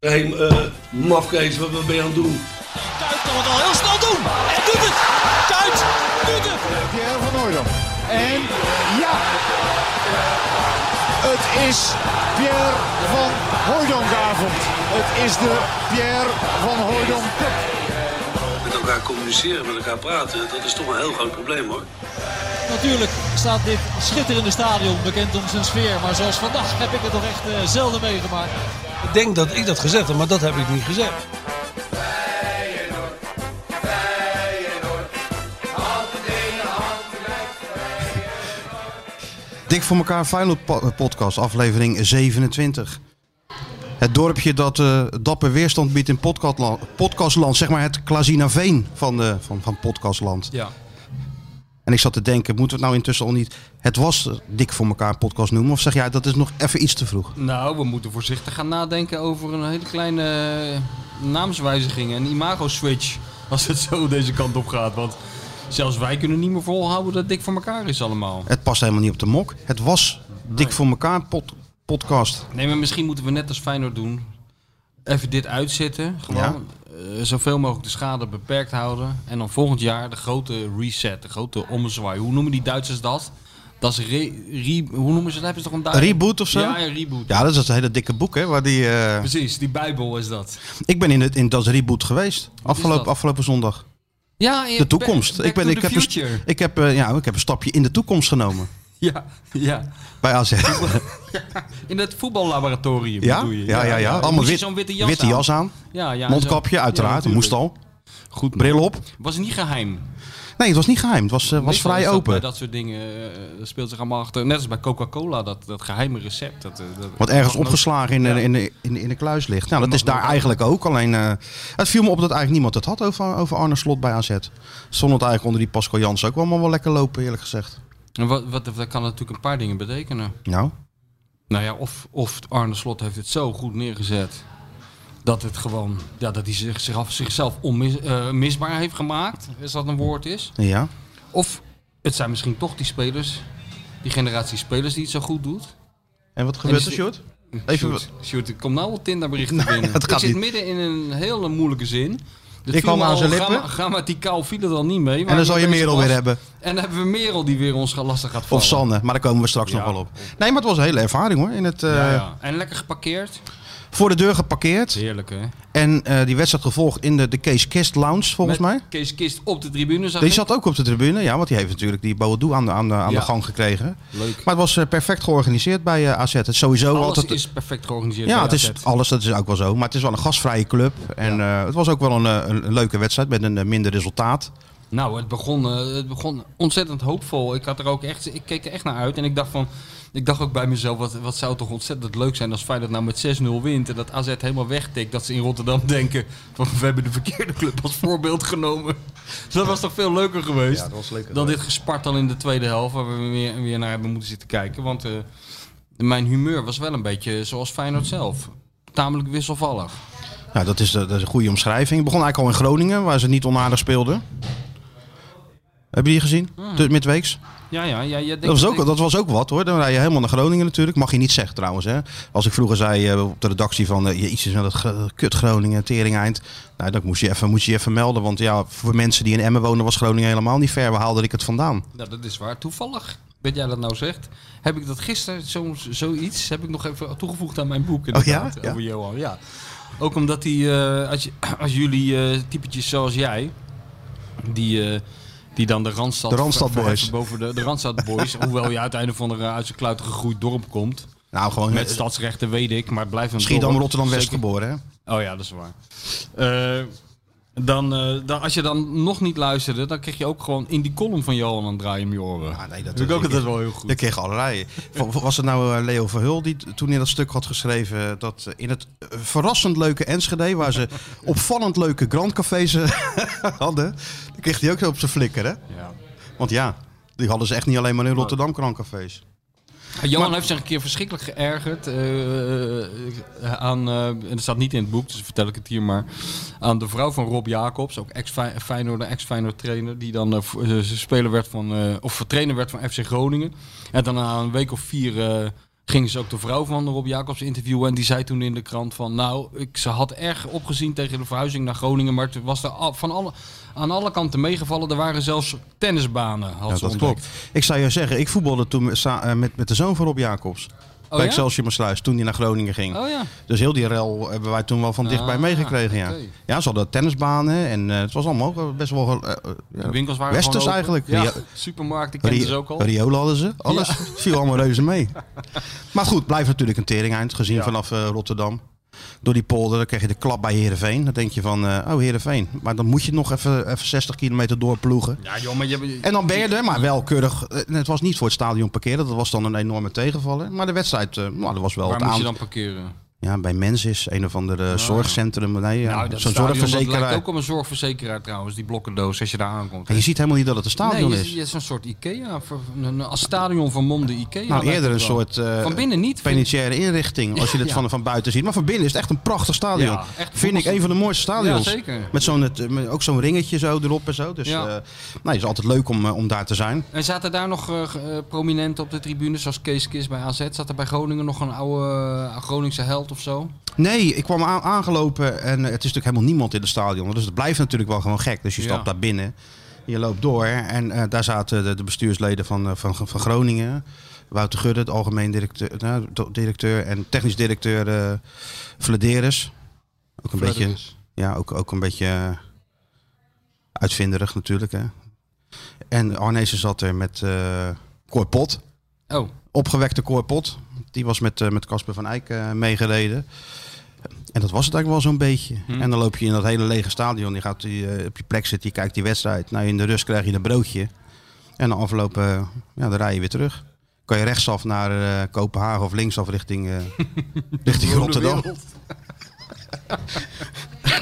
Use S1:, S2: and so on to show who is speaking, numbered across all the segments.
S1: Hé, hey, eh, mafkees, wat, wat ben je aan het doen?
S2: Kuit kan het al heel snel doen. En doet het. Kuit doet het.
S3: Pierre van Hooydonk. En ja, het is Pierre van Hooijdonkavond. Het is de Pierre van Hooijdonk Cup.
S1: Met elkaar communiceren, met elkaar praten, dat is toch een heel groot probleem hoor.
S2: Natuurlijk staat dit schitterende stadion bekend om zijn sfeer. Maar zoals vandaag heb ik het toch echt eh, zelden meegemaakt.
S1: Ik denk dat ik dat gezegd heb, maar dat heb ik niet gezegd.
S4: Dik voor elkaar Feyenoord po- eh, podcast, aflevering 27. Het dorpje dat eh, dapper weerstand biedt in podcastla- podcastland. Zeg maar het Klazinaveen van, de, van, van podcastland.
S5: Ja.
S4: En ik zat te denken, moeten we het nou intussen al niet... Het was eh, dik voor elkaar podcast noemen? Of zeg jij, dat is nog even iets te vroeg?
S5: Nou, we moeten voorzichtig gaan nadenken over een hele kleine eh, naamswijziging. Een imago-switch. Als het zo deze kant op gaat. Want zelfs wij kunnen niet meer volhouden dat het dik voor elkaar is allemaal.
S4: Het past helemaal niet op de mok. Het was dik voor elkaar pod- podcast.
S5: Nee, maar misschien moeten we net als Feyenoord doen. Even dit uitzitten. Gewoon eh, zoveel mogelijk de schade beperkt houden. En dan volgend jaar de grote reset. De grote ommezwaai. Hoe noemen die Duitsers dat? Dat is re, re- hoe noemen ze dat? Hebben ze toch een
S4: Een
S5: Duits-
S4: reboot of zo?
S5: Ah, Ja, een reboot. Dus-
S4: Ja, dat is dat hele dikke boek, hè? Waar die, eh,
S5: Precies, die Bijbel is dat.
S4: Ik ben in, het, in dat reboot geweest. Afgelopen,
S5: dat?
S4: afgelopen zondag.
S5: Ja,
S4: De toekomst. Ik, ben, ik, heb dus- een, st-
S5: future.
S4: ik, heb, eh, ja, ik heb een stapje in de toekomst genomen.
S5: Ja, ja.
S4: Bij AZ.
S5: In het voetballaboratorium
S4: Ja,
S5: bedoel je?
S4: ja, ja, ja. Allemaal
S5: Moest je
S4: wit-
S5: zo'n witte jas
S4: witte
S5: aan?
S4: jas aan.
S5: Ja, ja,
S4: Mondkapje,
S5: zo.
S4: uiteraard.
S5: Ja,
S4: moest
S5: natuurlijk.
S4: al.
S5: Goed, man.
S4: Bril op.
S5: Was niet geheim.
S4: Nee, het was niet geheim. Het was, eh, was
S5: Meestal is
S4: vrij
S5: dat bij
S4: open.
S5: Dat soort dingen eh, dat speelt zich allemaal achter. Net als bij Coca-Cola, dat, dat geheime recept. Dat, eh, dat,
S4: Wat ergens opgeslagen in, de- in, de- in, de- in de kluis ligt. Nou, dat is daar eigenlijk ook. Alleen eh, het viel me op dat eigenlijk niemand het had over, over Arne Slot bij AZ. Stond het eigenlijk onder die Pascal Jans ook allemaal wel lekker lopen, eerlijk gezegd.
S5: En wat, wat, dat kan natuurlijk een paar dingen betekenen.
S4: Nou,
S5: Nou ja, of, of Arne Slot heeft het zo goed neergezet. Dat het gewoon, ja, dat hij zich, zich, zichzelf onmisbaar heeft gemaakt. Als dat een woord is.
S4: ja.
S5: Of het zijn misschien toch die spelers, die generatie spelers die het zo goed doet.
S4: En wat gebeurt er,
S5: is-
S4: Sjoerd? Even,
S5: Sjoerd, Sjoerd, ik kom nou al Tinderberichten
S4: Nee,
S5: binnen.
S4: dat gaat
S5: ik zit
S4: niet.
S5: midden in een hele moeilijke zin. Dat
S4: Ik
S5: viel
S4: kwam
S5: me
S4: aan
S5: al
S4: zijn lippen.
S5: gramma- grammaticaal viel het al niet mee.
S4: en
S5: waar
S4: dan
S5: ik
S4: zal
S5: mee
S4: je
S5: bezig
S4: Merel
S5: was.
S4: weer hebben.
S5: En dan hebben we Merel die weer ons lastig gaat vallen.
S4: Of Sanne, maar daar komen we straks
S5: Ja.
S4: nog wel op. Nee, maar het was een hele ervaring hoor. In het, eh,
S5: Ja, ja. En lekker geparkeerd.
S4: Voor de deur geparkeerd.
S5: Heerlijk hè.
S4: En eh, die wedstrijd gevolgd in de, de Kees Kist Lounge, volgens
S5: Met
S4: mij.
S5: Kees Kist op de tribune zag
S4: Die
S5: ik.
S4: zat ook op de tribune, ja, want die heeft natuurlijk die Boadou aan de, aan de, aan
S5: Ja.
S4: de gang gekregen.
S5: Leuk.
S4: Maar het was eh, perfect georganiseerd bij eh, AZ. Het is sowieso
S5: Alles
S4: altijd...
S5: is perfect georganiseerd.
S4: ja,
S5: bij
S4: het is
S5: AZ.
S4: alles, dat is ook wel zo. Maar het is wel een gastvrije club. En eh, het was ook wel een, eh, een, een leuke wedstrijd met een eh, minder resultaat.
S5: Nou, het begon, eh, het begon ontzettend hoopvol. Ik, had er ook echt, ik keek er echt naar uit. En ik dacht, van, ik dacht ook bij mezelf, wat, wat zou toch ontzettend leuk zijn als Feyenoord nou met 6-0 wint. En dat AZ helemaal wegtikt. Dat ze in Rotterdam denken, van, we hebben de verkeerde club als voorbeeld genomen. Dus Dat was toch veel leuker geweest dan dit gespartel in de tweede helft. Waar we weer, weer naar hebben moeten zitten kijken. Want eh, mijn humeur was wel een beetje zoals Feyenoord zelf. Tamelijk wisselvallig.
S4: Nou, dat is, de- dat is een goede omschrijving. Het begon eigenlijk al in Groningen, waar ze niet onaardig speelden. Heb je die gezien?
S5: Hmm.
S4: De- Midweeks?
S5: Ja, ja, ja. jij denkt
S4: Dat was, ook,
S5: ik-
S4: dat was ook wat hoor. Dan rij je helemaal naar Groningen natuurlijk. Mag je niet zeggen trouwens. Hè? Als ik vroeger zei eh, op de redactie van eh, jezus, nou, dat gro- kut Groningen, tering eind. Nou, dan moest je, even, moest je je even melden. Want ja, voor mensen die in Emmen wonen was Groningen helemaal niet ver. Waar haalde ik het vandaan?
S5: Nou, dat is waar. Toevallig, dat jij dat nou zegt, heb ik dat gisteren, zo, zoiets, heb ik nog even toegevoegd aan mijn boek. inderdaad,
S4: Oh ja? Ja.
S5: Over Johan, ja. Ook omdat die, eh, als, je, als jullie eh, typetjes zoals jij, die, eh, die dan de Randstad...
S4: De Randstad
S5: ver-
S4: Boys.
S5: verheffen Boven de, de Randstad Boys, hoewel je uiteindelijk van een eh, uit zijn kluit gegroeid dorp komt.
S4: Nou, gewoon
S5: Met stadsrechten weet ik, maar blijf een
S4: Schiedam,
S5: dorp.
S4: Rotterdam-West
S5: Zeker-
S4: geboren. Hè?
S5: Oh ja, dat is waar. Eh, dan, eh, dan, als je dan nog niet luisterde, dan kreeg je ook gewoon in die column van Johan aan het draaien om je oren.
S4: Ah, nee, dat
S5: Vind ik ook altijd wel heel goed.
S4: Ik kreeg allerlei. Van- Was het nou eh, Leo Verhul die t- toen in dat stuk had geschreven dat eh, in het eh, verrassend leuke Enschede, waar ze opvallend leuke Grand Cafés eh, hadden, dan kreeg hij ook zo op zijn flikker hè?
S5: Ja.
S4: Want ja, die hadden ze echt niet alleen maar in Rotterdam krankcafés.
S5: Johan
S4: Maar-
S5: heeft zich een keer verschrikkelijk geërgerd eh, aan, eh, en dat staat niet in het boek, dus vertel ik het hier maar, aan de vrouw van Rob Jacobs, ook ex-Feyenoord, ex-Feyenoord trainer, die dan eh, v- eh, speler werd van, eh, of trainer werd van FC Groningen. En dan na een week of vier eh, gingen ze ook de vrouw van Rob Jacobs interviewen. En die zei toen in de krant van... Nou, ik, ze had erg opgezien tegen de verhuizing naar Groningen. Maar het was er al- van alle, aan alle kanten meegevallen. Er waren zelfs tennisbanen, had
S4: Ja,
S5: ze
S4: dat
S5: ontdekt.
S4: klopt. Ik zou je zeggen, ik voetbalde toen met, sa- eh, met, met de zoon van Rob Jacobs. bij
S5: Oh ja?
S4: Excelsior Maasluis, toen hij naar Groningen ging.
S5: Oh ja.
S4: Dus heel die rel hebben wij toen wel van dichtbij
S5: Ah,
S4: meegekregen. Ja.
S5: oké.
S4: ja, ze hadden tennisbanen en eh, het was allemaal ook best wel... eh, eh, ja,
S5: De winkels waren
S4: Westers
S5: gewoon open.
S4: eigenlijk.
S5: Ja,
S4: Rio-
S5: supermarkten kenden ze ook al.
S4: Riolen hadden ze. Alles viel allemaal reuze mee. Maar goed, blijft natuurlijk een tering eind, gezien
S3: Ja.
S4: vanaf eh, Rotterdam. Door die polder dan kreeg je de klap bij Heerenveen. Dan denk je van, eh, oh Heerenveen. Maar dan moet je nog even, even 60 kilometer doorploegen.
S5: Ja joh, maar je hebt...
S4: En dan ben je er, maar wel keurig. eh, Het was niet voor het stadion parkeren, dat was dan een enorme tegenvaller. Maar de wedstrijd, eh, nou, dat was wel
S5: Waar
S4: het
S5: moet
S4: aan.
S5: je dan parkeren?
S4: Ja, bij Mens is een of ander eh, zorgcentrum. Nee, ja,
S5: nou, dat
S4: zo'n
S5: stadion, dat
S4: zorgverzekeraar.
S5: lijkt ook op een zorgverzekeraar trouwens, die blokkendoos als je daar aankomt.
S4: En je ziet helemaal niet dat het een stadion
S5: nee,
S4: is.
S5: je, je is een soort Ikea, voor- een, een als stadion van Monde Ikea.
S4: Nou,
S5: lijkt
S4: eerder een
S5: het wel.
S4: soort eh,
S5: van binnen niet. vind ik.
S4: penitentiaire inrichting, als je dit
S5: Ja.
S4: van, van buiten ziet. Maar van binnen is het echt een prachtig stadion.
S5: Ja, echt
S4: Vind ik
S5: voetbal-
S4: een van de mooiste stadions.
S5: Ja, zeker.
S4: Met zo'n, het, eh, met ook zo'n ringetje zo erop en zo. Dus
S5: Ja.
S4: eh, nou, het is altijd leuk om, eh, om daar te zijn.
S5: En zaten daar nog eh, ge- eh, prominenten op de tribune, zoals Kees Kis bij AZ? Zat er bij Groningen nog een oude eh, Groningse held of zo?
S4: Nee, ik kwam aan- aangelopen en eh, het is natuurlijk helemaal niemand in het stadion. Dus het blijft natuurlijk wel gewoon gek. Dus je
S5: Ja.
S4: stapt daar binnen, je loopt door. En eh, daar zaten de, de bestuursleden van, eh, van, van Groningen. Wouter Gudde, de algemeen directeur, nou, to- directeur en technisch directeur eh Vladeres. Ook een beetje, ja, ook, ook een beetje eh, uitvinderig natuurlijk. Hè? En Arnezen zat er met eh Cor Pot
S5: Oh,
S4: opgewekte Koorpot. Die was met eh, met Casper van Eyck eh, meegereden. En dat was het eigenlijk wel zo'n beetje. En dan loop je in dat hele lege stadion. Je gaat die, eh, op je plek zitten, je kijkt die wedstrijd. Nou, in de rust krijg je een broodje. En dan aflopen, eh, ja, dan rij je weer terug. Kan je rechtsaf naar eh, Kopenhagen of linksaf richting, eh, richting Rotterdam.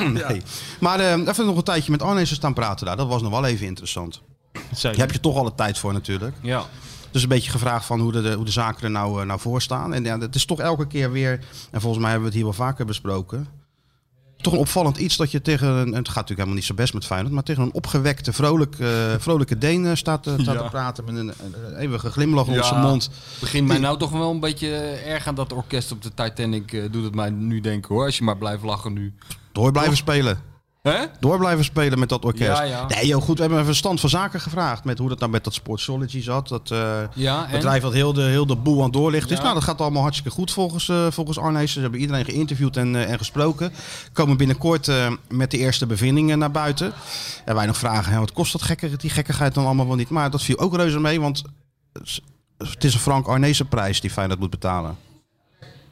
S4: nee. Maar eh, even nog een tijdje met Arnezen staan praten daar. Dat was nog wel even interessant. Daar heb je toch alle tijd voor natuurlijk.
S5: Ja.
S4: Dus een beetje gevraagd van hoe de, hoe de zaken er nou, eh, nou voor staan. En ja, dat is toch elke keer weer, en volgens mij hebben we het hier wel vaker besproken. Toch een opvallend iets dat je tegen een, het gaat natuurlijk helemaal niet zo best met Feyenoord, maar tegen een opgewekte, vrolijk, eh, vrolijke Deen eh, staat, te- staat te praten met een, een eeuwige glimlach op
S5: Ja.
S4: zijn mond.
S5: Begint mij nou toch wel een beetje erg aan dat orkest op de Titanic. eh, doet het mij nu denken hoor, als je maar blijft lachen nu.
S4: Door blijven spelen.
S5: Hè?
S4: Door blijven spelen met dat orkest.
S5: Ja, ja.
S4: Nee joh, goed, we hebben even stand van zaken gevraagd met hoe dat nou met dat Sportsology zat. Dat, eh,
S5: Ja, en?
S4: bedrijf dat heel de, heel de boel aan het doorlichten is.
S5: Ja.
S4: Nou, dat gaat allemaal hartstikke goed volgens, eh volgens Arnees. Ze hebben iedereen geïnterviewd en, eh, en gesproken. Komen binnenkort eh, met de eerste bevindingen naar buiten. En wij nog vragen, hè, wat kost dat gekke, die gekkigheid dan allemaal wel niet? Maar dat viel ook reuze mee, want het is een Frank Arnezen prijs die Feyenoord moet betalen.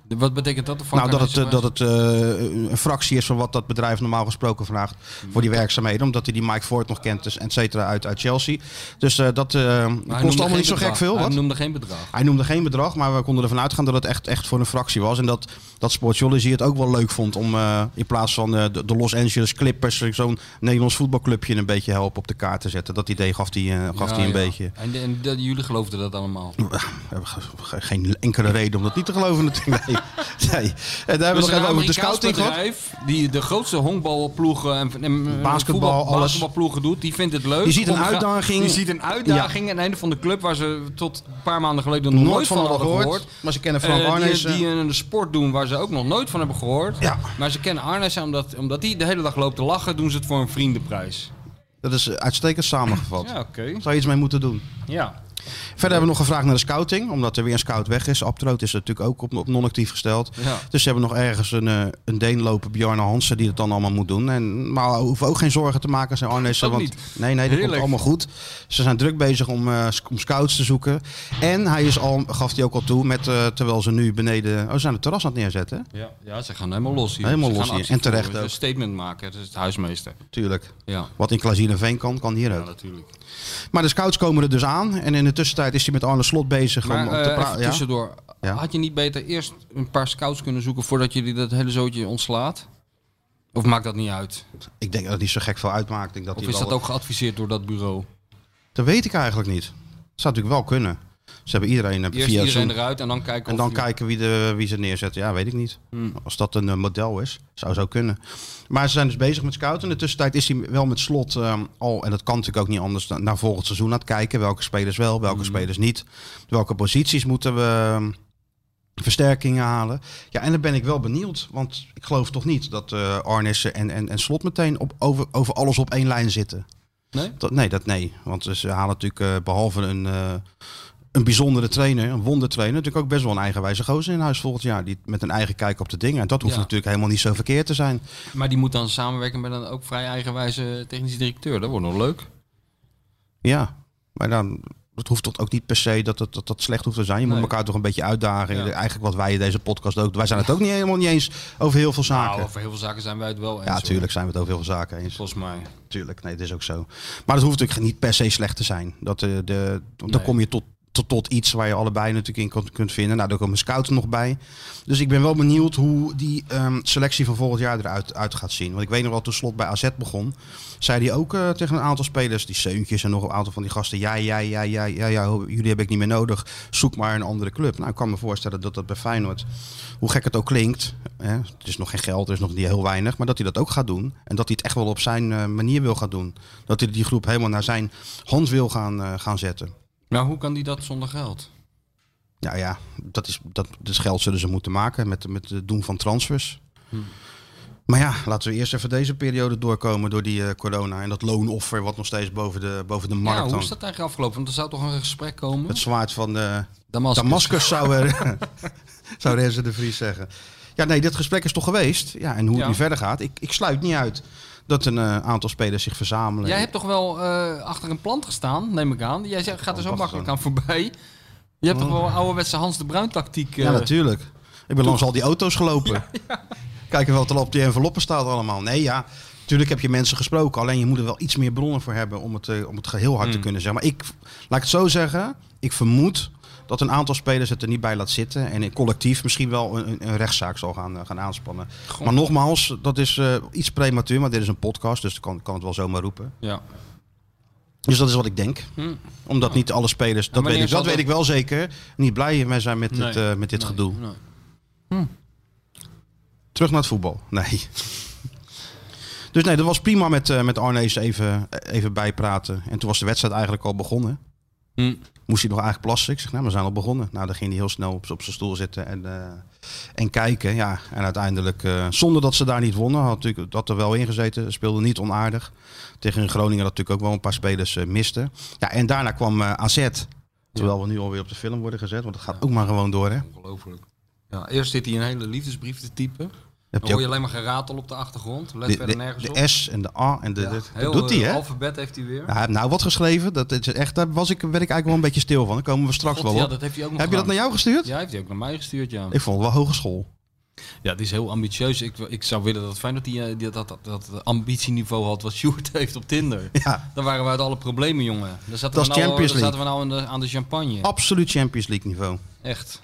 S5: De- Wat betekent dat? ervan?
S4: Nou, dat
S5: Kan
S4: het,
S5: je
S4: eh, dat het eh, een fractie is van wat dat bedrijf normaal gesproken vraagt
S5: Mm.
S4: voor die werkzaamheden. Omdat hij die Mike Ford nog kent, dus, et cetera, uit, uit Chelsea. Dus eh, dat eh,
S5: Maar hij
S4: kost
S5: noemde
S4: allemaal
S5: geen
S4: niet zo gek
S5: bedrag.
S4: veel.
S5: Hij
S4: Wat?
S5: noemde geen bedrag.
S4: Hij noemde geen bedrag, maar we konden ervan uitgaan dat het echt, echt voor een fractie was. En dat, dat Sportsology het ook wel leuk vond om eh, in plaats van eh, de, de Los Angeles Clippers eh, zo'n Nederlands voetbalclubje een beetje helpen op de kaart te zetten. Dat idee gaf hij eh, gaf
S5: Ja,
S4: hij een
S5: ja.
S4: beetje.
S5: En, en dat- jullie geloofden dat allemaal.
S4: We hebben ge- ge- geen enkele reden om dat niet te geloven natuurlijk. Nee. nee. En daar hebben we nog
S5: Dus
S4: even over de
S5: een Amerikaans
S4: scouting gehad.
S5: bedrijf die de grootste honkbalploegen en, en eh,
S4: Basketbal,
S5: voetbal-
S4: alles.
S5: basketbalploegen doet, die vindt het leuk.
S4: Die ziet een
S5: om te gaan-
S4: uitdaging.
S5: Die ziet een uitdaging aan het einde van de club waar ze tot een paar maanden geleden nog nooit,
S4: Nooit van hadden
S5: gehoord.
S4: gehoord. Maar ze kennen Frank
S5: Eh, die-
S4: Arnezen.
S5: Die, een sport doen waar ze ook nog nooit van hebben gehoord.
S4: Ja.
S5: Maar ze kennen Arnes omdat, omdat die de hele dag loopt te lachen, doen ze het voor een vriendenprijs.
S4: Dat is eh, uitstekend samengevat.
S5: Ja, oké.
S4: Zou je iets mee moeten doen?
S5: Ja.
S4: Verder hebben we nog gevraagd naar de scouting, omdat er weer een scout weg is. Abtroot is natuurlijk ook op, op non-actief gesteld.
S5: Ja.
S4: Dus ze hebben nog ergens een, eh, een Deen lopen, Bjarne Hansen, die het dan allemaal moet doen. En, maar we hoeven ook geen zorgen te maken, zijn Arnezen.
S5: Ook
S4: Want,
S5: niet.
S4: Nee, nee, dat komt
S5: Heerlijk.
S4: allemaal goed. Ze zijn druk bezig om, eh, sc- om scouts te zoeken. En hij is al, gaf hij ook al toe, met, eh, terwijl ze nu beneden... Oh, ze zijn het terras aan het neerzetten,
S5: Ja, ja, ze gaan helemaal los hier.
S4: Helemaal
S5: Ze
S4: los
S5: gaan
S4: hier.
S5: actie
S4: En terecht
S5: voeren.
S4: ook.
S5: Een statement maken, dat is het huismeester.
S4: natuurlijk.
S5: Ja,
S4: Wat in Klazineveen kan, kan hier
S5: ja
S4: ook.
S5: natuurlijk.
S4: Maar de scouts komen er dus aan. En in de tussentijd is hij met Arne Slot bezig
S5: Maar
S4: om, om te
S5: eh,
S4: praten.
S5: even tussendoor,
S4: Ja.
S5: had je niet beter eerst een paar scouts kunnen zoeken voordat jullie dat hele zootje ontslaat? Of maakt dat niet uit?
S4: Ik denk dat het niet zo gek veel uitmaakt. Ik denk dat
S5: Of
S4: hij
S5: is
S4: wel-
S5: dat ook geadviseerd door dat bureau?
S4: Dat weet ik eigenlijk niet. Dat zou natuurlijk wel kunnen. Ze hebben iedereen eh,
S5: Eerst
S4: via
S5: iedereen
S4: Zoom.
S5: eruit en dan kijken
S4: En
S5: of
S4: dan
S5: je-
S4: kijken wie, de, wie ze neerzetten. Ja, weet ik niet. Als dat een eh, model is, zou zo kunnen. Maar ze zijn dus bezig met scouten. In de tussentijd is hij wel met slot ehm, al, en dat kan natuurlijk ook niet anders, na- naar volgend seizoen aan het kijken. Welke spelers wel, welke spelers niet. Welke posities moeten we, ehm, versterkingen halen. Ja, en dan ben ik wel benieuwd, want ik geloof toch niet dat eh Arnissen en, en, en Slot meteen op, over, over alles op één lijn zitten.
S5: Nee?
S4: Dat, nee, dat nee. Want ze halen natuurlijk eh, behalve een, eh, een bijzondere trainer, een wondertrainer, natuurlijk ook best wel een eigenwijze gozer in huis volgend jaar. Die met een eigen kijk op de dingen. En dat hoeft
S5: Ja.
S4: natuurlijk helemaal niet zo verkeerd te zijn.
S5: Maar die moet dan samenwerken met een ook vrij eigenwijze technische directeur. Dat wordt nog leuk.
S4: Ja, maar dan. Het hoeft toch ook niet per se dat dat, dat, dat slecht hoeft te zijn. Je moet
S5: Nee.
S4: elkaar toch een beetje uitdagen.
S5: Ja.
S4: Eigenlijk wat wij in deze podcast ook. Wij zijn het ook niet helemaal niet eens over heel veel zaken.
S5: Nou, over heel veel zaken zijn wij het wel eens.
S4: ja,
S5: hoor.
S4: tuurlijk zijn we het over heel veel zaken eens.
S5: Volgens mij.
S4: Tuurlijk, nee, dat is ook zo. Maar dat hoeft natuurlijk niet per se slecht te zijn. Dat, eh, de, want dan
S5: Nee.
S4: kom je tot, tot, tot iets waar je allebei natuurlijk in kunt, kunt vinden. Nou, daar komen scouts nog bij. Dus ik ben wel benieuwd hoe die ehm, selectie van volgend jaar eruit uit gaat zien. Want ik weet nog wel, toen Slot bij AZ begon, zei hij ook eh, tegen een aantal spelers, die Seuntjes en nog een aantal van die gasten, ja, ja, ja, ja, ja, ja, ho- jullie heb ik niet meer nodig. Zoek maar een andere club. Nou, ik kan me voorstellen dat dat bij Feyenoord, hoe gek het ook klinkt, hè, het is nog geen geld, er is nog niet heel weinig, maar dat hij dat ook gaat doen. En dat hij het echt wel op zijn eh, manier wil gaan doen. Dat hij die groep helemaal naar zijn hand wil gaan, eh, gaan zetten.
S5: Nou, hoe kan die dat zonder geld?
S4: Nou ja, dat is, dat, dus geld zullen ze moeten maken met, met het doen van transfers.
S5: Hmm.
S4: Maar ja, laten we eerst even deze periode doorkomen door die eh, corona en dat loonoffer wat nog steeds boven de, boven de markt
S5: ja, hoe
S4: hangt.
S5: is dat eigenlijk afgelopen? Want er zou toch een gesprek komen?
S4: Het zwaard van eh
S5: Damascus.
S4: Damascus zou, er, zou Renze de Vries zeggen. Ja, nee, dit gesprek is toch geweest. Ja, en hoe het
S5: Ja.
S4: nu verder gaat, ik, ik sluit niet uit dat een eh, aantal spelers zich verzamelen.
S5: Jij hebt toch wel eh, achter een plant gestaan, neem ik aan. Jij zegt, gaat er zo
S4: wacht
S5: makkelijk aan voorbij. Je hebt toch wel een ouderwetse Hans de Bruin tactiek. eh,
S4: Ja, natuurlijk. Ik ben langs al die auto's gelopen. Kijken wat er op die enveloppen staat allemaal. Nee, ja. Natuurlijk heb je mensen gesproken. Alleen je moet er wel iets meer bronnen voor hebben om het, eh, om het geheel hard te kunnen zeggen. Maar ik, laat ik het zo zeggen, ik vermoed dat een aantal spelers het er niet bij laat zitten. En in collectief misschien wel een, een- een rechtszaak zal gaan, eh, gaan aanspannen. Maar nogmaals, dat is eh, iets prematuur. Maar dit is een podcast, dus ik kan, kan het wel zomaar roepen.
S5: ja.
S4: Dus dat is wat ik denk. Omdat niet alle spelers, dat, weet
S5: wanneer
S4: ik,
S5: zal
S4: dat weet
S5: dat-
S4: ik wel zeker, niet blij mee zijn met
S5: Nee.
S4: dit, eh, met dit
S5: Nee,
S4: gedoe.
S5: nee.
S4: Terug naar het voetbal. Nee. Dus nee, dat was prima met, eh met Arnees even, even bijpraten. En toen was de wedstrijd eigenlijk al begonnen.
S5: Hm.
S4: Moest hij nog eigenlijk plassen? Ik zeg, nou, we zijn al begonnen. Nou, dan ging hij heel snel op, op zijn stoel zitten en, eh, en kijken. Ja, en uiteindelijk, eh, zonder dat ze daar niet wonnen, had, natuurlijk, dat er wel ingezeten. Speelde niet onaardig. Tegen Groningen dat natuurlijk ook wel een paar spelers eh, misten. Ja, en daarna kwam eh, AZ. Terwijl we nu alweer op de film worden gezet, want het gaat ook maar gewoon door, hè?
S5: Ongelooflijk. Ja, eerst zit hij een hele liefdesbrief te typen.
S4: Heb
S5: Dan hoor je alleen maar geratel op de achtergrond. Let
S4: de,
S5: verder
S4: de,
S5: nergens op.
S4: de S en de A en de...
S5: Ja,
S4: de- dat
S5: heel,
S4: doet hij,
S5: eh,
S4: hè?
S5: alfabet heeft hij weer.
S4: Ja, hij heeft nou wat geschreven. Dat is echt, daar was ik, werd ik eigenlijk wel een beetje stil van. Daar komen we straks
S5: God,
S4: wel op.
S5: ja, dat heeft hij ook nog
S4: Heb je dat
S5: gedaan.
S4: naar jou gestuurd?
S5: Ja, heeft hij ook naar mij gestuurd, ja.
S4: Ik vond het wel hogeschool.
S5: Ja, het is heel ambitieus. Ik, ik zou willen dat fijn dat hij eh, die- dat, dat, dat ambitieniveau had wat Sjoerd heeft op Tinder.
S4: Ja,
S5: Dan waren we uit alle problemen, jongen. Dan zaten
S4: Dat
S5: we
S4: is
S5: nou,
S4: Champions
S5: dan zaten we nou aan de, aan de champagne.
S4: absoluut Champions League niveau.
S5: Echt.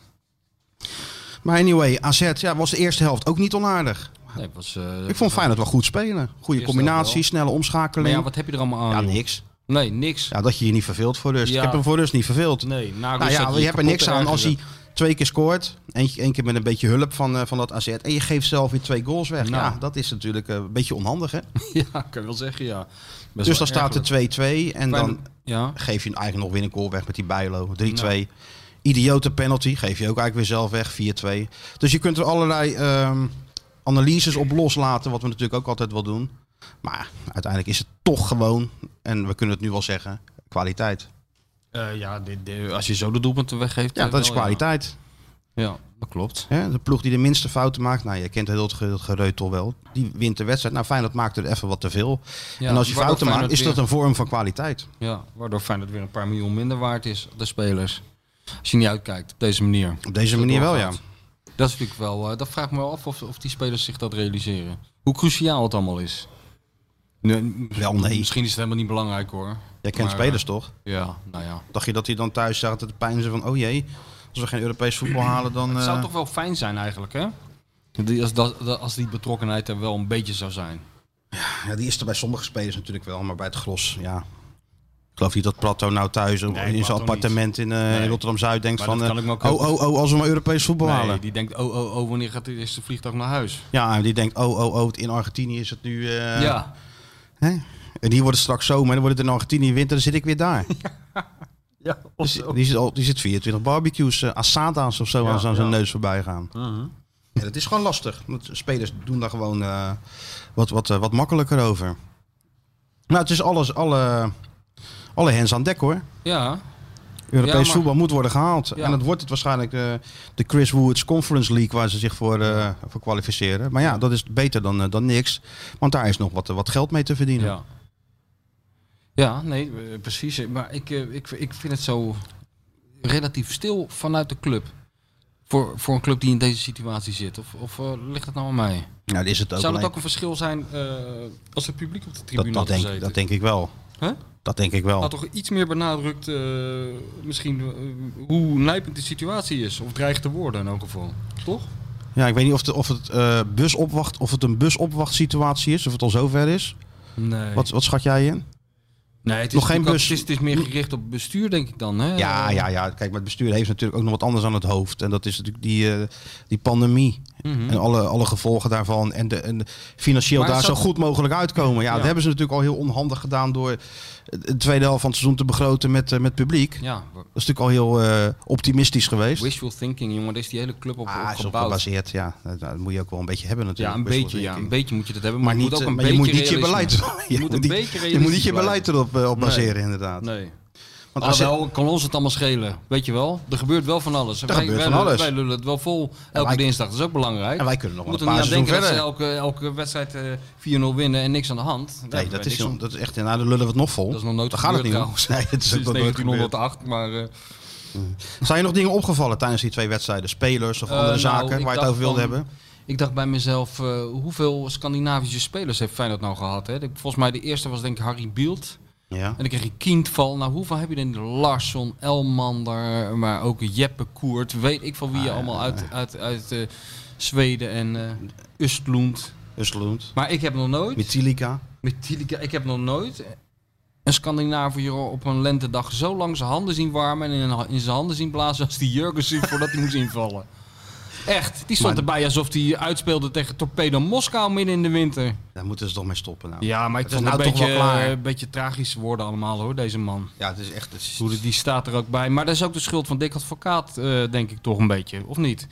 S4: Maar anyway, AZ ja, was de eerste helft ook niet onaardig.
S5: Nee, het was, eh,
S4: Ik vond Feyenoord wel goed spelen. Goede
S5: Eerste
S4: combinatie,
S5: helft
S4: snelle
S5: Maar
S4: omschakeling.
S5: ja,
S4: Ja,
S5: wat heb je er allemaal aan? joh?
S4: niks.
S5: Nee, niks.
S4: Ja, dat je je niet verveelt voor rust.
S5: Ja.
S4: Ik heb hem voor rust niet verveeld.
S5: Nee, na
S4: Nou
S5: rust
S4: ja,
S5: had
S4: je hebt er niks
S5: kapot
S4: aan als hij
S5: ergerde.
S4: twee keer scoort. Eentje, één keer met een beetje hulp van, eh, van dat AZ. En je geeft zelf weer twee goals weg.
S5: Nou.
S4: Ja, dat is natuurlijk eh, een beetje onhandig, hè?
S5: Ja, kan je wel zeggen, ja. Best
S4: Dus
S5: wel
S4: dan staat
S5: ergerlijk.
S4: er 2-2. En dan
S5: Fijn- Ja,
S4: geef je eigenlijk nog weer een goal weg met die Bijlo. 3-2.
S5: Nou.
S4: Idiote penalty, geef je ook eigenlijk weer zelf weg. 4-2. Dus je kunt er allerlei ehm, analyses op loslaten, wat we natuurlijk ook altijd wel doen. Maar uiteindelijk is het toch gewoon, en we kunnen het nu wel zeggen, kwaliteit.
S5: Eh, ja dit- dit- als je zo de doelpunten weggeeft...
S4: Ja,
S5: eh,
S4: dat is
S5: wel, ja.
S4: kwaliteit.
S5: Ja, dat klopt.
S4: Hè? De ploeg die de minste fouten maakt, nou je kent heel het ge- het gereutel wel, die wint de wedstrijd. Nou Feyenoord maakt er even wat te veel.
S5: Ja,
S4: en als je
S5: waardoor
S4: fouten maakt,
S5: Feyenoord
S4: is dat
S5: weer-
S4: een vorm van kwaliteit.
S5: Ja, waardoor Feyenoord weer een paar miljoen minder waard is, de spelers. Als je niet uitkijkt op deze manier.
S4: Op deze manier wel, ja.
S5: doorgaat. Dat is natuurlijk wel... eh, dat vraag ik me wel af of, of die spelers zich dat realiseren. Hoe cruciaal het allemaal is. Nee,
S4: Wel, nee.
S5: Misschien is het helemaal niet belangrijk, hoor.
S4: Jij kent
S5: Maar,
S4: spelers toch?
S5: eh, Ja, nou ja.
S4: Dacht je dat hij dan thuis zat te pijnzen van, oh jee, als we geen Europees voetbal halen, dan...
S5: Het
S4: eh,
S5: zou toch wel fijn zijn eigenlijk, hè? Die- Als, dat, dat- als die betrokkenheid er wel een beetje zou zijn.
S4: Ja, die is er bij sommige spelers natuurlijk wel, maar bij het gros, ja. Ik geloof niet dat Prato nou thuis op- in
S5: Prato
S4: zijn
S5: niet.
S4: appartement in, eh, in Rotterdam-Zuid denkt
S5: Maar
S4: van,
S5: dat
S4: eh,
S5: kan ik me ook
S4: oh, oh, oh, als we maar Europees voetbal
S5: Nee,
S4: halen.
S5: die denkt, oh, oh, oh, wanneer gaat dit eerste vliegtuig naar huis?
S4: Ja, en die denkt, oh, oh, oh, in Argentinië is het nu... eh,
S5: ja.
S4: Hè? En die wordt het straks zomer, en dan wordt het in Argentinië winter, dan zit ik weer daar.
S5: Ja, of
S4: Dus
S5: zo.
S4: die, zit al, die zit 24 barbecues, eh asada's of zo
S5: Ja,
S4: aan zijn zijn
S5: ja. Uh-huh.
S4: neus voorbij gaan. Ja, dat is gewoon lastig. Want spelers doen daar gewoon eh, wat, wat, eh, wat makkelijker over. Nou, het is alles, alle, alle hands aan dek hoor.
S5: Ja,
S4: Europees
S5: Ja, maar-
S4: voetbal moet worden gehaald.
S5: Ja.
S4: En dat wordt het waarschijnlijk eh, de Chris Woods Conference League waar ze zich voor, eh, voor kwalificeren. Maar ja, dat is beter dan, eh, dan niks. Want daar is nog wat, eh, wat geld mee te verdienen.
S5: ja. Ja, nee, eh, precies. eh, Maar ik, eh, ik, ik vind het zo relatief stil vanuit de club. Voor, voor een club die in deze situatie zit. Of, of eh, ligt het nou aan mij?
S4: Ja, dat is het ook.
S5: Zou dat
S4: alleen.
S5: ook een verschil zijn eh, als het publiek op de
S4: dat,
S5: tribune
S4: dat,
S5: had
S4: denk,
S5: gezeten?
S4: dat denk ik wel.
S5: Huh?
S4: Dat denk ik wel.
S5: Had toch iets meer benadrukt eh, misschien eh, hoe nijpend de situatie is. Of dreigt te worden in elk geval. Toch?
S4: Ja, ik weet niet of, de, of het eh busopwacht, of het een busopwachtsituatie is, of het al zover is.
S5: Nee.
S4: Wat, wat schat jij in?
S5: nee het is
S4: nog geen
S5: natuurlijk ook-
S4: bus-
S5: Het is, het is meer gericht op bestuur denk ik dan. Hè?
S4: Ja, ja, ja. Kijk, maar het bestuur heeft natuurlijk ook nog wat anders aan het hoofd. En dat is natuurlijk die, eh, die pandemie. En alle, alle gevolgen daarvan. En, de, en de- financieel
S5: Mhm. Maar
S4: daar
S5: zou-
S4: zo goed mogelijk uitkomen. Ja,
S5: Ja.
S4: dat hebben ze natuurlijk al heel onhandig gedaan door de tweede helft van het seizoen te begroten met, eh, met publiek.
S5: Ja,
S4: Dat is natuurlijk al heel eh, optimistisch geweest.
S5: wishful thinking jongen. Daar is die hele club op,
S4: ah,
S5: op
S4: is op
S5: gebouwd.
S4: gebaseerd. Ja, dat, dat moet je ook wel een beetje hebben
S5: ja,
S4: natuurlijk.
S5: een
S4: wishful
S5: beetje, ja,
S4: thinking.
S5: een beetje moet je dat hebben.
S4: Maar,
S5: Maar, je
S4: niet,
S5: moet
S4: eh,
S5: ook een
S4: maar je
S5: beetje
S4: moet niet je
S5: realisme.
S4: beleid.
S5: Je moet een
S4: niet-
S5: beetje
S4: je moet niet
S5: realistisch
S4: je beleid
S5: blijven.
S4: erop eh, op
S5: Nee.
S4: baseren, inderdaad.
S5: Nee. Ah,
S4: Want als je,
S5: Alhoewel, kan ons het allemaal schelen. Weet je wel? Er gebeurt wel van alles. Er
S4: gebeurt van alles.
S5: Wij lullen het wel vol elke
S4: wij-
S5: dinsdag. Dat is ook belangrijk.
S4: en wij kunnen nog
S5: We
S4: wel een
S5: moeten
S4: paar
S5: niet aan
S4: seizoen
S5: denken
S4: verder.
S5: dat ze elke, elke wedstrijd eh 4-0 winnen en niks aan de hand.
S4: Nee,
S5: Daar
S4: dat
S5: hebben
S4: is,
S5: wij niks aan.
S4: dat is echt. Nou, dan lullen we het nog vol.
S5: Dat is nog nooit
S4: Daar gaat het
S5: gebeurd
S4: niet om.
S5: trouwens.
S4: Nee, het is
S5: Sinds
S4: nog nooit gebeurd.
S5: 1908, maar... eh,
S4: Zijn je nog dingen opgevallen tijdens die twee wedstrijden? Spelers of
S5: Eh,
S4: andere
S5: nou,
S4: zaken
S5: ik
S4: waar je
S5: dacht
S4: het over wilde
S5: van-
S4: hebben?
S5: Ik dacht bij mezelf, eh, hoeveel Scandinavische spelers heeft Feyenoord nou gehad? Hè? Ik- Volgens mij de eerste was denk ik Harry Bielt.
S4: Ja.
S5: En dan kreeg je Kindval. Nou, hoeveel heb je dan? Larsson, Elmander, maar ook Jeppe Koert. Weet ik van wie je allemaal uit, uit, uit eh, Zweden en eh Östlund.
S4: Usloend.
S5: Maar ik heb nog nooit,
S4: Mitilica.
S5: met Tilika, ik heb nog nooit een Scandinaviër op een lentedag zo lang zijn handen zien warmen en in, in zijn handen zien blazen als die Jurgensen voordat hij moest invallen. Echt, die stond
S4: Maar-
S5: erbij alsof hij uitspeelde tegen Torpedo Moskou midden in de winter.
S4: Daar moeten ze toch mee stoppen nou. Ja,
S5: Ja, maar ik
S4: Het is
S5: vond het
S4: nou
S5: een
S4: toch wel
S5: beetje,
S4: klaar.
S5: eh, een beetje tragisch worden allemaal hoor, deze man.
S4: het is echt... het is-
S5: Hoe die staat er ook bij. Maar dat is ook de schuld van Dick Advocaat, eh, denk ik toch een beetje, of niet? Ja,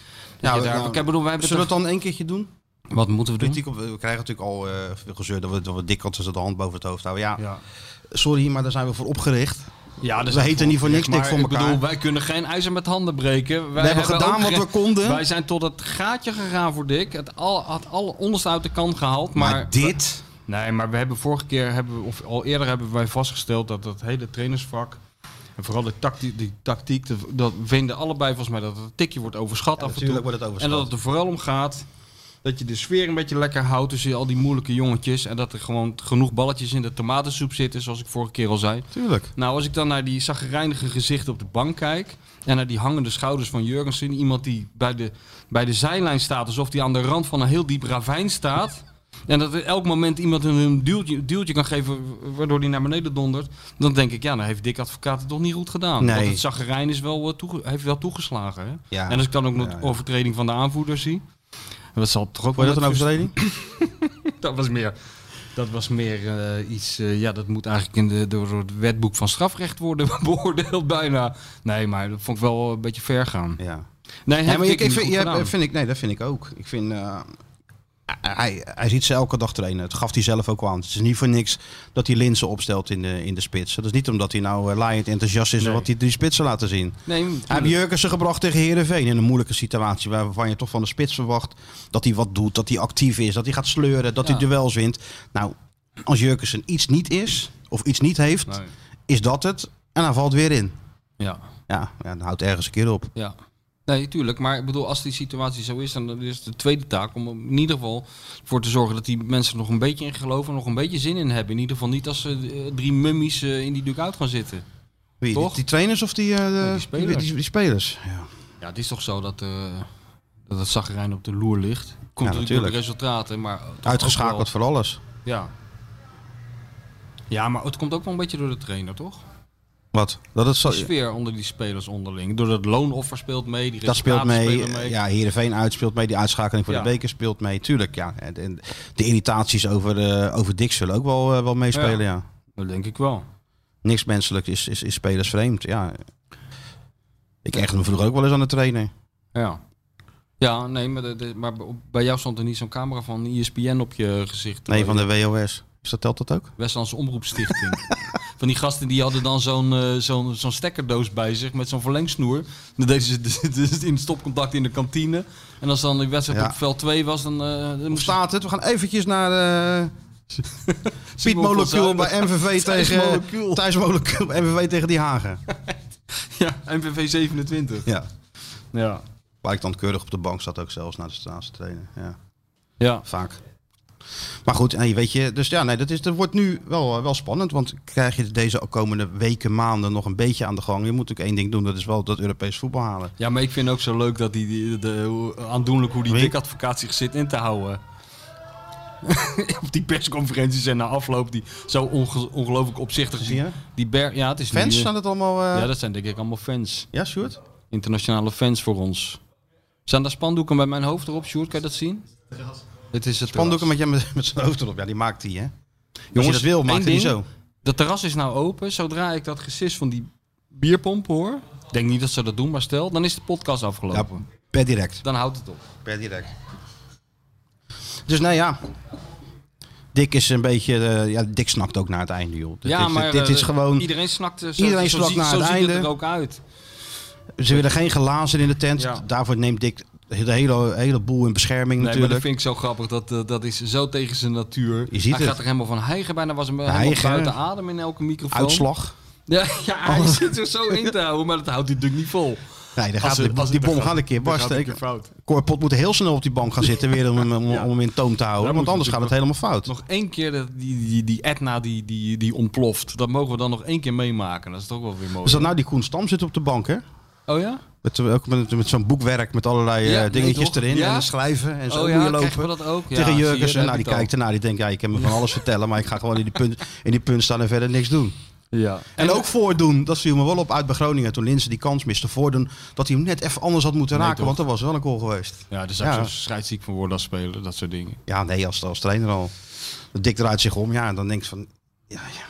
S4: Nou,
S5: daar,
S4: nou,
S5: ik bedoel, wij hebben Mhm.
S4: Zullen we het
S5: toch-
S4: dan één keertje doen?
S5: Wat moeten we doen?
S4: Kritiek op, we krijgen natuurlijk al eh, veel gezeur dat we, dat we dikkant de hand boven het hoofd houden. Ja,
S5: Ja,
S4: sorry, maar daar zijn we voor opgericht.
S5: ja
S4: We heten niet voor niks
S5: Maar
S4: dik voor
S5: ik
S4: elkaar.
S5: bedoel, wij kunnen geen ijzer met handen breken. Wij
S4: hebben gedaan
S5: ook
S4: wat
S5: geen-
S4: we konden.
S5: Wij zijn tot het gaatje gegaan voor Dick. Het al, had alle onderste uit de kant gehaald. Maar,
S4: Maar, dit...
S5: Nee, maar we hebben vorige keer, hebben, we- of al eerder hebben wij vastgesteld dat dat hele trainersvak... En vooral de tactie- die tactiek, dat, dat vinden allebei volgens mij dat het een tikje wordt overschat af en toe.
S4: Natuurlijk wordt het
S5: En dat het
S4: overschat.
S5: er vooral om gaat dat je de sfeer een beetje lekker houdt tussen al die moeilijke jongetjes. En dat er gewoon genoeg balletjes in de tomatensoep zitten, zoals ik vorige keer al zei.
S4: Tuurlijk.
S5: Nou, als ik dan naar die zagrijnige gezichten op de bank kijk. En naar die hangende schouders van Jurgensen. Iemand die bij de, bij de zijlijn staat, alsof hij aan de rand van een heel diep ravijn staat. En dat er elk moment iemand een duwtje, duwtje kan geven, waardoor hij naar beneden dondert. Dan denk ik, ja, dan heeft Dick Advocaat het toch niet goed gedaan.
S4: Nee.
S5: Want het zagrijn is wel, eh, toege- heeft wel toegeslagen. Hè?
S4: Ja.
S5: En als ik dan ook nog
S4: Ja, ja.
S5: de overtreding van de aanvoerder zie. Dat zal toch ook
S4: Vond je dat
S5: wel
S4: een
S5: met
S4: overtreding?
S5: dat was meer, dat was meer eh, iets. eh, ja, dat moet eigenlijk in de, door het wetboek van strafrecht worden beoordeeld bijna. Nee, maar dat vond ik wel een beetje ver gaan.
S4: Ja.
S5: Nee,
S4: Nee,
S5: heb
S4: maar ik,
S5: ik
S4: ik
S5: niet
S4: vind,
S5: goed
S4: ja,
S5: gedaan.
S4: vind ik, nee, dat vind ik ook. Ik vind, eh, hij, hij ziet ze elke dag trainen. Het gaf hij zelf ook wel aan. Het is niet voor niks dat hij linsen opstelt in de, in de spits. Dat is niet omdat hij nou eh, laaiend enthousiast is en
S5: Nee.
S4: wat hij die spitsen laten zien.
S5: Nee,
S4: Hij heeft Jurkensen gebracht tegen Heerenveen in een moeilijke situatie. Waarvan je toch van de spits verwacht dat hij wat doet. Dat hij actief is, dat hij gaat sleuren, dat
S5: Ja.
S4: hij duels wint. Nou, als Jurkensen iets niet is of iets niet heeft,
S5: Nee.
S4: is dat het. En hij valt weer in.
S5: Ja,
S4: Ja, ja dan houdt ergens een keer op.
S5: ja. Nee, tuurlijk. Maar ik bedoel, als die situatie zo is, dan is het de tweede taak om er in ieder geval voor te zorgen dat die mensen er nog een beetje in geloven, nog een beetje zin in hebben. In ieder geval niet als ze eh, drie mummies eh, in die dugout gaan zitten.
S4: Wie,
S5: Toch? Oh,
S4: die, die trainers of die, eh, de-
S5: die spelers.
S4: die- die- die spelers? Ja.
S5: Ja, het is toch zo dat, eh dat het zagrijn op de loer ligt. Komt natuurlijk door
S4: natuurlijk.
S5: de resultaten, maar toch ook wel-
S4: Uitgeschakeld voor alles.
S5: Ja. Ja, maar het komt ook wel een beetje door de trainer, toch?
S4: Wat? Dat, het zo-
S5: De sfeer onder die spelers onderling. Door dat loonoffer speelt mee, die
S4: dat speelt
S5: resultaten
S4: mee.
S5: spelen
S4: Ja, Heerenveen uit speelt mee. Die uitschakeling voor
S5: Ja.
S4: de beker speelt mee. Tuurlijk, ja. En, en de irritaties over, eh over Dick zullen ook wel, eh, wel meespelen, ja.
S5: Dat denk ik wel.
S4: Niks menselijk is, is, is spelersvreemd. Ja. Ik echt me vroeger ook wel eens aan de trainer.
S5: Ja. Ja, nee, maar, de- de- maar bij jou stond er niet zo'n camera van E ESPN op je gezicht. eh,
S4: Nee, van de WOS. Is dat telt dat ook?
S5: Westlandse Omroepstichting. van die gasten die hadden dan zo'n eh, zo'n zo'n stekkerdoos bij zich met zo'n verlengsnoer. Dan deden ze het dus in het stopcontact in de kantine. En als dan de wedstrijd
S4: Ja.
S5: op veld 2 was, dan, eh dan
S4: Hoe
S5: moest
S4: staat het? We gaan eventjes naar eh Piet
S5: Simon van
S4: Molecuul
S5: Zuilen.
S4: bij MVV
S5: Thijs
S4: tegen...
S5: Molecuul.
S4: Thijs Molecuul bij MVV tegen Die Hagen.
S5: Ja, MVV 27.
S4: Ja.
S5: Ja.
S4: Waar ik dan keurig op de bank zat ook zelfs naar de Staatse trainen. Ja.
S5: Ja.
S4: Vaak. Maar goed, hey, weet je, dus ja, nee, dat, is, dat wordt nu wel, eh, wel spannend. Want krijg je deze komende weken, maanden nog een beetje aan de gang. Je moet natuurlijk één ding doen, dat is wel dat Europees voetbal halen.
S5: Ja, maar ik vind ook zo leuk dat die, die- de, hoe- aandoenlijk hoe die
S4: Wie?
S5: dikadvocaat zich zit in te houden. Op die persconferenties en na afloop die zo onge- ongelooflijk opzichtig
S4: Zie je?
S5: Die ber ja, het is nu-
S4: Fans, zijn dat allemaal... eh,
S5: Ja, dat zijn denk ik allemaal fans.
S4: Ja, Sjoerd?
S5: Internationale fans voor ons. Zijn daar spandoeken bij mijn hoofd erop, Sjoerd? Kan je dat zien? Het is het
S4: Spandoeken
S5: terras.
S4: met, jij met, met zijn hoofd erop. Ja, die maakt hij, hè? Als je
S5: Jongens,
S4: dat wil,
S5: één
S4: maakt hij die
S5: ding.
S4: zo.
S5: Dat terras is nou open. Zodra ik dat gesis van die bierpomp hoor... ik denk niet dat ze dat doen, maar stel... dan is de podcast
S4: Ja,
S5: afgelopen.
S4: per direct.
S5: Dan houdt het op.
S4: Per direct. Dus nou ja. Dick is een beetje... eh, ja, Dick snakt ook naar het einde, joh. Dit, dit- dit,
S5: eh,
S4: is gewoon...
S5: Iedereen snakt, eh, zo,
S4: iedereen
S5: zo
S4: snakt
S5: zie-
S4: naar
S5: zo
S4: het
S5: ziet
S4: einde.
S5: het er ook uit.
S4: Ze willen geen glazen in de tent.
S5: Ja.
S4: Daarvoor neemt Dick de hele, hele boel in bescherming
S5: Nee, maar dat
S4: natuurlijk.
S5: vind ik zo grappig. Dat, eh, dat is zo tegen zijn natuur.
S4: Je ziet
S5: hij
S4: het.
S5: gaat er helemaal van hijgen. Bijna was hem eh, helemaal
S4: Hijgen.
S5: buiten adem in elke microfoon.
S4: Uitslag. Oh.
S5: Ja, ja hij zit er zo in te houden, maar dat houdt hij natuurlijk niet vol.
S4: Nee, daar gaat
S5: ze-
S4: de-
S5: als
S4: die
S5: het-
S4: bom
S5: dan
S4: gaat een keer
S5: dan gaat
S4: barsten.
S5: het een keer fout.
S4: Korpot moet heel snel op die bank gaan zitten weer om, hem- om, om hem in toom te houden.
S5: Daar
S4: Want
S5: moet
S4: anders gaat het helemaal fout.
S5: Nog één keer dat die, die, die Etna die, die, die ontploft. Dat mogen we dan nog één keer meemaken. Dat is toch wel weer mooi.
S4: Dus dat nou die Koen Stam zit op de bank, hè?
S5: Oh ja?
S4: Met, eh, ook met, met zo'n boekwerk met allerlei eh,
S5: Ja, nee,
S4: dingetjes
S5: toch?
S4: erin.
S5: Ja?
S4: En schrijven en zo
S5: oh
S4: moet
S5: ja,
S4: je
S5: krijgen we
S4: lopen.
S5: dat ook? Ja,
S4: Tegen
S5: zie je,
S4: Jurkens.
S5: daar
S4: En nou,
S5: heb
S4: die
S5: ik
S4: kijkt ernaar. Die denkt, ja, ik kan me van alles vertellen. Maar ik ga gewoon in die punt, in die punt staan en verder niks doen.
S5: al. Ja.
S4: En, ook voordoen, dat viel me wel op uit bij Groningen toen Linse die kans miste. Voordoen dat hij hem net even anders had moeten
S5: Nee,
S4: raken,
S5: toch?
S4: want er was wel een goal geweest.
S5: Ja, daar zou ik
S4: Ja.
S5: zo scheidsziek van worden als speler. Dat soort dingen.
S4: Ja, nee, als, als trainer al. Dik draait zich om, ja, en dan denkt van, ja, ja,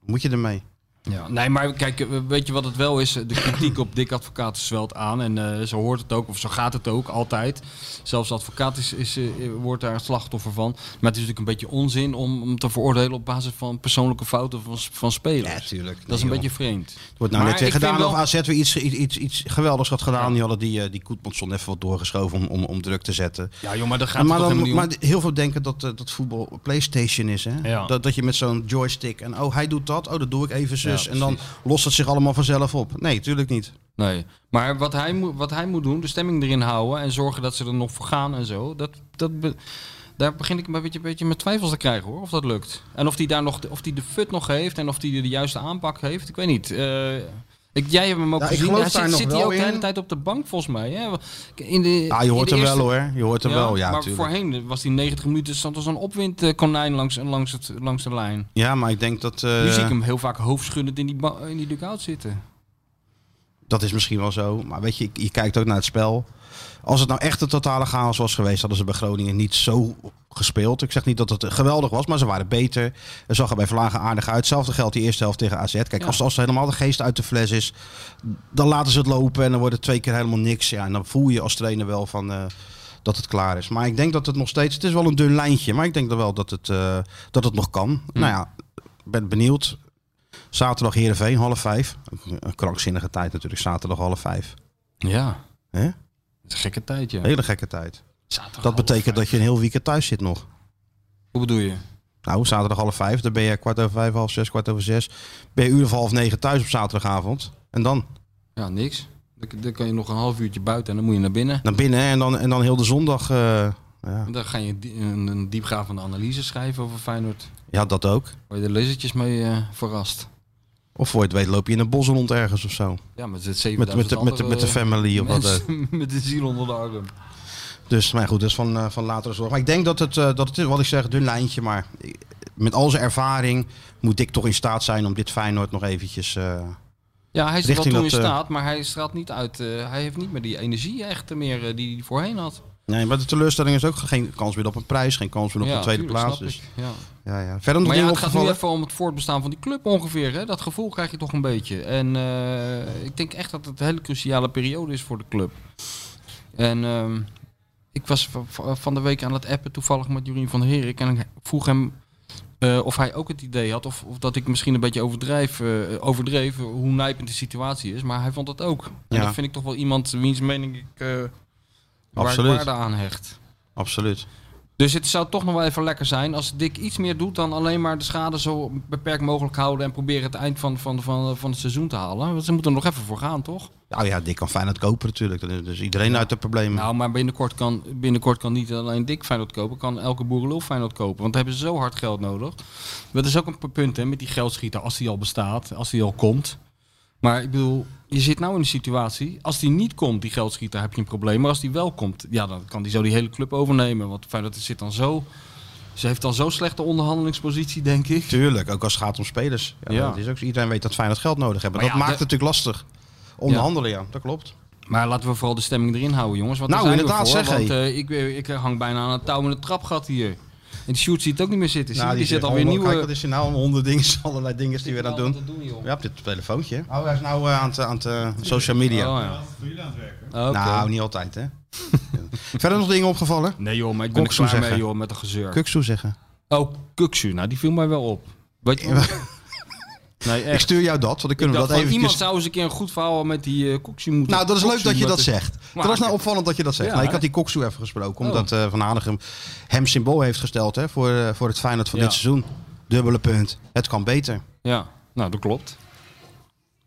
S4: wat moet je ermee?
S5: Ja, nee, maar kijk, eh, weet je wat het wel is? De kritiek op Dick Advocaat zwelt aan. En eh, zo hoort het ook, of zo gaat het ook, altijd. Zelfs de advocaat is, is, eh, wordt daar het slachtoffer van. Maar het is natuurlijk een beetje onzin om, om te veroordelen op basis van persoonlijke fouten van, s- van spelers.
S4: tuurlijk.
S5: dat is een beetje vreemd.
S4: Het wordt nou
S5: Maar
S4: net weer
S5: ik vind
S4: gedaan of
S5: wel-
S4: AZ weer iets, iets, iets, iets geweldigs had gedaan. Die hadden die, eh, die Koetmanson even wat doorgeschoven om, om, om druk te zetten.
S5: Ja, joh, maar dat gaat
S4: maar,
S5: het toch
S4: dan-
S5: helemaal
S4: maar
S5: niet
S4: heel veel denken dat, eh, dat voetbal PlayStation is. Hè?
S5: Ja.
S4: Dat, dat je met zo'n joystick en oh, hij doet dat, oh, dat doe ik even zus.
S5: Ja,
S4: en dan lost het zich allemaal vanzelf op. Nee, tuurlijk niet.
S5: om. Nee. Maar wat hij, moet- wat hij moet doen, de stemming erin houden... en zorgen dat ze er nog voor gaan en zo... Dat, dat be- daar begin ik een beetje, een beetje met twijfels te krijgen hoor, of dat lukt. En of die daar nog, de- of die de fut nog heeft en of die de juiste aanpak heeft, ik weet niet. Eh, ik, jij hebt hem ook
S4: Ja, ik
S5: gezien.
S4: geloof
S5: Hij
S4: daar
S5: zit,
S4: nog
S5: zit hij
S4: wel
S5: ook de hele
S4: in.
S5: tijd op de bank volgens mij. Hè? In de,
S4: Ja, Ah, je hoort
S5: in
S4: hem
S5: de
S4: wel
S5: eerste-
S4: hoor. Je hoort hem wel, ja,
S5: maar
S4: tuurlijk.
S5: voorheen was die 90 minuten stond als een opwindkonijn langs, langs, het, langs de lijn.
S4: Ja, maar ik denk dat... eh,
S5: nu zie ik hem heel vaak hoofdschuddend in die, ba- in die dugout zitten.
S4: Dat is misschien wel zo. Maar weet je, je kijkt ook naar het spel. Als het nou echt een totale chaos was geweest, hadden ze bij Groningen niet zo gespeeld. Ik zeg niet dat het geweldig was, maar ze waren beter. Er zag er bij Vlagen aardig uit. Hetzelfde geldt die eerste helft tegen AZ. Kijk,
S5: Ja.
S4: als, als helemaal de geest uit de fles is, dan laten ze het lopen en dan wordt het twee keer helemaal niks. Ja, en dan voel je als trainer wel van eh, dat het klaar is. Maar ik denk dat het nog steeds, het is wel een dun lijntje, maar ik denk dan wel dat het, eh, dat het nog kan. Nou ja, ik ben benieuwd. Zaterdag Heerenveen, half vijf. Een krankzinnige tijd natuurlijk, zaterdag half vijf.
S5: Ja,
S4: Hè?
S5: het is een gekke tijd ja.
S4: Hele gekke tijd.
S5: Zaterdag
S4: Dat
S5: half
S4: betekent
S5: vijf.
S4: dat je een heel weekend thuis zit nog.
S5: Hoe bedoel je?
S4: Nou, zaterdag half vijf, dan ben je kwart over vijf, half zes, kwart over zes. Ben je uur of half negen thuis op zaterdagavond. En dan?
S5: Ja, niks. Dan, dan kan je nog een half uurtje buiten en dan moet je naar binnen.
S4: Naar binnen hè, en dan, en dan heel de zondag. eh, ja.
S5: En Dan ga je die- een, een diepgravende analyse schrijven over Feyenoord.
S4: ja, dat ook.
S5: Waar je de lezertjes mee eh, verrast.
S4: Of voor je het weet loop je in een bos rond ergens of zo.
S5: Ja, met het
S4: Met,
S5: 7000
S4: met, de- met, de-
S5: andere
S4: met de family of wat ook.
S5: eh, mensen Met de ziel onder de arm.
S4: Dus, maar goed, dat is van, eh, van latere zorg. Maar ik denk dat het, eh, dat het is wat ik zeg, dun lijntje. Maar ik- met al zijn ervaring moet ik toch in staat zijn om dit Feyenoord nog eventjes... eh,
S5: Ja, hij is
S4: Richting
S5: wel toen
S4: dat, eh,
S5: in staat, maar hij straalt niet uit. eh, hij heeft niet meer die energie echt meer eh, die hij voorheen had.
S4: Nee, maar de teleurstelling is ook geen kans meer op een prijs, geen kans meer op
S5: Ja,
S4: een tweede
S5: tuurlijk,
S4: plaats.
S5: snap
S4: Dus,
S5: ik, ja.
S4: ja, ja. Verder nog
S5: Maar ja,
S4: dingen
S5: het gaat nu
S4: opgevallen?
S5: even om het voortbestaan van die club ongeveer. Hè? Dat gevoel krijg je toch een beetje. En eh, ik denk echt dat het een hele cruciale periode is voor de club. En ehm, ik was va- va- van de week aan het appen toevallig met Jurien van der Herik. En ik vroeg hem eh, of hij ook het idee had. Of, of dat ik misschien een beetje overdrijf, eh, overdreef hoe nijpend de situatie is. Maar hij vond dat ook. En
S4: Ja.
S5: dat vind ik toch wel iemand wiens mening ik eh waar ik
S4: Absoluut.
S5: waarde aan hecht.
S4: Absoluut.
S5: Dus het zou toch nog wel even lekker zijn als Dick iets meer doet dan alleen maar de schade zo beperkt mogelijk houden en proberen het eind van, van, van, van het seizoen te halen. Want ze moeten er nog even voor gaan, toch?
S4: Nou ja, Dick kan Feyenoord kopen natuurlijk. Dan is- Dus iedereen uit de problemen.
S5: Nou, maar binnenkort kan, binnenkort kan niet alleen Dick Feyenoord kopen, kan elke boerenlul Feyenoord kopen. Want daar hebben ze zo hard geld nodig. Dat is ook een p- punt hè, met die geldschieter, als die al bestaat, als die al komt. Maar ik bedoel, je zit nou in een situatie, als die niet komt, die geldschieter, heb je een probleem. Maar als die wel komt, ja, dan kan die zo die hele club overnemen. Want Feyenoord zit dan zo... Ze heeft dan zo'n slechte onderhandelingspositie, denk ik.
S4: Tuurlijk, ook als het gaat om spelers. Ja,
S5: Ja.
S4: Dat is ook, zo. iedereen weet dat Feyenoord geld nodig hebben.
S5: Maar
S4: dat
S5: ja,
S4: maakt
S5: de-
S4: het natuurlijk lastig. Onderhandelen, ja. Dat klopt.
S5: Maar laten we vooral de stemming erin houden, jongens. Want
S4: Nou,
S5: daar zijn
S4: inderdaad,
S5: we voor,
S4: zeg,
S5: Want
S4: hé.
S5: eh, ik, ik hang bijna aan het touw in het trapgat hier. En die shoot ziet het ook niet meer zitten. zie je? die,
S4: Nou, zit
S5: zit alweer nieuwe...
S4: Kijk, wat is hij nou? Honderd dingen, allerlei dingen is die weer aan het doen.
S5: joh.
S4: Ja, op dit telefoontje. Oh, hij is nou eh, aan het aan het, eh, social media.
S5: Oh, ja. Oké.
S4: Nou, niet altijd, hè. Verder nog dingen opgevallen?
S5: Nee joh, maar ik ben er
S4: Kuksu
S5: klaar mee
S4: zeggen.
S5: joh, met de gezeur.
S4: Kuksu zeggen.
S5: oh, Kuksu. Nou, die viel mij wel op. Weet je Nee,
S4: Ik
S5: echt.
S4: stuur jou dat, want dan kunnen
S5: Ik
S4: we
S5: dacht
S4: dat
S5: van, Iemand
S4: eventjes...
S5: zou eens een keer een goed verhaal met die eh Kuksu moeten...
S4: Nou, dat is leuk
S5: Kuksu
S4: dat je dat
S5: moeten-
S4: zegt. Dat was nou opvallend dat je dat zegt.
S5: Ja,
S4: nou, ik
S5: hè?
S4: had die Koksu even gesproken,
S5: Oh.
S4: omdat eh, Van Hanegem hem symbool heeft gesteld hè, voor, eh, voor het Feyenoord van
S5: Ja.
S4: dit seizoen. Dubbele punt. Het kan beter.
S5: Ja, nou dat klopt.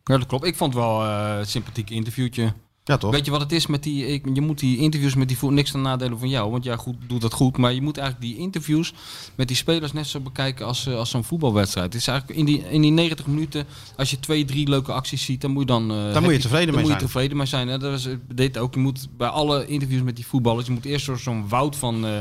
S5: Ja, dat klopt. Ik vond het wel eh, een sympathiek interviewtje.
S4: Ja, toch?
S5: Weet je wat het is met die. Ik, je moet die interviews met die voer niks ten nadelen van jou. Want jij goed, doet dat goed. Maar je moet eigenlijk die interviews met die spelers net zo bekijken als, eh, als zo'n voetbalwedstrijd. Het is eigenlijk in die, in die 90 minuten, als je twee, drie leuke acties ziet, dan moet je dan. eh,
S4: Daar moet je
S5: happy-
S4: tevreden
S5: dan
S4: mee
S5: moet je
S4: zijn.
S5: tevreden mee zijn. Hè? Dat is eh, dit ook. Je moet bij alle interviews met die voetballers, je moet eerst door zo'n woud van. eh,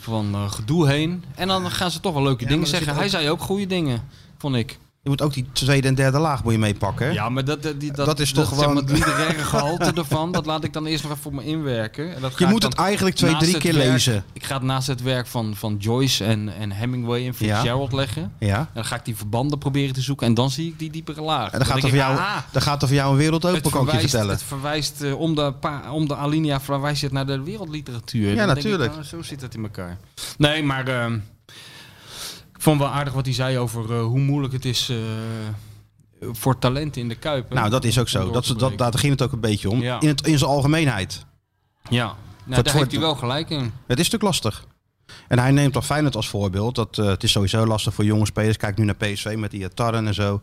S5: van eh, gedoe heen. En dan gaan ze toch wel leuke
S4: Ja,
S5: dingen
S4: maar er
S5: zeggen.
S4: zit
S5: Hij
S4: ook-
S5: zei ook goede dingen, vond ik.
S4: Je moet ook die tweede en derde laag moet je meepakken. hè?
S5: Ja, maar dat, dat, die- dat,
S4: Dat is toch
S5: zeg maar,
S4: gewoon-
S5: het literaire gehalte ervan, dat laat ik dan eerst nog even voor me inwerken. En dat ga
S4: Je
S5: ik
S4: moet
S5: dan
S4: het eigenlijk twee,
S5: naast
S4: drie
S5: het
S4: keer
S5: werk-
S4: lezen.
S5: Ik ga het naast het werk van, van Joyce en, en Hemingway en Fitzgerald leggen. En
S4: Ja.
S5: dan ga ik die verbanden proberen te zoeken en dan zie ik die diepere laag.
S4: En dan gaat, er
S5: denk
S4: voor
S5: ik,
S4: jou,
S5: ah,
S4: dan gaat er voor jou een wereld
S5: het
S4: open, kan ik je
S5: verwijst,
S4: vertellen.
S5: het verwijst eh, om, de pa- om de alinea verwijst het naar de wereldliteratuur. Dan denk ik,
S4: natuurlijk.
S5: nou, zo zit het in elkaar. Nee, maar ehm, ik vond wel aardig wat hij zei over eh, hoe moeilijk het is eh, voor talenten in de Kuip. hè,
S4: Nou, dat is ook
S5: om
S4: zo.
S5: door
S4: Dat,
S5: te
S4: ze- dat,
S5: breken.
S4: daar ging het ook een beetje om.
S5: Ja.
S4: In, het, in zijn algemeenheid.
S5: Ja, nou, daar
S4: wordt-
S5: heeft hij wel gelijk in.
S4: Het is natuurlijk lastig. En hij neemt dan Feyenoord als voorbeeld. Dat, eh, het is sowieso lastig voor jonge spelers. Kijk nu naar PSV met die eh, Tarren en zo.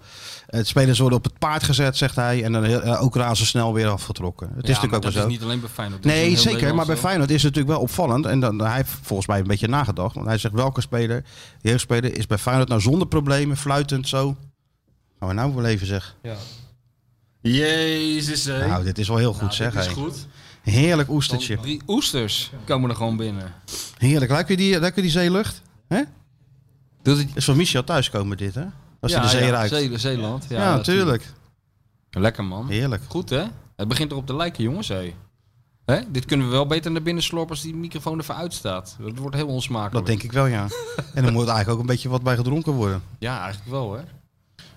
S4: Het spelers worden op het paard gezet, zegt hij. En dan eh, ook razendsnel weer afgetrokken. Het
S5: Ja,
S4: is natuurlijk
S5: maar
S4: ook wel
S5: dat
S4: zo.
S5: is niet alleen bij Feyenoord. dat is in
S4: Nee,
S5: heel
S4: zeker. Maar
S5: Nederland
S4: bij
S5: zo.
S4: Feyenoord is het natuurlijk wel opvallend. En dan, hij heeft volgens mij een beetje nagedacht. Want hij zegt welke speler, jeugdspeler, is bij Feyenoord nou zonder problemen, fluitend zo. Gaan we nou wel even zeggen.
S5: Jezus, hé.
S4: Nou, dit is wel heel goed
S5: Nou,
S4: zeg.
S5: dit is
S4: hé.
S5: goed.
S4: Heerlijk
S5: Dan
S4: oestertje.
S5: drie oesters komen er gewoon binnen.
S4: Heerlijk. Ruik je die, ruik je die zeelucht? Hè?
S5: Doet het...
S4: Dat is van Michel thuiskomen dit, hè? Als je de zee ruikt.
S5: Zee- Zeeland. Ja,
S4: ja,
S5: natuurlijk.
S4: natuurlijk.
S5: Lekker, man.
S4: Heerlijk.
S5: Goed, hè? Het begint erop te lijken, jongens, hé. Hè? Dit kunnen we wel beter naar binnen slorpen als die microfoon even uitstaat. Dat wordt heel onsmakelijk.
S4: Dat denk ik wel, ja. En dan moet eigenlijk ook een beetje wat bij gedronken worden.
S5: Ja, eigenlijk wel, hè?
S4: Maar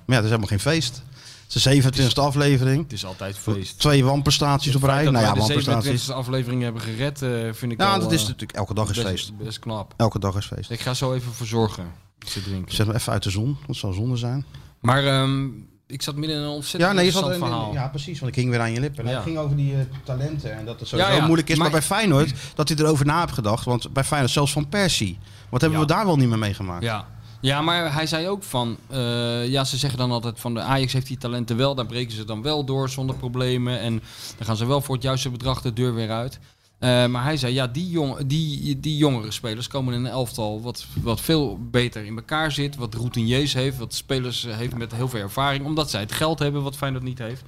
S4: ja, het is helemaal geen feest. Het is de 27e aflevering.
S5: Het is altijd feest.
S4: Twee wanprestaties op rij.
S5: Dat
S4: Nou ja,
S5: wij
S4: wanprestaties.
S5: de 27e aflevering hebben gered, eh, vind ik
S4: Nou,
S5: al,
S4: dat is
S5: eh,
S4: natuurlijk elke dag is feest.
S5: best, best knap.
S4: Elke dag is feest.
S5: Ik ga zo even voor zorgen. Iets te drinken.
S4: Zet me even uit de zon, want het zal zonde zijn.
S5: Maar ehm, ik zat midden in een ontzettend
S4: Ja, nee, je zat,
S5: interessant verhaal.
S4: ja, precies, want ik ging weer aan je lippen.
S5: Ja.
S4: Het ging over die eh, talenten en dat het sowieso
S5: Ja, ja,
S4: moeilijk is. Maar,
S5: maar-
S4: bij Feyenoord, dat hij erover na heeft gedacht. Want bij Feyenoord, zelfs van Persie. Wat hebben
S5: Ja.
S4: we daar wel niet meer meegemaakt?
S5: Ja. ja, maar hij zei ook van... eh, ja, ze zeggen dan altijd van de Ajax heeft die talenten wel. Daar breken ze dan wel door zonder problemen. En dan gaan ze wel voor het juiste bedrag de deur weer uit. Eh, maar hij zei, ja, die, jong, die, die jongere spelers komen in een elftal wat, wat veel beter in elkaar zit. Wat routiniers heeft, wat spelers heeft met heel veel ervaring. Omdat zij het geld hebben wat Feyenoord niet heeft.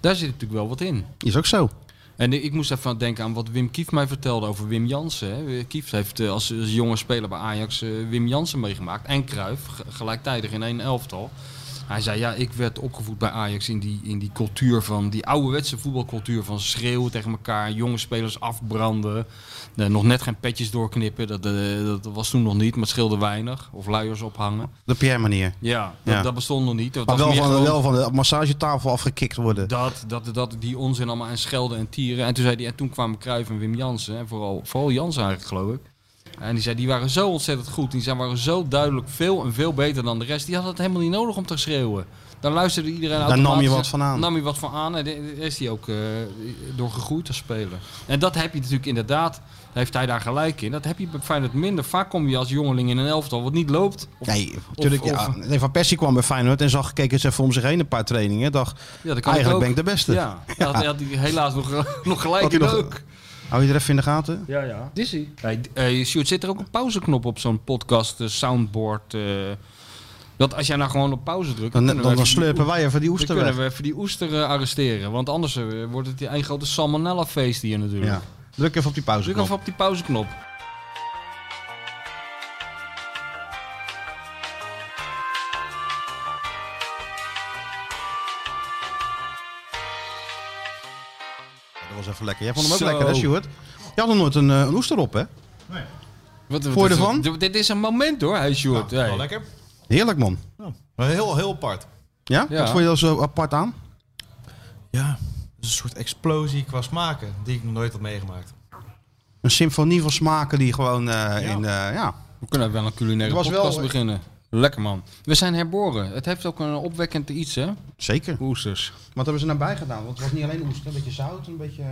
S5: Daar zit natuurlijk wel wat in.
S4: Is ook zo.
S5: En ik moest even denken aan wat Wim Kieft mij vertelde over Wim Jansen. hè. Kieft heeft eh, als, als jonge speler bij Ajax eh, Wim Jansen meegemaakt. En Kruif, gelijktijdig in één elftal. Hij zei, ja, ik werd opgevoed bij Ajax in die, in die cultuur van... die ouderwetse voetbalcultuur van schreeuwen tegen elkaar... jonge spelers afbranden. eh, nog net geen petjes doorknippen. Dat, eh, dat was toen nog niet, maar het scheelde weinig. Of luiers ophangen.
S4: De Pierre-manier.
S5: Ja, dat,
S4: Ja.
S5: dat bestond nog niet. Dat
S4: Maar
S5: was
S4: wel
S5: meer
S4: van,
S5: gewoon-
S4: wel van de massagetafel afgekikt worden.
S5: dat, dat, dat die onzin allemaal en schelden en tieren. En toen, zei die, en toen kwamen Cruijff en Wim Jansen. En vooral, vooral Jansen eigenlijk, geloof ik. En die zei, die waren zo ontzettend goed. Die zijn, waren zo duidelijk veel en veel beter dan de rest. Die hadden het helemaal niet nodig om te schreeuwen. Dan luisterde iedereen
S4: nam je
S5: automatisch-
S4: wat van aan.
S5: Nam je wat van aan en daar is hij ook eh, door gegroeid als speler. En dat heb je natuurlijk inderdaad, heeft hij daar gelijk in. Dat heb je bij Feyenoord minder. Vaak kom je als jongeling in een elftal wat niet loopt. Of-
S4: Nee, natuurlijk.
S5: of-
S4: ja, nee, van Persie kwam bij Feyenoord en zag, keek eens even om zich heen een paar trainingen. Dacht,
S5: Ja, dat kan
S4: eigenlijk
S5: ook.
S4: ben ik de beste.
S5: Ja, ja. dat had hij helaas nog, nog
S4: Had
S5: gelijk
S4: hij
S5: in
S4: nog-
S5: ook.
S4: Hou je er even in de gaten?
S5: Ja, ja. Dizzy. Hey, eh, Sjoerd, zit er ook een pauzeknop op zo'n podcast, eh, soundboard? eh, dat als jij nou gewoon op pauze drukt...
S4: Dan, dan,
S5: kunnen we
S4: dan,
S5: even die
S4: slurpen wij even die
S5: oe-
S4: oester
S5: Dan
S4: weg.
S5: kunnen we even die oester eh, arresteren. Want anders eh, wordt het een grote salmonella-feest hier natuurlijk.
S4: Ja. Druk even op die pauze.
S5: Druk even op die pauzeknop.
S4: Dat was even lekker. Jij vond hem ook
S5: Zo.
S4: lekker, hè, Stuart? Je had nog nooit een, eh, een oester op, hè?
S5: Wat,
S4: Voor
S5: dit-
S4: ervan?
S5: Dit, dit is een moment hoor, hey, Sjoerd.
S6: Wel
S5: Hey.
S6: lekker.
S4: Heerlijk, man.
S6: Oh. Heel, heel apart.
S4: Ja?
S5: Ja.
S4: Wat vond je dat zo apart aan?
S6: Ja, het is een soort explosie qua smaken die ik nog nooit had meegemaakt.
S4: Een symfonie van smaken die gewoon eh, in... eh, ja.
S5: We kunnen wel een culinaire
S4: Het was wel-
S5: podcast beginnen. Lekker man. We zijn herboren. Het heeft ook een opwekkend iets hè,
S4: Zeker.
S5: oesters.
S4: Wat hebben ze daarbij gedaan? Want het was niet alleen oester, een beetje zout, een beetje... eh,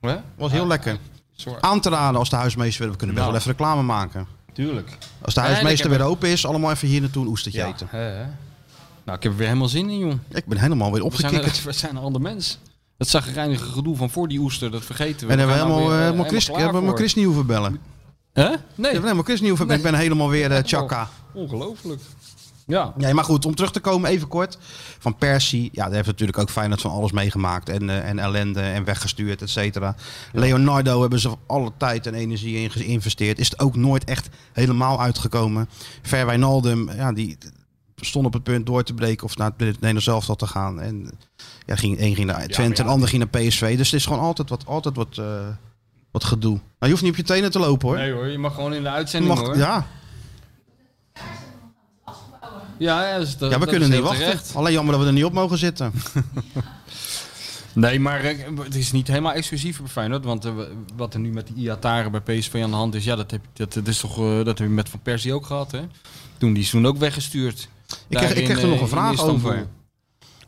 S5: Hè?
S4: Het was heel lekker.
S5: Soort-
S4: Aan te raden als de huismeester... We kunnen best
S5: Nou.
S4: wel even reclame maken.
S5: Tuurlijk.
S4: Als de
S5: Nee,
S4: huismeester
S5: ik heb
S4: weer open is, allemaal even hier naartoe een oestertje eten.
S5: Hè, hè. Nou, ik heb er weer helemaal zin in jong.
S4: Ik ben helemaal weer
S5: We zijn, een,
S4: opgekikkerd.
S5: we zijn een ander mens. Dat zagrijnige gedoe van voor die oester, dat vergeten we.
S4: En hebben we
S5: gaan nou
S4: helemaal,
S5: weer,
S4: eh,
S5: eh,
S4: helemaal Chris,
S5: klaar
S4: hebben we helemaal
S5: voor.
S4: Chris niet hoeven bellen.
S5: Hè?
S4: Ik
S5: Nee,
S4: heb helemaal Chris niet hoeven bellen. Ik ben helemaal weer eh, chaka.
S5: ongelooflijk. Ja.
S4: Nee, maar goed, om terug te komen even kort. Van Persie, ja, daar heeft natuurlijk ook Feyenoord van alles meegemaakt. En, eh, en ellende en weggestuurd, et cetera. Leonardo hebben ze alle tijd en energie in geïnvesteerd. Is het ook nooit echt helemaal uitgekomen. Ver Wijnaldum, ja, die stond op het punt door te breken of naar het Nederlands zelf te gaan. En ja, ging, één ging naar Twente, en de ander ging naar PSV. Dus het is gewoon altijd wat, altijd wat, eh, wat gedoe. Nou, je hoeft niet op je tenen te lopen hoor.
S5: Nee hoor, je mag gewoon in de
S4: Je
S5: uitzending
S4: mag,
S5: hoor.
S4: ja,
S5: ja, ja, dus dat-
S4: ja, we
S5: dat
S4: kunnen
S5: is
S4: niet
S5: heel
S4: wachten.
S5: terecht.
S4: Alleen jammer dat we er niet op mogen zitten.
S5: Nee, maar eh, het is niet helemaal exclusief bij Feyenoord. Want eh, wat er nu met die Iataren bij PSV aan de hand is, ja, dat heb, dat, dat is toch, eh, dat heb je met Van Persie ook gehad hè? Toen die is toen ook weggestuurd.
S4: Ik kreeg,
S5: Daar
S4: ik kreeg
S5: in,
S4: er nog
S5: eh,
S4: een
S5: in
S4: vraag
S5: Istanbul.
S4: over.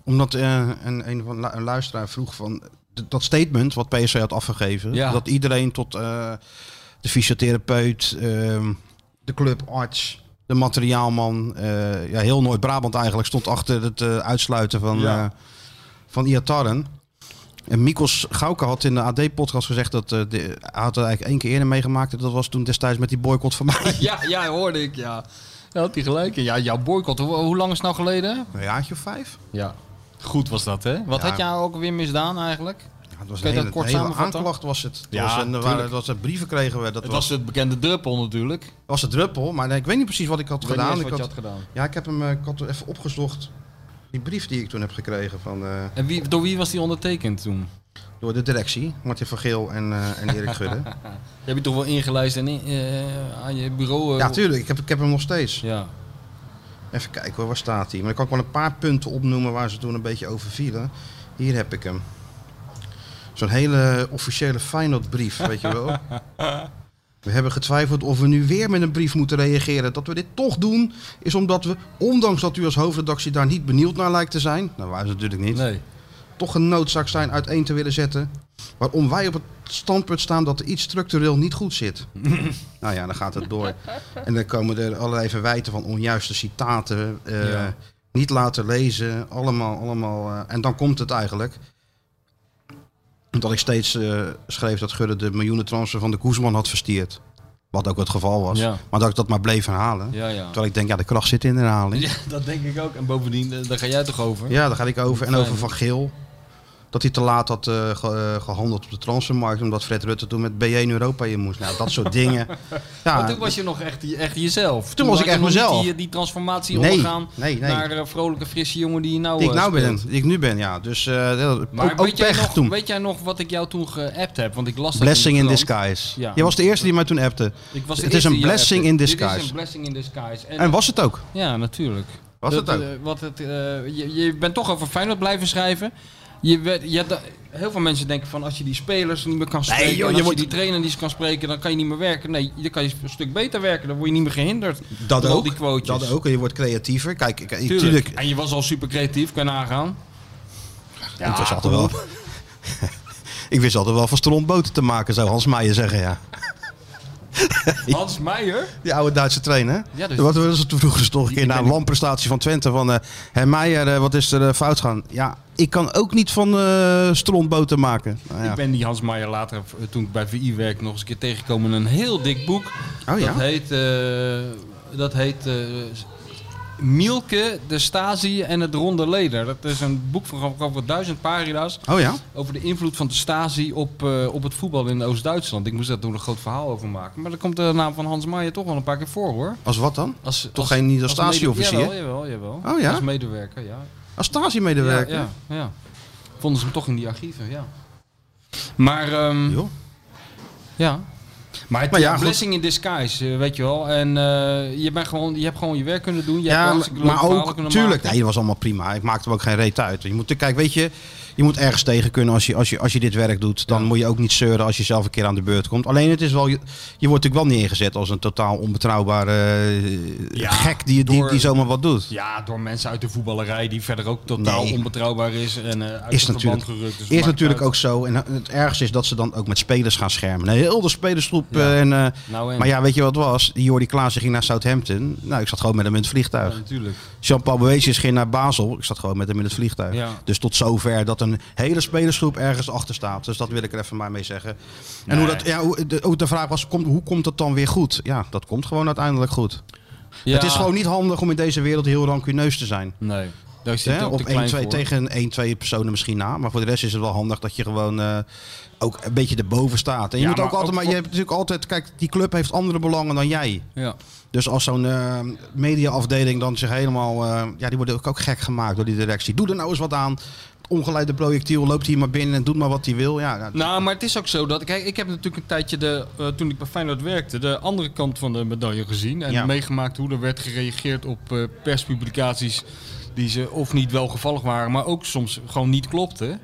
S4: Omdat eh, een, een, van lu- een luisteraar vroeg van d- dat statement wat PSV had afgegeven.
S5: Ja.
S4: Dat iedereen tot eh, de fysiotherapeut, ehm, de clubarts, de materiaalman, eh, ja, heel Noord-Brabant eigenlijk stond achter het eh, uitsluiten van,
S5: Ja.
S4: eh, van Iataren. En Mikos Gauke had in de AD-podcast gezegd dat eh, de, hij had het eigenlijk één keer eerder meegemaakt. En dat was toen destijds met die boycott van mij.
S5: Ja, ja, hoorde ik, ja. Daar had hij gelijk. in. Ja, jouw boycott, hoe, hoe lang is het nou geleden?
S4: Een jaartje of vijf?
S5: Ja. Goed was dat, hè? Wat
S4: Ja.
S5: had jij ook weer misdaan eigenlijk?
S4: Ja, het was
S5: Kun
S4: een
S5: je
S4: hele,
S5: dat kort
S4: een hele
S5: samenvatten?
S4: aanklacht was het. Het
S5: Ja,
S4: was een, er waren,
S5: tuurlijk.
S4: het was een brieven kregen we. Dat was,
S5: Het was het bekende druppel natuurlijk. Ik
S4: was de druppel. Maar nee, ik weet niet precies wat ik had
S5: weet niet
S4: gedaan.
S5: eens
S4: Ik
S5: wat je
S4: had,
S5: had gedaan.
S4: ja, ik heb hem eh, ik had er even opgezocht. Die brief die ik toen heb gekregen van, eh,
S5: En wie, door wie was die ondertekend toen?
S4: door de directie. Martin van Geel en, eh, en Erik Gudde.
S5: Die heb je toch wel ingelijst en in- eh, aan je bureau... eh,
S4: ja, tuurlijk. Ik heb, ik heb hem nog steeds.
S5: Ja.
S4: Even kijken hoor, waar staat hij? Maar ik kan ook wel een paar punten opnoemen waar ze toen een beetje over vielen. Hier heb ik hem. Zo'n hele officiële Feyenoord-brief, weet je wel. We hebben getwijfeld of we nu weer met een brief moeten reageren. Dat we dit toch doen, is omdat we, ondanks dat u als hoofdredactie daar niet benieuwd naar lijkt te zijn... Nou, waren ze natuurlijk niet.
S5: Nee.
S4: Toch een noodzaak zijn uiteen te willen zetten. Waarom wij op het standpunt staan dat er iets structureel niet goed zit. nou ja, dan gaat het door. En dan komen er allerlei verwijten van onjuiste citaten. eh,
S5: Ja.
S4: Niet laten lezen. Allemaal, allemaal. eh, en dan komt het eigenlijk. Dat ik steeds eh, schreef dat Gudde de miljoenen transfer van de Koesman had verstierd. Wat ook het geval was.
S5: Ja.
S4: Maar dat ik dat maar bleef herhalen.
S5: Ja, ja.
S4: Terwijl ik denk, ja, de kracht zit in herhaling.
S5: ja. Dat denk ik ook. En bovendien, eh, daar ga jij toch over?
S4: Ja, daar ga ik over. En
S5: Fijn.
S4: over Van Geel. dat hij te laat had eh, ge- eh, gehandeld op de transfermarkt. Omdat Fred Rutte toen met B1 Europa in moest. Nou, dat soort dingen. Ja,
S5: Want toen was je nog echt, echt jezelf. Toen,
S4: was
S5: had
S4: ik echt
S5: je nog niet
S4: mezelf.
S5: Die, die transformatie
S4: Nee,
S5: ondergaan
S4: nee, nee.
S5: naar eh, vrolijke, frisse jongen die je nou,
S4: die ik
S5: eh,
S4: nou ben,
S5: speelt.
S4: die ik nu ben, ja. Dus eh, ja,
S5: Maar
S4: ook, ook
S5: weet, jij
S4: pech
S5: nog,
S4: toen.
S5: weet jij nog wat ik jou toen geappt heb? Want ik las dat
S4: Blessing in
S5: de krant.
S4: disguise.
S5: Ja.
S4: Je was de eerste die mij toen appte.
S5: Ik was de
S4: Het is
S5: eerste
S4: een
S5: die jou
S4: blessing
S5: appte.
S4: in
S5: Dit is
S4: disguise.
S5: een blessing in disguise. En,
S4: En was het ook.
S5: ja, natuurlijk.
S4: Was
S5: Dat,
S4: het ook.
S5: eh, wat het, eh, je, je bent toch over Feyenoord blijven schrijven. Je werd, je had da- heel veel mensen denken van als je die spelers niet meer kan spreken,
S4: joh,
S5: en
S4: je
S5: als je,
S4: wordt-
S5: die trainer niet kan spreken, dan kan je niet meer werken. Nee, dan kan je een stuk beter werken, dan word je niet meer gehinderd. door al Die quotes.
S4: Dat ook. En je wordt creatiever. Kijk, ik,
S5: Tuurlijk.
S4: natuurlijk.
S5: En je was al super creatief, kan je nagaan.
S4: Ja, het was altijd wel. ik wist altijd wel van strontboten te maken, zou Hans Meijer zeggen, ja.
S5: Hans Meijer?
S4: Die oude Duitse trainer.
S5: Ja, dus-
S4: Wat was het vroeger dus toch een keer
S5: Ik
S4: na een
S5: ben-
S4: wanprestatie van Twente van... eh Herr Meijer, eh, wat is er eh, fout gaan? Ja, ik kan ook niet van eh strontboten maken. Nou ja.
S5: Ik ben die Hans Meijer later, eh, toen ik bij VI werkte, nog eens een keer tegengekomen in een heel dik boek.
S4: Oh ja?
S5: Dat heet, eh, dat heet eh, Mielke, de Stasi en het Ronde Leder. Dat is een boek van over duizend pagina's
S4: Oh ja?
S5: over de invloed van de Stasi op, eh, op het voetbal in Oost-Duitsland. Ik moest daar toen een groot verhaal over maken. Maar daar komt de naam van Hans Meijer toch wel een paar keer voor hoor.
S4: Als wat dan?
S5: Als,
S4: Toch geen- niet als
S5: mede-
S4: Stasi-officier?
S5: Jawel, jawel, jawel.
S4: Oh ja?
S5: Als medewerker, ja.
S4: Als statiemedewerker?
S5: Ja, ja, ja. Vonden ze hem toch in die archieven, ja. Maar, ehm,
S4: Hm. Joh.
S5: ja. Maar, het,
S4: Maar ja,
S5: ja,
S4: goed.
S5: blessing in disguise, eh, weet je wel. En eh, je, bent gewoon, je hebt gewoon je werk kunnen doen. Je hebt
S4: Ja,
S5: hartstikke leuke
S4: maar
S5: verhalen
S4: ook,
S5: kunnen
S4: tuurlijk.
S5: maken.
S4: Nee, dat was allemaal prima. Ik maakte er ook geen reet uit. Je moet, kijk, weet je, je moet ergens tegen kunnen als je, als je, als je dit werk doet. Dan moet je ook niet zeuren als je zelf een keer aan de beurt komt. Alleen het is wel, je, je wordt natuurlijk wel neergezet als een totaal onbetrouwbare eh,
S5: Ja,
S4: gek die, die,
S5: door-
S4: die zomaar wat doet.
S5: Ja, door mensen uit de voetballerij die verder ook totaal
S4: Nee.
S5: onbetrouwbaar is. En eh, uit
S4: Is
S5: het verband
S4: natuurlijk,
S5: gerukt. Dus het
S4: is
S5: maakt
S4: natuurlijk
S5: uit.
S4: ook zo. En het ergste is dat ze dan ook met spelers gaan schermen. Heel de spelersgroep. eh, En, eh,
S5: Nou en?
S4: maar ja, weet je wat het was? Die Jordi Klaassen ging naar Southampton. Nou, ik zat gewoon met hem in het vliegtuig.
S5: Ja, natuurlijk.
S4: Jean-Paul Boetius ging naar Basel. Ik zat gewoon met hem in het vliegtuig.
S5: Ja.
S4: Dus tot zover dat een hele spelersgroep ergens achter staat. Dus dat wil ik er even maar mee zeggen. En hoe dat, ja, hoe, de, ook de vraag was, komt, hoe komt het dan weer goed? Ja, dat komt gewoon uiteindelijk goed.
S5: Ja.
S4: Het is gewoon niet handig om in deze wereld heel rancuneus te zijn.
S5: Nee, daar zit
S4: Hè?
S5: ook
S4: Op
S5: te klein
S4: 1, 2,
S5: voor.
S4: tegen 1, 2 personen misschien na. Maar voor de rest is het wel handig dat je gewoon eh, ook een beetje erboven staat. En je
S5: Ja,
S4: moet ook
S5: maar
S4: altijd,
S5: ook
S4: maar je
S5: voor-
S4: hebt natuurlijk altijd, kijk, die club heeft andere belangen dan jij.
S5: Ja.
S4: Dus als zo'n eh, mediaafdeling dan zich helemaal... eh, ja, die worden ook, ook gek gemaakt door die directie. Doe er nou eens wat aan. Ongeleide projectiel, loopt hier maar binnen en doet maar wat hij wil. Ja, ja.
S5: Nou, maar het is ook zo dat... Kijk, ik heb natuurlijk een tijdje, de, eh, toen ik bij Feyenoord werkte, de andere kant van de medaille gezien. En
S4: Ja.
S5: meegemaakt hoe er werd gereageerd op eh, perspublicaties die ze of niet welgevallig waren, maar ook soms gewoon niet klopten. En,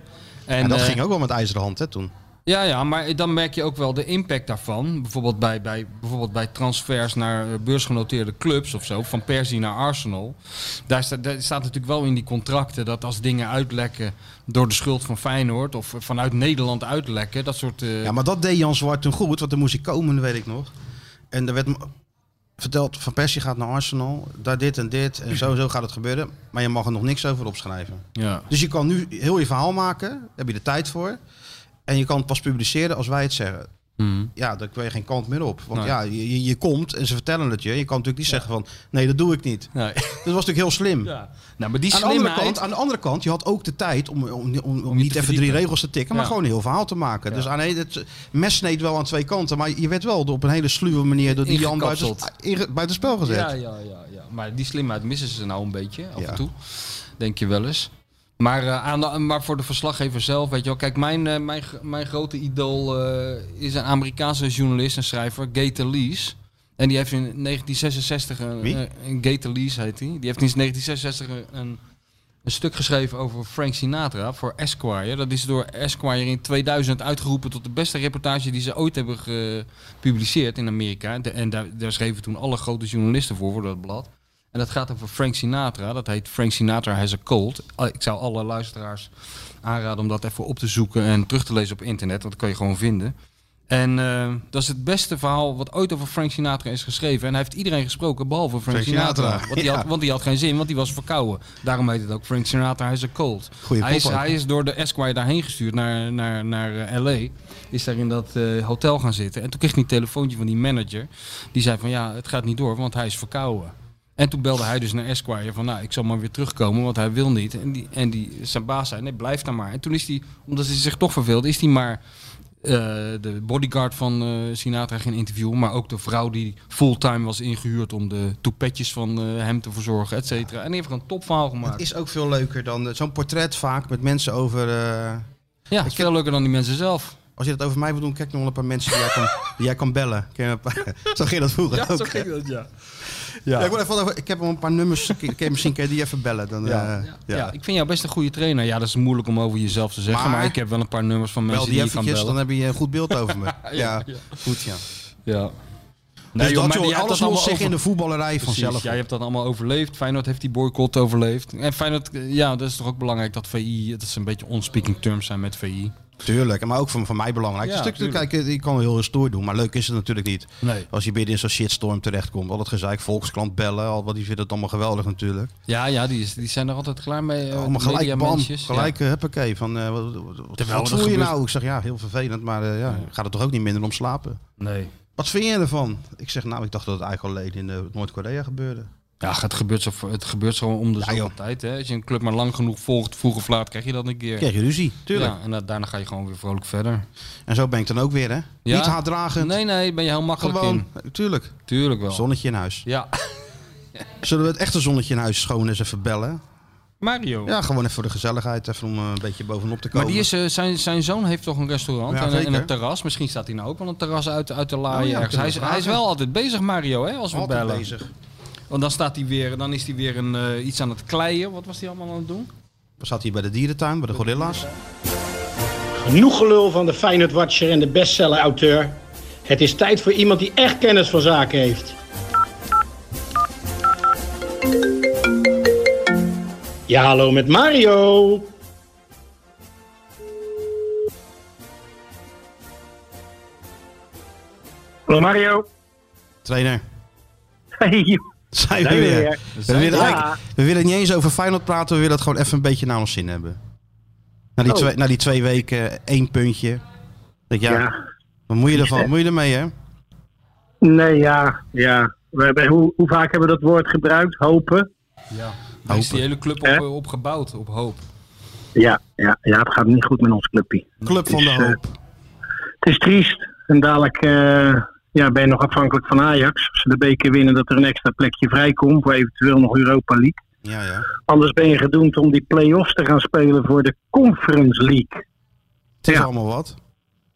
S4: en dat
S5: eh,
S4: ging ook wel met ijzeren hand hè, toen.
S5: Ja, ja, maar dan merk je ook wel de impact daarvan. Bijvoorbeeld bij, bij, bijvoorbeeld bij transfers naar eh, beursgenoteerde clubs of zo. Van Persie naar Arsenal. Daar, sta- daar staat natuurlijk wel in die contracten dat als dingen uitlekken door de schuld van Feyenoord of eh, vanuit Nederland uitlekken, dat soort... eh,
S4: Ja, maar dat deed Jan Zwart toen goed. Want er moest hij komen, weet ik nog. En er werd me verteld, Van Persie gaat naar Arsenal. Daar dit en dit. En zo, en zo gaat het gebeuren. Maar je mag er nog niks over opschrijven.
S5: ja.
S4: Dus je kan nu heel je verhaal maken. Daar heb je de tijd voor. En je kan het pas publiceren als wij het zeggen. Ja, daar kun je geen kant meer op. Want
S5: Hmm. Nee.
S4: ja, je, je- je komt en ze vertellen het je. Je kan natuurlijk niet zeggen van, nee, dat doe ik niet.
S5: Nee.
S4: Dat was natuurlijk heel slim.
S5: ja. Nou, maar die
S4: Aan de, andere
S5: slimheid...
S4: kant, aan de andere kant, je had ook de tijd om, om, om, om niet
S5: je te
S4: even drie
S5: verdiepen.
S4: regels te tikken, maar
S5: Ja.
S4: gewoon een heel verhaal te maken. Dus aan een, het mes sneed wel aan twee kanten, maar je werd wel door- op een hele sluwe manier door die Jan buiten,
S5: Ingekapseld.
S4: ah, inge- buitenspel gezet.
S5: Ja, ja, ja, ja. Maar die slimheid missen ze nou een beetje af
S4: Ja.
S5: en toe. Denk je wel eens. Maar, eh, aan de, maar voor de verslaggever zelf, weet je wel. Kijk, mijn, eh, mijn, gro- mijn grote idool eh, is een Amerikaanse journalist en schrijver, Gator Lees. En die heeft in 1966 een,
S4: Wie?
S5: eh, een Gator Lees heet hij. Die. heeft in 1966 een- een, een stuk geschreven over Frank Sinatra voor Esquire. Dat is door Esquire in 2000 uitgeroepen tot de beste reportage die ze ooit hebben gepubliceerd in Amerika. De- en daar, daar schreven toen alle grote journalisten voor, voor dat blad. En dat gaat over Frank Sinatra. Dat heet Frank Sinatra Has a Cold. Ah, Ik zou alle luisteraars aanraden om dat even op te zoeken en terug te lezen op internet. Want dat kan je gewoon vinden. En eh, dat is het beste verhaal wat ooit over Frank Sinatra is geschreven. En hij heeft iedereen gesproken, behalve Frank,
S4: Frank
S5: Sinatra.
S4: Sinatra,
S5: Want, die
S4: ja.
S5: had, want die had geen zin, want die was verkouden. Daarom heet het ook Frank Sinatra Has a Cold.
S4: Goeie
S5: hij, is,
S4: pop ook.
S5: hij is door de Esquire daarheen gestuurd, naar, naar, naar eh, L.A. Is daar in dat eh, hotel gaan zitten. En toen kreeg hij een telefoontje van die manager. Die zei van ja, het gaat niet door, want hij is verkouden. En toen belde hij dus naar Esquire van, nou, ik zal maar weer terugkomen, want hij wil niet. En, die, en die, zijn baas zei, nee, blijf daar maar. En toen is hij, omdat hij zich toch verveelde, is hij maar eh, de bodyguard van eh, Sinatra gaan interviewen. Maar ook de vrouw die fulltime was ingehuurd om de toepetjes van eh, hem te verzorgen, et cetera. En die heeft er een topverhaal
S4: Het
S5: gemaakt.
S4: is ook veel leuker dan eh, zo'n portret vaak met mensen over... eh,
S5: ja, het is veel leuker dan die mensen zelf.
S4: als je dat over mij wil doen, kijk nog wel een paar mensen die jij kan, die jij kan bellen. Ken je een paar- zo ging dat vroeger ook. hè?
S5: dat, ja.
S4: Ja, ik, wil even, wat over- ik heb wel een paar nummers. Kun je- misschien kun je die even bellen. Dan,
S5: Ja.
S4: eh,
S5: Ja. ik vind jou best een goede trainer. Ja, dat is moeilijk om over jezelf te zeggen, maar,
S4: Maar-
S5: ik heb wel een paar nummers van
S4: Bel
S5: mensen
S4: die
S5: die je kan
S4: eventjes,
S5: bellen.
S4: dan heb je een goed beeld over me. ja, goed ja.
S5: Ja.
S4: Dus
S5: joh,
S4: dat,
S5: maar
S4: joh,
S5: jij hebt
S4: alles
S5: dat
S4: lost
S5: allemaal
S4: zich in de voetballerij
S5: Precies,
S4: vanzelf.
S5: Jij hebt dat allemaal overleefd. Feyenoord heeft die boycott overleefd. En Feyenoord, eh, ja, dat is toch ook belangrijk dat VI, dat ze een beetje on-speaking terms zijn met VI.
S4: Tuurlijk, maar ook voor, voor mij belangrijk.
S5: Ja,
S4: Ja, stuk,
S5: tuurlijk.
S4: kijk, ik kan wel heel stoer doen, maar leuk is het natuurlijk niet.
S5: Nee.
S4: Als je midden in zo'n shitstorm terechtkomt, al het gezeik, volksklant bellen, al, wat die vinden het allemaal geweldig natuurlijk.
S5: Ja, ja, die, is, die zijn er altijd klaar mee. eh,
S4: allemaal Oh, gelijk, bam,
S5: mediamensjes.
S4: gelijk, eh, huppakee. Van, eh, wat wat- wat,
S5: Terwijl
S4: wat
S5: er
S4: voel je
S5: gebeurt-
S4: nou? Ik zeg, ja, heel vervelend, maar eh, ja, gaat het toch ook niet minder om slapen?
S5: Ja. Nee.
S4: Wat vind je ervan? Ik zeg, nou, ik dacht dat het eigenlijk alleen in eh, Noord-Korea gebeurde.
S5: Ja, het gebeurt zo, het gebeurt zo om de
S4: Ja,
S5: zoveel
S4: joh.
S5: tijd. Hè. Als je een club maar lang genoeg volgt, vroeg of laat, krijg je dat een keer.
S4: Kreeg je ruzie, tuurlijk.
S5: Ja, en da- daarna ga je gewoon weer vrolijk verder.
S4: En zo ben ik dan ook weer, hè?
S5: Ja?
S4: Niet haatdragend,
S5: Nee, nee, ben je heel makkelijk
S4: gewoon,
S5: in.
S4: tuurlijk.
S5: Tuurlijk wel.
S4: Zonnetje in huis.
S5: Ja.
S4: Zullen we het echte zonnetje in huis schoon eens even bellen?
S5: Mario.
S4: Ja, gewoon even voor de gezelligheid, even om eh, een beetje bovenop te komen.
S5: Maar die is, eh, zijn, zijn zoon heeft toch een restaurant
S4: Ja,
S5: en, een- en
S4: zeker.
S5: een terras. Misschien staat hij nou ook wel een terras uit, uit te laaien
S4: Oh ja,
S5: ergens. Hij is,
S4: kunnen we
S5: hij is
S4: vragen.
S5: wel altijd bezig, Mario, hè, als we
S4: altijd
S5: bellen.
S4: bezig.
S5: Want dan, staat hij weer, dan is hij weer een, eh, iets aan het kleien. Wat was hij allemaal aan het doen?
S4: We zaten hier bij de dierentuin, bij de gorilla's.
S7: Genoeg gelul van de Feyenoord Watcher en de bestseller-auteur. Het is tijd voor iemand die echt kennis van zaken heeft. Ja, hallo met Mario.
S8: Hallo Mario.
S4: Trainer,
S8: Hey.
S4: zijn we
S8: Zijn we
S4: weer.
S8: weer.
S4: We, willen
S8: Ja.
S4: eigenlijk- we willen het niet eens over Feyenoord praten, we willen het gewoon even een beetje naar ons zin hebben. Na die,
S8: Oh.
S4: twee, na die twee weken, één puntje. Denk, ja,
S8: Ja.
S4: Wat moet je ervan? Moet je ermee, hè?
S8: Nee, ja. ja. We hebben, hoe, hoe vaak hebben we dat woord gebruikt? Hopen.
S5: Ja. Daar is die hele club op,
S8: Hè?
S5: eh, op gebouwd, op hoop.
S8: Ja, ja, ja, het gaat niet goed met ons clubje.
S4: Club van de
S8: Dus, eh,
S4: hoop.
S8: Het is triest. En dadelijk eh, ja, ben je nog afhankelijk van Ajax. Als ze de beker winnen, dat er een extra plekje vrijkomt voor eventueel nog Europa League.
S4: Ja, ja.
S8: Anders ben je gedoemd om die play-offs te gaan spelen voor de Conference League.
S4: Het is
S8: Ja.
S4: allemaal wat.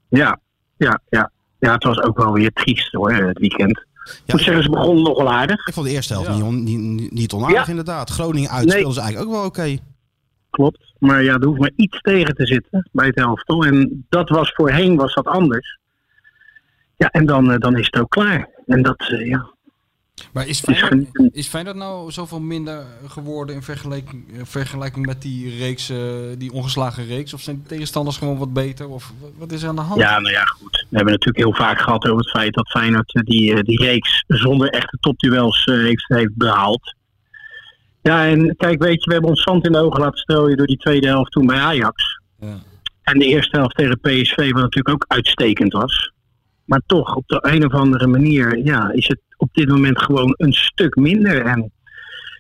S8: Ja, ja, ja. Ja, het was ook wel weer triest hoor, eh, het weekend. Ik moet
S4: ik-
S8: zeggen, ze begonnen nog wel aardig.
S4: Ik vond de eerste helft
S5: Ja.
S4: niet, on, niet, niet onaardig,
S8: Ja.
S4: inderdaad. Groningen uit
S8: Nee.
S4: speelden ze eigenlijk ook wel oké.
S8: Klopt. Maar ja, er hoeft maar iets tegen te zitten bij het elftal. En dat was voorheen was dat anders. Ja, en dan, eh, dan is het ook klaar. En dat, eh, ja.
S5: Maar is Feyenoord,
S8: genieten.
S5: is Feyenoord nou zoveel minder geworden in vergelijking, eh, vergelijking met die, reeks, eh, die ongeslagen reeks? Of zijn de tegenstanders gewoon wat beter? Of wa- wat is er aan de hand?
S8: ja, nou ja, goed. We hebben natuurlijk heel vaak gehad over het feit dat Feyenoord eh, die, eh, die reeks zonder echte topduels eh, heeft, heeft behaald. Ja, en kijk, weet je, we hebben ons zand in de ogen laten strooien door die tweede helft toen bij Ajax.
S5: Ja.
S8: En de eerste helft tegen PSV, wat natuurlijk ook uitstekend was. Maar toch, op de een of andere manier ja, is het op dit moment gewoon een stuk minder. En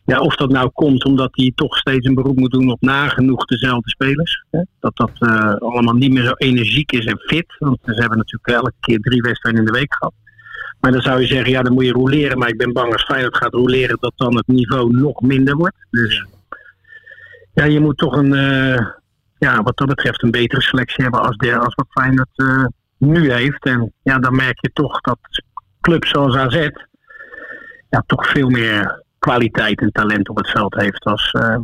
S8: ja, of dat nou komt omdat hij toch steeds een beroep moet doen op nagenoeg dezelfde spelers. Hè? Dat dat eh, allemaal niet meer zo energiek is en fit. Want ze hebben natuurlijk elke keer drie wedstrijden in de week gehad. Maar dan zou je zeggen, ja, dan moet je roleren. Maar ik ben bang als Feyenoord gaat roleren, dat dan het niveau nog minder wordt. Dus ja, je moet toch een, eh, ja, wat dat betreft een betere selectie hebben als, de, als wat Feyenoord eh, nu heeft. En ja, dan merk je toch dat clubs zoals AZ ja, toch veel meer kwaliteit en talent op het veld heeft als, eh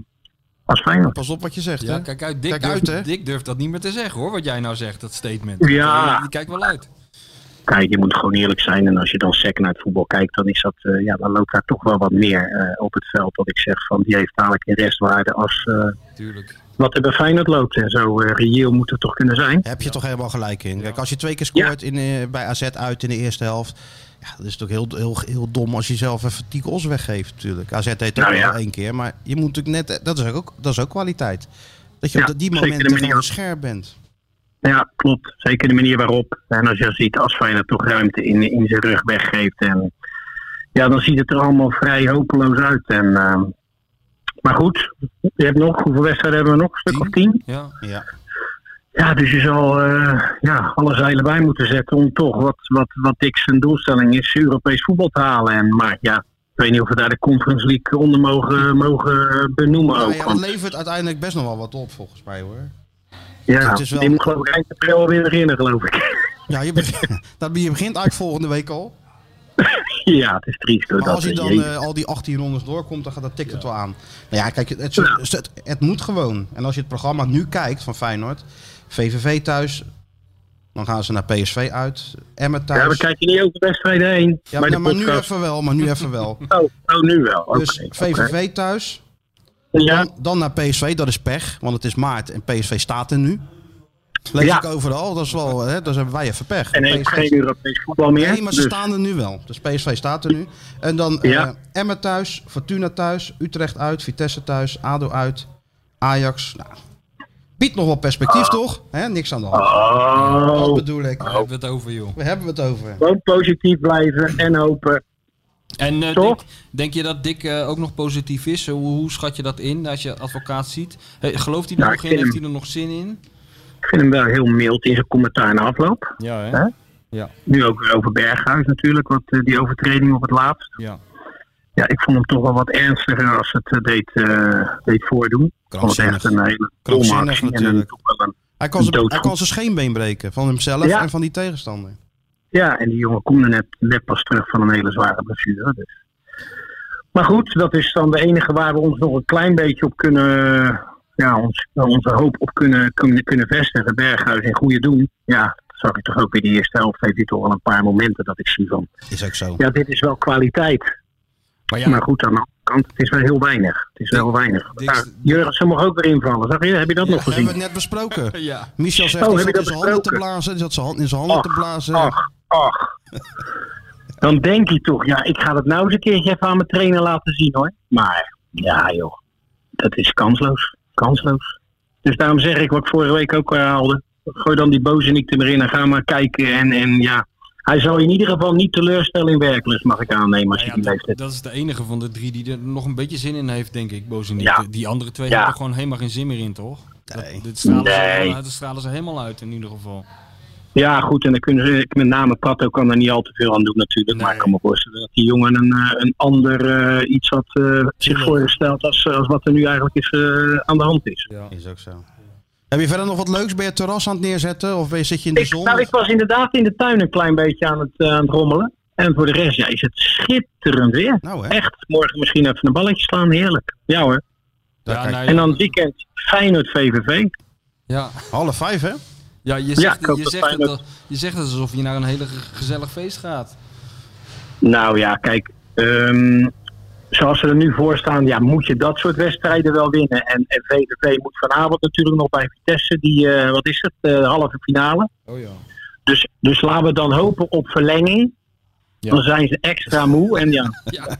S8: als Feyenoord.
S4: Pas op wat je zegt,
S5: Ja,
S4: hè?
S5: kijk uit. Dick,
S4: Kijk
S5: durft,
S4: uit, hè?
S5: Dick durft dat niet meer te zeggen hoor, wat jij nou zegt, dat statement.
S8: Ja.
S5: Die kijkt wel uit.
S8: Kijk, je moet gewoon eerlijk zijn. En als je dan sec naar het voetbal kijkt, dan, is dat, eh, ja, dan loopt daar toch wel wat meer eh, op het veld. Dat ik zeg van, die heeft dadelijk een restwaarde als eh,
S5: Tuurlijk.
S8: wat er bij Feyenoord loopt. En zo eh, reëel moet het toch kunnen zijn.
S4: Heb je toch helemaal gelijk in. Kijk, als je twee keer scoort in, eh, bij AZ uit in de eerste helft. Ja, dat is toch heel, heel, heel dom als je zelf even 10 os weggeeft natuurlijk. AZ deed het ook
S8: Nou
S4: wel
S8: ja.
S4: één keer. Maar je moet natuurlijk net... eh, Dat is ook, dat is ook kwaliteit. Dat je
S8: Ja,
S4: op die
S8: zeker de
S4: momenten
S8: manier.
S4: gewoon scherp bent.
S8: Ja, klopt. Zeker de manier waarop. En als je ziet, als Feyenoord toch ruimte in, in zijn rug weggeeft. En ja, dan ziet het er allemaal vrij hopeloos uit. En, eh, maar goed, je hebt nog, hoeveel wedstrijden hebben we nog? Een stuk of tien?
S5: Ja.
S4: Ja.
S8: Ja, dus je zal eh, ja, alle zeilen bij moeten zetten om toch wat, wat, wat Dick zijn doelstelling is, Europees voetbal te halen. En, maar ja, ik weet niet of we daar de Conference League onder mogen, mogen benoemen
S4: Nou
S8: ook.
S4: ja, het
S8: want,
S4: levert uiteindelijk best nog wel wat op volgens mij hoor.
S8: ja,
S4: het is wel-
S8: die moet geloof ik eind april weer beginnen, geloof ik.
S4: Ja, je, begint, dat, je begint eigenlijk volgende week al.
S8: ja, het is triest hoor.
S4: Maar
S8: dat
S4: als je dan
S8: jezus.
S4: eh, al die 18 rondes doorkomt, dan gaat dat ticket wel aan. Nou ja, kijk, het, het, het, het moet gewoon. En als je het programma nu kijkt van Feyenoord, VVV thuis, dan gaan ze naar PSV uit, Emmen thuis.
S8: ja, we kijken niet over wedstrijden heen.
S4: eh, Ja,
S8: maar de
S4: nou, maar nu
S8: podcast.
S4: even wel, maar nu even wel.
S8: Oh, oh, nu wel. Oké.
S4: Dus
S8: oké.
S4: VVV thuis,
S8: Ja,
S4: dan, dan naar PSV, dat is pech, want het is maart en PSV staat er nu. Lees
S8: Ja.
S4: ik overal, dat is wel, hè, dus hebben wij even pech.
S8: en heeft
S4: PSV
S8: geen Europees voetbal meer.
S4: Nee, maar ze
S8: dus,
S4: staan er nu wel. Dus PSV staat er nu. En dan eh
S8: Ja.
S4: Emmen thuis, Fortuna thuis, Utrecht uit, Vitesse thuis, ADO uit, Ajax. Nou, biedt nog wel perspectief, toch? Hè, niks aan de hand. Dat
S8: Oh,
S4: bedoel ik.
S5: Daar hebben we het over, joh.
S4: We hebben het over.
S8: gewoon positief blijven en hopen.
S5: En eh,
S8: Toch?
S5: denk, denk je dat Dick eh, ook nog positief is? Hoe, hoe schat je dat in als je advocaat ziet? Hey, gelooft hij er
S8: Nou,
S5: nog
S8: ik
S5: in?
S8: vind
S5: Heeft
S8: hem-
S5: hij er nog zin in?
S8: Ik vind hem wel heel mild in zijn commentaar na afloop.
S6: Ja, hè?
S8: Hè? Nu ook weer over Berghuis natuurlijk, wat, eh, die overtreding op het laatst.
S6: Ja.
S8: Ja, ik vond hem toch wel wat ernstiger als het eh, deed, eh, deed voordoen. Ik vond het
S4: Krankzinnig.
S8: echt een hele domme
S4: Krankzinnig
S8: actie. En
S4: natuurlijk.
S8: toch wel een,
S4: Hij kan, zijn,
S8: Doodgoed.
S4: hij kan zijn scheenbeen breken van hemzelf
S8: Ja.
S4: en van die tegenstander.
S8: ja, en die jongen komt er net, net pas terug van een hele zware blessure. Dus. Maar goed, dat is dan de enige waar we ons nog een klein beetje op kunnen... Ja, ons, onze hoop op kunnen, kunnen, kunnen vestigen. Berghuis in goede doen. Ja, dat zag ik toch ook weer die eerste helft. Heeft hij toch wel een paar momenten dat ik zie van...
S4: Is ook zo.
S8: Ja, dit is wel kwaliteit.
S5: Maar
S8: Maar,
S5: ja-
S8: goed, aan de andere kant, het is wel heel weinig. Het is wel weinig.
S5: Dick-
S8: Nou, Jurgensen mag ook weer invallen. Zag je, heb je dat nog
S4: hebben we het
S8: gezien?
S4: net besproken.
S5: Ja.
S4: Michel zegt
S8: Oh,
S4: hij
S8: heb
S4: zat in
S8: je dat
S4: zijn handen te
S8: besproken? Ah,
S4: blazen. Hij zat zijn hand in zijn handen te blazen.
S8: Ach, ach. Dan denk je toch, ja, ik ga dat nou eens een keertje even aan mijn trainer laten zien hoor. Maar, ja joh, dat is kansloos. Kansloos. Dus daarom zeg ik wat ik vorige week ook herhaalde. Gooi dan die bozenik er maar in en ga maar kijken. En, en ja, hij zal je in ieder geval niet teleurstellen in werkelijk, mag ik aannemen als je
S5: Nou
S8: die
S5: ja,
S8: leeftijd
S5: dat, dat is de enige van de drie die er nog een beetje zin in heeft, denk ik, Bozeniek.
S8: Ja.
S5: Die andere twee
S8: Ja.
S5: hebben er gewoon helemaal geen zin meer in, toch?
S4: Nee.
S5: Dat, dit stralen ze
S8: Nee.
S5: helemaal- dat stralen ze helemaal uit, in ieder geval.
S8: Ja, goed, en dan kunnen ze, met name Pato kan er niet al te veel aan doen natuurlijk. Maar ik kan me voorstellen dat die jongen een, eh, een ander eh, iets had eh, zich voorgesteld als, eh, als wat er nu eigenlijk is, eh, aan de hand is.
S4: Is ook zo. Heb je verder nog wat leuks? Ben je het terras aan het neerzetten? Of ben je, zit je in de
S8: Ik,
S4: zon?
S8: nou, ik was inderdaad in de tuin een klein beetje aan het, eh, aan het rommelen. En voor de rest ja, is het schitterend weer.
S4: Nou, hè?
S8: Echt, morgen misschien even een balletje slaan, heerlijk. Ja hoor.
S4: Daar kijk.
S5: nou,
S8: En dan het weekend Feyenoord VVV.
S5: ja.
S4: Half vijf, hè?
S5: Ja, je
S8: Ja,
S5: zegt,
S8: ik hoop
S5: je,
S8: dat
S5: zegt het,
S8: Feyenoord-
S5: al- je zegt het alsof je naar een hele ge- gezellig feest gaat.
S8: Nou ja, kijk, ehm, zoals ze er nu voor staan, ja, moet je dat soort wedstrijden wel winnen. En, en VVV moet vanavond natuurlijk nog bij Vitesse, die, eh, wat is het, eh, de halve finale.
S6: Oh ja.
S8: Dus, dus laten we dan hopen op verlenging. Dan zijn ze extra moe en ja.
S5: Ja.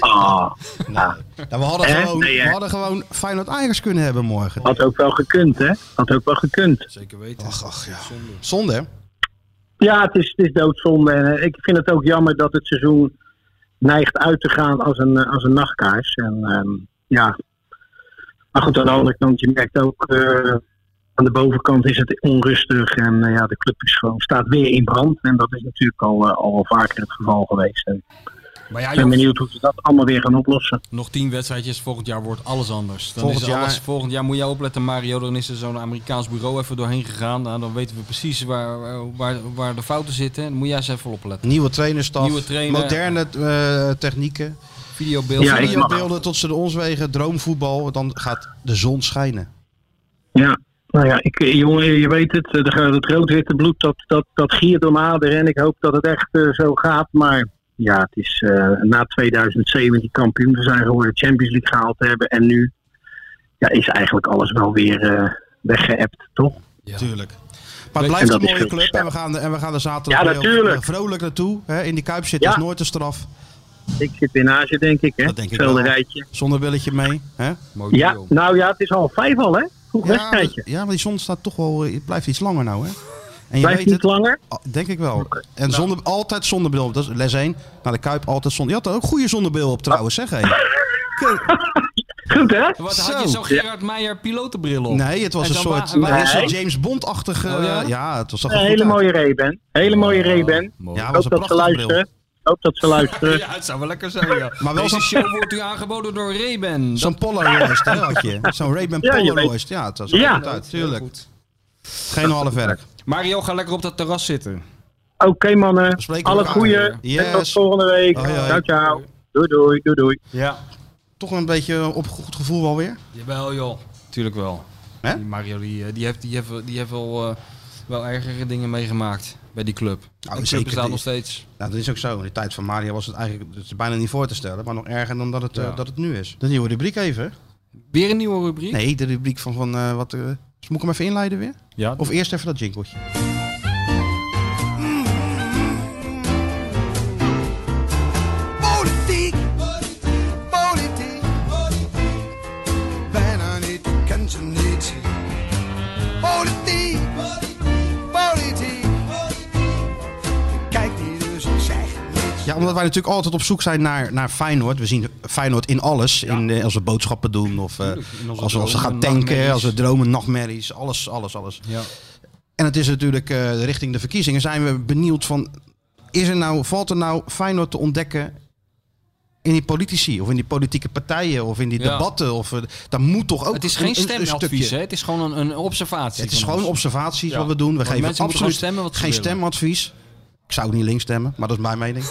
S8: Ah, ja,
S4: Ja, Nou, we, hadden
S8: Hè?
S4: gewoon,
S8: Nee, hè?
S4: we hadden gewoon Feyenoord Ajax kunnen hebben morgen.
S8: had ook wel gekund, hè? Had ook wel gekund.
S5: Zeker weten.
S4: Ach, ach ja. Zonde, hè?
S8: Ja, het is, het is doodzonde. En eh, ik vind het ook jammer dat het seizoen neigt uit te gaan als een, eh, als een nachtkaars. En ehm, ja. Maar goed, aan de andere kant, je merkt ook. eh, aan de bovenkant is het onrustig. En eh, ja, de club is gewoon, staat weer in brand. En dat is natuurlijk al, eh, al wel vaker het geval geweest. En
S5: Maar
S8: ik
S5: ja,
S8: ben
S5: joh,
S8: benieuwd hoe ze dat allemaal weer gaan oplossen.
S5: nog tien wedstrijdjes, volgend jaar wordt alles anders. Dan
S4: Volgend
S5: is alles,
S4: jaar-
S5: volgend jaar moet jij opletten, Mario. Dan is er zo'n Amerikaans bureau even doorheen gegaan. Nou, dan weten we precies waar, waar- waar, waar de fouten zitten. Dan moet jij eens even opletten.
S4: Nieuwe trainerstaf,
S5: Nieuwe trainer.
S4: moderne eh, technieken,
S5: Videobeelden.
S8: Ja, ik-
S4: videobeelden tot ze de ons wegen, droomvoetbal. Dan gaat de zon schijnen.
S8: Ja, nou ja, ik, eh, jongen, je weet het, eh, de- het rood-witte bloed, dat, dat, dat giert door mijn aderen en ik hoop dat het echt eh, zo gaat. Maar ja, het is eh, na 2007 die kampioen te zijn geworden, Champions League gehaald te hebben en nu ja, is eigenlijk alles wel weer eh, weggeëpt, toch?
S4: Tuurlijk. Maar het blijft
S8: En
S4: een
S8: dat is
S4: mooie
S8: goed.
S4: club en we gaan, en we gaan er zaterdag
S8: Ja,
S4: weer
S8: natuurlijk.
S4: vrolijk naartoe. Hè? In die Kuip zitten
S8: Ja.
S4: is nooit een straf.
S8: Ik zit in Azië, denk ik, hè?
S4: Dat denk ik wel.
S8: Velderijtje.
S4: Zonnebilletje mee. Hè?
S5: Mooi
S8: Ja,
S5: deal.
S8: nou ja, het is al vijf al, hè? Vroeg wedstrijdje.
S4: ja, maar die zon staat toch wel, eh, het blijft iets langer nou. Hè? En je
S8: Blijft
S4: weet
S8: niet Nou.
S4: het,
S8: langer?
S4: Ah, Denk ik wel. En zonder, altijd zonnebril. op. Dat is les 1. Naar de Kuip altijd zonder. Je had er ook goede zonnebril op trouwens, zeg hé.
S8: Goed hè?
S5: Wat
S4: Zo.
S5: had je zo Gerard Meijer pilotenbril
S8: Oh.
S5: op?
S4: Nee, het was
S5: En
S4: een
S5: dan wa-
S4: soort
S5: wa-
S4: nee, een
S8: Nee.
S4: soort James Bond-achtige...
S5: Oh, ja?
S4: ja? het was toch
S8: Een hele mooie Ray-Ban. Hele mooie Ray-Ban.
S5: mooi.
S4: Ja,
S8: Ik
S4: was
S8: hoop
S4: een
S8: dat ze
S4: prachtige bril.
S8: luisteren. Ik hoop dat ze luisteren.
S5: Ja, het zou wel lekker zijn, ja.
S4: Maar wel
S5: Deze
S4: zo'n-
S5: show wordt u aangeboden door Ray-Ban.
S4: Zo'n Polaroid hè, had je. Zo'n Ray-Ban
S8: Ja, je
S4: Polaroid. Ja, het was
S8: Ja.
S4: goed uit. Tuurlijk. Geen half werk.
S5: Mario, ga lekker op dat terras zitten.
S8: Oké mannen,
S4: We spreken
S8: alle
S4: elkaar
S8: goeie.
S4: weer.
S8: En tot
S4: Yes.
S8: volgende week.
S4: Hoi, hoi.
S8: Ciao, ciao. Doei, doei, doei, doei.
S5: Ja.
S4: Toch een beetje op goed gevoel alweer.
S5: Jawel, joh. Tuurlijk wel.
S4: Hè?
S5: Die Mario, die, eh, die heeft, die heeft, die heeft wel, eh, wel ergere dingen meegemaakt bij die club. Nou,
S4: zeker
S5: de club bestaat
S4: die-
S5: nog steeds.
S4: Nou, dat is ook zo. In de tijd van Mario was het eigenlijk het is bijna niet voor te stellen. Maar nog erger dan dat het, eh,
S5: Ja.
S4: dat het nu is. De nieuwe rubriek even.
S5: Weer een nieuwe rubriek?
S4: Nee, de rubriek van... van eh, wat, eh, dus moet ik hem even inleiden weer?
S5: Ja.
S4: Of eerst even dat jingletje.
S9: Politiek, politiek, bijna niet, ken ze niet. Politiek, politiek, kijk niet, dus ik zeg niets.
S4: Ja, omdat wij natuurlijk altijd op zoek zijn naar, naar Feyenoord. We zien Feyenoord in alles. In, eh, als we boodschappen doen, of eh,
S5: in onze
S4: als, we- als we
S5: dromen,
S4: gaan tanken,
S5: nachtmerries.
S4: als we dromen, nachtmerries. Alles, alles, alles.
S5: Ja.
S4: En het is natuurlijk eh, richting de verkiezingen zijn we benieuwd van... Is er nou, valt er nou Feyenoord te ontdekken in die politici? Of in die politieke partijen? Of in die
S5: Ja.
S4: debatten? Of, eh, daar moet toch ook
S5: Het is
S4: een-
S5: geen
S4: een- een
S5: stemadvies,
S4: stukje.
S5: hè? Het is gewoon een, een observatie.
S4: Het is
S5: van
S4: gewoon
S5: ons.
S4: observaties
S5: Ja.
S4: wat we doen. We
S5: Want
S4: geven
S5: mensen moeten
S4: absoluut
S5: gewoon stemmen wat ze
S4: geen
S5: willen.
S4: stemadvies. Ik zou niet links stemmen, maar dat is mijn mening.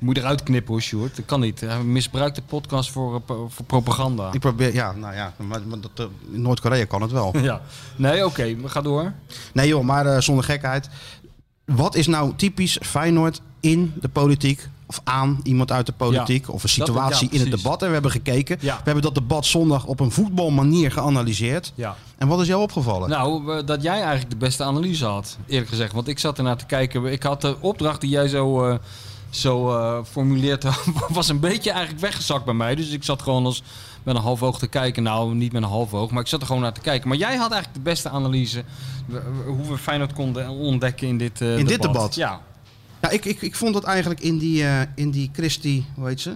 S5: Moet je eruit knippen hoor, Sjoerd. Dat kan niet. Hij misbruikt de podcast voor, eh, pro- voor propaganda.
S4: Ik probeer, ja, nou ja, maar, maar dat, eh, in Noord-Korea kan het wel.
S5: Ja. Nee, oké. we gaan door.
S4: Nee joh, maar eh, zonder gekheid. Wat is nou typisch Feyenoord in de politiek? Of aan iemand uit de politiek?
S5: Ja,
S4: of een
S5: dat-
S4: situatie
S5: ja,
S4: in het
S5: precies.
S4: debat? En we hebben gekeken.
S5: Ja.
S4: We hebben dat debat zondag op een voetbalmanier geanalyseerd.
S5: Ja.
S4: En wat is jou opgevallen?
S5: Nou, eh, dat jij eigenlijk de beste analyse had, eerlijk gezegd. Want ik zat ernaar te kijken. Ik had de opdracht die jij zo, eh, zo eh, formuleerd had, was een beetje eigenlijk weggezakt bij mij. Dus ik zat gewoon als met een half oog te kijken. Nou, niet met een half oog, maar ik zat er gewoon naar te kijken. Maar jij had eigenlijk de beste analyse w- w- hoe we Feyenoord konden ontdekken in dit eh,
S4: In dit debat?
S5: Ja.
S4: Ja, ik, ik, ik vond dat eigenlijk in die, eh, in die Christie, hoe heet ze?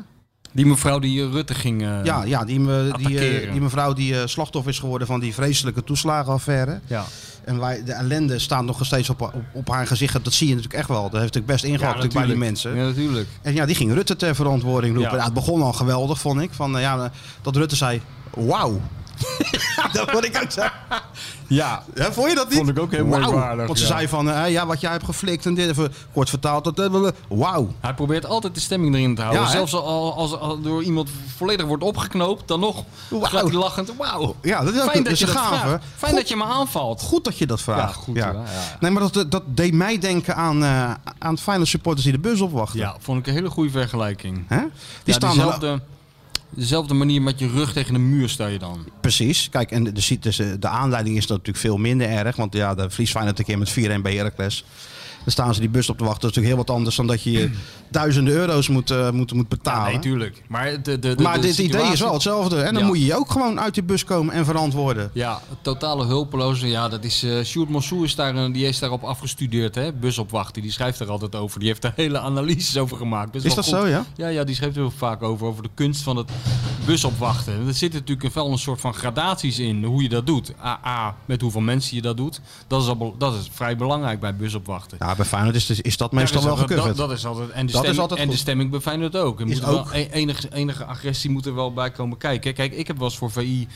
S5: Die mevrouw die eh, Rutte ging... eh,
S4: ja, ja die, me, die, eh,
S5: attackeren.
S4: die mevrouw die eh, slachtoffer is geworden van die vreselijke toeslagenaffaire.
S5: ja.
S4: En wij, de ellende staat nog steeds op, op, op haar gezicht. Dat zie je natuurlijk echt wel. Dat heeft natuurlijk best ingehakt natuurlijk bij die mensen.
S5: Ja, natuurlijk.
S4: En ja, die ging Rutte ter verantwoording roepen.
S5: Ja.
S4: Ja. het begon al geweldig, vond ik. Van, eh, ja, eh, dat Rutte zei, wauw. dat vond ik ook zo.
S5: Ja.
S4: Hè, vond je dat niet?
S5: Vond ik ook heel
S4: Wauw.
S5: merkwaardig,
S4: Want ze
S5: ja.
S4: zei van, eh, ja, wat jij hebt geflikt en dit. Even kort vertaald, dat eh, wauw.
S5: Hij probeert altijd de stemming erin te houden.
S4: Ja, hè?
S5: Zelfs al, als, als, door iemand volledig wordt opgeknoopt, dan nog
S4: Wauw.
S5: gaat hij lachend. Wauw.
S4: Ja, dat is ook
S5: Fijn
S4: een-
S5: dat
S4: dat
S5: je
S4: is
S5: dat
S4: een gave.
S5: vraagt. Fijn dat je me aanvalt.
S4: Goed dat je dat vraagt.
S5: Ja, goed, ja, ja.
S4: Nee, maar dat, dat deed mij denken aan, eh aan Feyenoord supporters die de bus opwachten.
S5: Ja, vond ik een hele goede vergelijking.
S4: Hè? Die
S5: Ja,
S4: staan dan-
S5: dezelfde, dezelfde manier met je rug tegen de muur sta je dan.
S4: Precies. Kijk, en de, de, de, de aanleiding is dat natuurlijk veel minder erg. Want ja, de verlies Feyenoord een keer met 4-1 bij Heracles. Dan staan ze die bus op te wachten. Dat is natuurlijk heel wat anders dan dat je je duizenden euro's moet, eh, moet, moet betalen.
S5: nee, tuurlijk. Maar, de, de, de,
S4: maar
S5: de
S4: dit idee is
S5: situatie-
S4: wel hetzelfde. En dan
S5: Ja.
S4: moet je je ook gewoon uit die bus komen en verantwoorden.
S5: Ja, totale hulpeloze. Ja, dat is. eh Sjoerd Mansour is daar, een- die is daarop afgestudeerd, hè? Busopwachten. Die schrijft daar altijd over. Die heeft daar hele analyses over gemaakt. Best
S4: Is
S5: wel
S4: dat zo, ja?
S5: Ja, ja, die schrijft er heel vaak over. Over de kunst van het busopwachten. En er zitten natuurlijk wel een soort van gradaties in hoe je dat doet. A, A, met hoeveel mensen je dat doet. Dat is, al, be- dat is vrij belangrijk bij busopwachten.
S4: Ja, bij Feyenoord is, is dat meestal
S5: Daar
S4: wel
S5: is al-
S4: gekufferd.
S5: dus dat, dat is altijd. En de,
S4: Dat is
S5: stemming,
S4: altijd
S5: en de
S4: goed.
S5: stemming bij Feyenoord ook. Er
S4: Is
S5: moet wel
S4: ook.
S5: e- enige, enige agressie moet er wel bij komen kijken. Kijk, ik heb wel eens voor VI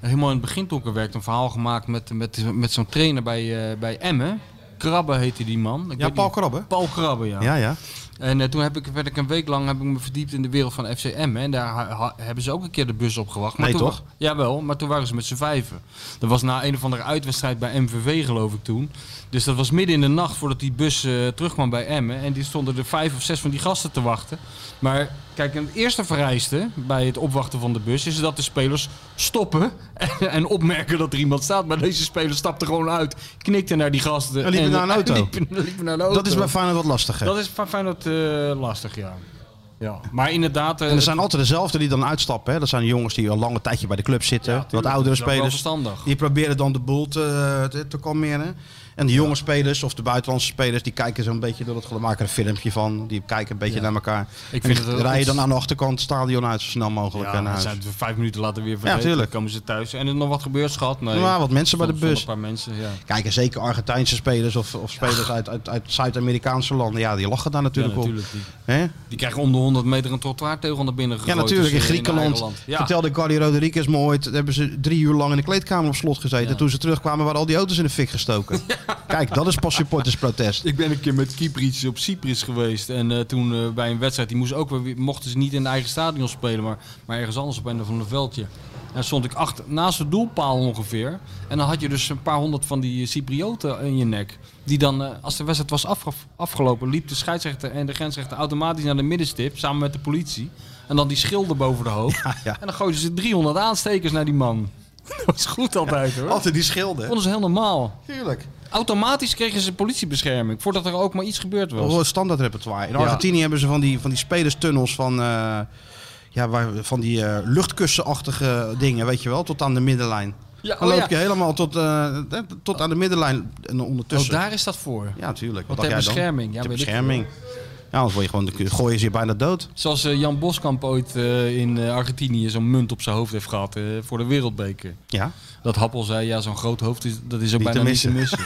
S5: helemaal in het begin toen ik er werkte een verhaal gemaakt met, met, met zo'n trainer bij, eh, bij Emmen. Krabbe heette die man. Ik
S4: ja,
S5: weet
S4: Paul
S5: niet-
S4: Krabbe.
S5: Paul Krabbe, ja.
S4: Ja, ja.
S5: En eh, toen heb ik, werd ik een week lang heb ik me verdiept in de wereld van FCM. En daar ha- ha- hebben ze ook een keer de bus op gewacht. Maar
S4: Nee,
S5: toen,
S4: toch?
S5: wa- Jawel, maar toen waren ze met z'n vijven. Dat was na een of andere uitwedstrijd bij MVV, geloof ik toen. Dus dat was midden in de nacht voordat die bus eh, terugkwam bij Emmen. En die stonden er vijf of zes van die gasten te wachten. Maar kijk, een eerste vereiste bij het opwachten van de bus is dat de spelers stoppen. En, en opmerken dat er iemand staat. Maar deze speler stapte gewoon uit, knikte naar die gasten. eh,
S4: En liepen naar een auto.
S5: liepen- liepen naar de auto.
S4: Dat is bij Feyenoord wat lastiger.
S5: Dat is van Feyenoord eh, lastig, ja. ja. Maar inderdaad... eh,
S4: En er zijn altijd dezelfde die dan uitstappen. Hè? Dat zijn jongens die al lange tijdje bij de club zitten.
S5: Ja, tuurlijk.
S4: wat oudere
S5: Dat is ook wel
S4: spelers.
S5: verstandig.
S4: Die proberen dan de boel te, te, te kalmeren. En de jonge spelers of de buitenlandse spelers, die kijken zo'n beetje door het geluid. Maken er een filmpje van. Die kijken een beetje naar elkaar.
S5: Ik
S4: en
S5: vind
S4: die
S5: het wel
S4: rijden dan
S5: ons-
S4: aan de achterkant het stadion uit zo snel mogelijk
S5: Ja,
S4: en naar huis.
S5: dan zijn we vijf minuten later weer vergeten.
S4: tuurlijk.
S5: Dan komen ze thuis. En er nog wat gebeurd, schat? Nee.
S4: Ja, wat mensen bij de
S5: Stond- stonden
S4: bus.
S5: Een paar mensen, ja.
S4: Kijken zeker Argentijnse spelers of, of spelers uit, uit, uit Zuid-Amerikaanse landen. Ja, die lachen daar
S5: Ja,
S4: natuurlijk,
S5: natuurlijk. Die,
S4: op. Hè?
S5: die krijgen om de 100 meter een trottoirtegel naar binnen
S4: Ja,
S5: gegooid.
S4: natuurlijk. In
S5: Dus, eh, hun
S4: Griekenland.
S5: eigen land. Ja.
S4: Vertelde Carly Rodriguez me ooit. Daar hebben ze drie uur lang in de kleedkamer op slot gezeten. Toen ze terugkwamen waren al die auto's in de fik gestoken. Kijk, dat is pas supportersprotest.
S5: Ik ben een keer met Kypriets op Cyprus geweest. En eh, toen eh, bij een wedstrijd, die moest ook, weer- mochten ze niet in hun eigen stadion spelen, maar, maar ergens anders op een van een veldje. En dan stond ik achter, naast de doelpaal ongeveer. En dan had je dus een paar honderd van die Cyprioten in je nek. Die dan, eh, als de wedstrijd was afge- afgelopen, liep de scheidsrechter en de grensrechter automatisch naar de middenstip samen met de politie. En dan die schilden boven de hoofd.
S4: ja.
S5: En dan gooiden ze 300 aanstekers naar die man. Dat was goed altijd hoor.
S4: Altijd die schilden.
S5: vonden ze heel normaal.
S4: Tuurlijk.
S5: Automatisch kregen ze politiebescherming voordat er ook maar iets gebeurd was.
S4: Wel een standaard repertoire. In Argentinië hebben ze van die, van die spelerstunnels van... eh, ja, waar, van die eh, luchtkussenachtige dingen, weet je wel, tot aan de middenlijn.
S5: Ja,
S4: Dan
S5: oh
S4: loop
S5: ja.
S4: je helemaal tot, eh, eh, tot aan de middenlijn en
S5: Oh,
S4: ondertussen.
S5: daar is dat voor.
S4: Ja, natuurlijk.
S5: Want
S4: dacht
S5: ter
S4: jij dan?
S5: bescherming, ja,
S4: Ter
S5: weet ik
S4: bescherming. Ja, anders word je gewoon, dan gooien ze je bijna dood.
S5: Zoals eh, Jan Boskamp ooit eh, in eh, Argentinië zo'n munt op zijn hoofd heeft gehad eh, voor de wereldbeker.
S4: Ja.
S5: Dat Happel zei, ja, zo'n groot hoofd, is, dat is ook
S4: Niet te
S5: bijna niet te missen.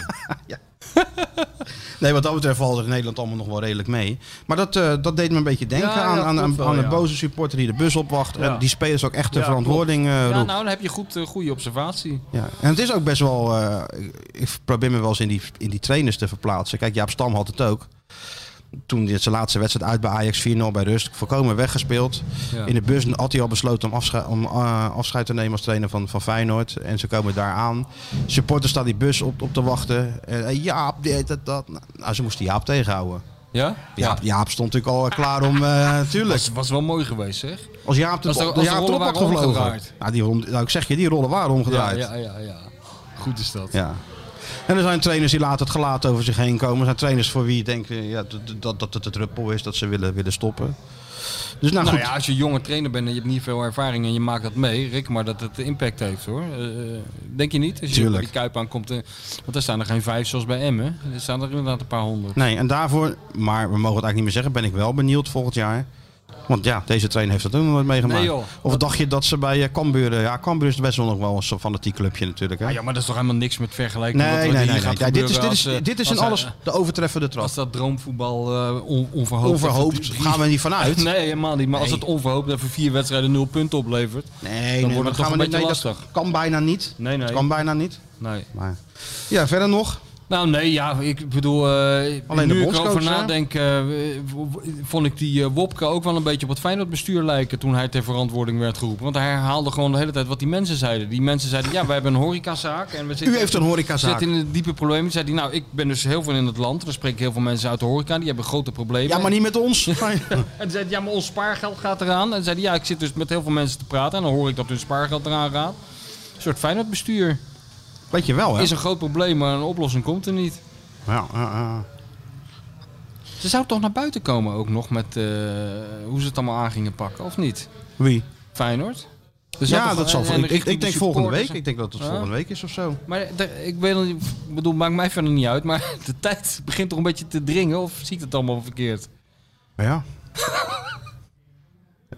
S4: Nee, wat dat betreft valt het in Nederland allemaal nog wel redelijk mee. Maar dat, eh, dat deed me een beetje denken
S5: Ja, ja,
S4: aan, aan, aan,
S5: klopt wel,
S4: aan de
S5: ja.
S4: boze supporter die de bus opwacht.
S5: Ja.
S4: En die spelers ook echt de
S5: Ja,
S4: verantwoording eh
S5: ja,
S4: roept.
S5: nou, dan heb je goed, eh, goede observatie.
S4: Ja. En het is ook best wel. eh, ik probeer me wel eens in die, in die trainers te verplaatsen. Kijk, Jaap Stam had het ook. Toen dit zijn laatste wedstrijd uit bij Ajax 4-0 bij rust. Volkomen weggespeeld.
S5: Ja.
S4: In de bus had hij al besloten om, afsche- om eh, afscheid te nemen als trainer van, van Feyenoord. En ze komen daar aan. Supporters staan die bus op, op te wachten. En, eh, Jaap, dit, dat, dat. Nou, ze moesten Jaap tegenhouden.
S5: Ja?
S4: Jaap, Jaap stond natuurlijk al eh, klaar om. eh tuurlijk.
S5: Was, was wel mooi geweest, zeg.
S4: Als Jaap de,
S5: Als de-
S4: als
S5: als de
S4: Jaap de
S5: rollen
S4: op had
S5: waren
S4: gevlogen.
S5: omgedraaid.
S4: Nou, die, rond- nou, ik zeg je, die rollen waren omgedraaid.
S5: Ja, ja, ja, ja. Goed is dat.
S4: Ja. En er zijn trainers die laten het gelaat over zich heen komen. Er zijn trainers voor wie je denkt eh, ja, dat, dat, dat het het ruppel is, dat ze willen, willen stoppen. Dus nou,
S5: Nou
S4: goed.
S5: ja, als je jonge trainer bent en je hebt niet veel ervaring en je maakt dat mee, Rick, maar dat het impact heeft hoor. Eh, eh, denk je niet? Als je
S4: Tuurlijk.
S5: bij die Kuip aankomt, eh, want daar staan er geen vijf zoals bij Emmen. Er staan er inderdaad een paar honderd.
S4: Nee, en daarvoor, maar we mogen het eigenlijk niet meer zeggen, ben ik wel benieuwd volgend jaar. Want ja, deze trainer heeft dat ook nog nooit meegemaakt.
S5: Nee, joh.
S4: of dacht je dat ze bij eh, Cambuur... eh, Ja, Cambuur is best wel nog wel een soort fanatiek clubje natuurlijk. Hè?
S5: Ah ja, maar dat is toch helemaal niks met vergelijking
S4: nee,
S5: met
S4: nee,
S5: wat er
S4: nee.
S5: hier
S4: nee.
S5: gaat
S4: Ja, dit is,
S5: gebeuren
S4: dit is,
S5: als, eh,
S4: dit is
S5: als
S4: in
S5: hij-
S4: alles de overtreffende trap.
S5: Als dat droomvoetbal eh, on- onverhoopt...
S4: Overhoopt
S5: even-
S4: gaan we niet vanuit.
S5: Nee, helemaal niet. Maar als
S4: Nee.
S5: het onverhoopt even vier wedstrijden nul punten oplevert...
S4: Nee,
S5: Dan
S4: nee,
S5: wordt
S4: maar
S5: het
S4: gaan
S5: toch
S4: we niet-
S5: een beetje
S4: nee, dat
S5: lastig.
S4: Kan bijna niet.
S5: Nee, nee.
S4: Kan bijna niet.
S5: Nee.
S4: Maar, ja, verder nog.
S5: Nou nee, ja, ik bedoel... eh
S4: Alleen de
S5: nu ik
S4: bondscoach,
S5: erover
S4: hè?
S5: nadenk, eh, w- w- vond ik die eh, Wopke ook wel een beetje op het Feyenoord-bestuur lijken... toen hij ter verantwoording werd geroepen. Want hij herhaalde gewoon de hele tijd wat die mensen zeiden. Die mensen zeiden, ja, wij hebben een horecazaak en we zitten...
S4: U heeft een horecazaak.
S5: Zit in een diepe problemen. Zei hij, nou, ik ben dus heel veel in het land. Dan spreek ik heel veel mensen uit de horeca. Die hebben grote problemen.
S4: Ja, maar niet met ons. Nee.
S5: En toen zei hij, ja, maar ons spaargeld gaat eraan. En toen zei hij, ja, ik zit dus met heel veel mensen te praten. En dan hoor ik dat hun spaargeld eraan gaat. Een soort Feyenoordbestuur.
S4: Weet je wel, hè?
S5: Is een groot probleem, maar een oplossing komt er niet.
S4: Ja, ja, ja.
S5: Ze zou toch naar buiten komen ook nog met eh, hoe ze het allemaal aan gingen pakken, of niet?
S4: Wie?
S5: Feyenoord? Er zou
S4: Ja,
S5: toch-
S4: dat zal.
S5: en-
S4: voor-
S5: en
S4: Ik, ik,
S5: richting
S4: ik
S5: de
S4: denk volgende
S5: supporters
S4: week. Ik denk dat het
S5: Ja.
S4: volgende week is of zo.
S5: en- Maar de- ik weet nog niet, ik bedoel, maakt mij verder niet uit. Maar de tijd begint toch een beetje te dringen, of zie ik het allemaal verkeerd?
S4: Ja.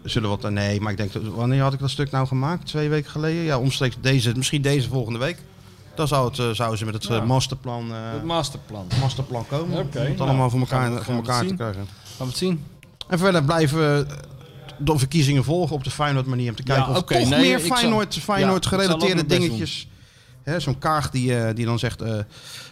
S4: Zullen we wat. Nee, maar ik denk. dat- Wanneer had ik dat stuk nou gemaakt? Twee weken geleden? Ja, omstreeks deze. Misschien deze volgende week. Dan zou het, eh, zouden ze met het eh,
S5: Ja.
S4: masterplan, eh,
S5: Het masterplan.
S4: masterplan komen.
S5: Oké,
S4: om het
S5: nou,
S4: allemaal voor elkaar,
S5: gaan we-
S4: voor
S5: gaan we
S4: elkaar
S5: het
S4: te
S5: zien.
S4: krijgen.
S5: Gaan we het zien?
S4: En verder blijven eh, de verkiezingen volgen op de Feyenoord manier. Om te kijken of
S5: oké,
S4: toch
S5: nee,
S4: meer
S5: ik zal-
S4: Feyenoord, Feyenoord
S5: ja, ik zal ook
S4: gerelateerde
S5: mijn best
S4: dingetjes. Hè, Zo'n kaag die, eh, die dan zegt, eh,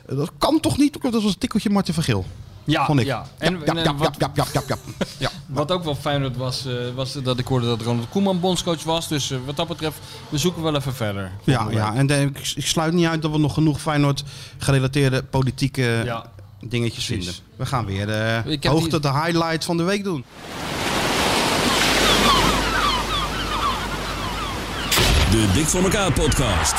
S4: dat kan toch niet? Dat was een tikkeltje Marten van Geel.
S5: Ja,
S4: Vond ik.
S5: ja. En,
S4: ja,
S5: en
S4: ja,
S5: wat,
S4: ja, ja, ja, ja, ja. ja.
S5: Wat ook wel Feyenoord was, eh, was dat ik hoorde dat Ronald Koeman bondscoach was. Dus eh, wat dat betreft, we zoeken wel even verder.
S4: Ja, ja, en eh, ik, ik sluit niet uit dat we nog genoeg Feyenoord gerelateerde politieke
S5: Ja.
S4: dingetjes
S5: Precies.
S4: vinden. We gaan weer de
S5: Ik heb
S4: hoogte,
S5: die-
S4: de highlight van de week doen.
S10: De Dik voor elkaar podcast.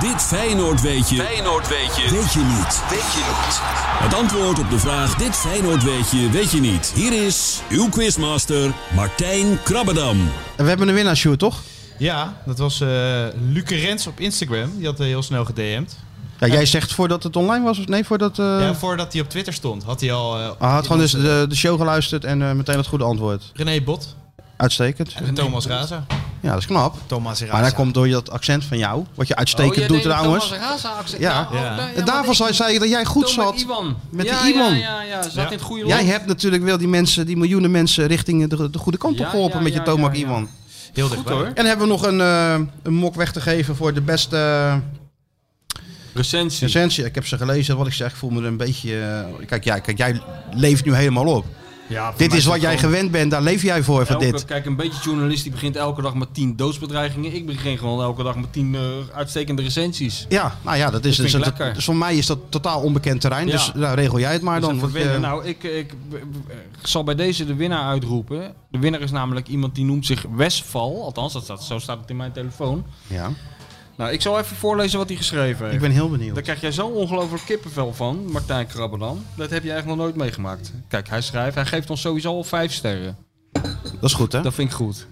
S10: Dit Feyenoord weet je. Feyenoord weet je. Weet je niet. Weet je niet. Het antwoord op de vraag dit Feyenoord weet je, weet je niet. Hier is uw quizmaster Martijn Krabbedam.
S4: En we hebben een winnaar, Sjoerd, toch?
S6: Ja, dat was eh Luke Rens op Instagram. Die had eh, heel snel gedM'd.
S4: Hé, Ja, jij zegt voordat het online was? Of nee, voordat... eh
S6: Ja, voordat hij op Twitter stond, had hij al... eh,
S4: Ah, had gewoon dus de, de show geluisterd en eh, meteen het goede antwoord.
S6: René Bot
S4: Uitstekend.
S6: en Thomas Raza.
S4: Ja, dat is knap.
S6: Thomas Raza.
S4: Maar dat komt door dat accent van jou, wat je uitstekend
S5: Oh, jij
S4: doet
S5: deed het
S4: trouwens.
S5: Thomas Raza accent.
S4: Ja.
S5: Nou, oh, nou,
S4: En daarvan
S5: maar
S4: zei-
S5: ik-
S4: zei je dat jij goed
S5: Thomas
S4: zat
S5: Iwan.
S4: met
S5: ja,
S4: die Iwan.
S5: Ja, ja, ja, zat in het goede
S4: Jij
S5: lot.
S4: hebt natuurlijk wel die mensen, die miljoenen mensen richting de, de goede kant op
S5: Ja,
S4: geholpen
S5: ja,
S4: met je
S5: ja,
S4: Tomac
S5: ja, ja.
S4: Iwan.
S6: Heel
S5: Goed
S6: dichtbij.
S5: hoor.
S4: En hebben we nog een, eh, een mok weg te geven voor de beste eh,
S5: Recensie.
S4: recensie. Ik heb ze gelezen, wat ik zeg, ik voel me een beetje... eh, kijk, jij, kijk, jij leeft nu helemaal op.
S5: Ja, voor
S4: Dit
S5: mij
S4: is wat jij
S5: gewoon
S4: gewend bent, daar leef jij voor, van
S5: elke-
S4: dit.
S5: Kijk, een beetje journalist die begint elke dag met 10 doodsbedreigingen. Ik begin gewoon elke dag met 10 eh, uitstekende recensies.
S4: Ja, nou ja, dat is,
S5: Dat vind ik
S4: dat-
S5: lekker.
S4: dus voor mij is dat totaal onbekend terrein.
S5: Ja.
S4: Dus nou, regel jij het maar
S5: Dus
S4: dan.
S5: even
S4: want,
S5: wennen.
S4: eh,
S5: Nou, ik, ik, eh, zal bij deze de winnaar uitroepen. De winnaar is namelijk iemand die noemt zich Westval. Althans, dat staat, zo staat het in mijn telefoon.
S4: ja.
S5: Nou, ik zal even voorlezen wat hij geschreven heeft.
S4: Ik ben heel benieuwd.
S5: Daar krijg jij zo ongelooflijk kippenvel van, Martijn Krabbenam. Dat heb je eigenlijk nog nooit meegemaakt. Kijk, hij schrijft, hij geeft ons sowieso al vijf sterren.
S4: Dat is goed, hè?
S5: Dat vind ik goed.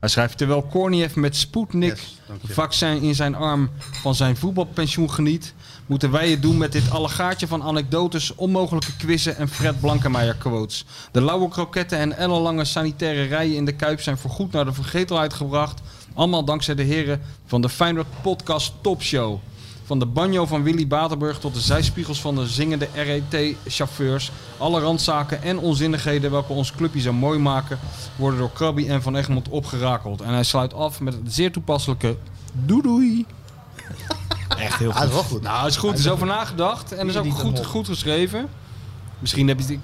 S5: Hij schrijft, terwijl Korniev met Sputnik
S4: Yes, dank je.
S5: vaccin in zijn arm van zijn voetbalpensioen geniet, moeten wij het doen met dit allegaartje van anekdotes, onmogelijke quizzen en Fred Blankenmeijer quotes. De lauwe kroketten en ellenlange sanitaire rijen in de Kuip zijn voorgoed naar de vergetelheid gebracht. Allemaal dankzij de heren van de Feyenoord Podcast Top Show. Van de banjo van Willy Batenburg tot de zijspiegels van de zingende RET-chauffeurs. Alle randzaken en onzinnigheden welke ons clubje zo mooi maken, worden door Krabby en Van Egmond opgerakeld. En hij sluit af met het zeer toepasselijke doei doei.
S6: Echt heel
S4: Ah,
S6: goed.
S4: dat is wel goed.
S5: Nou, is goed. Er is over nagedacht en is ook goed, goed geschreven. Misschien heb je het...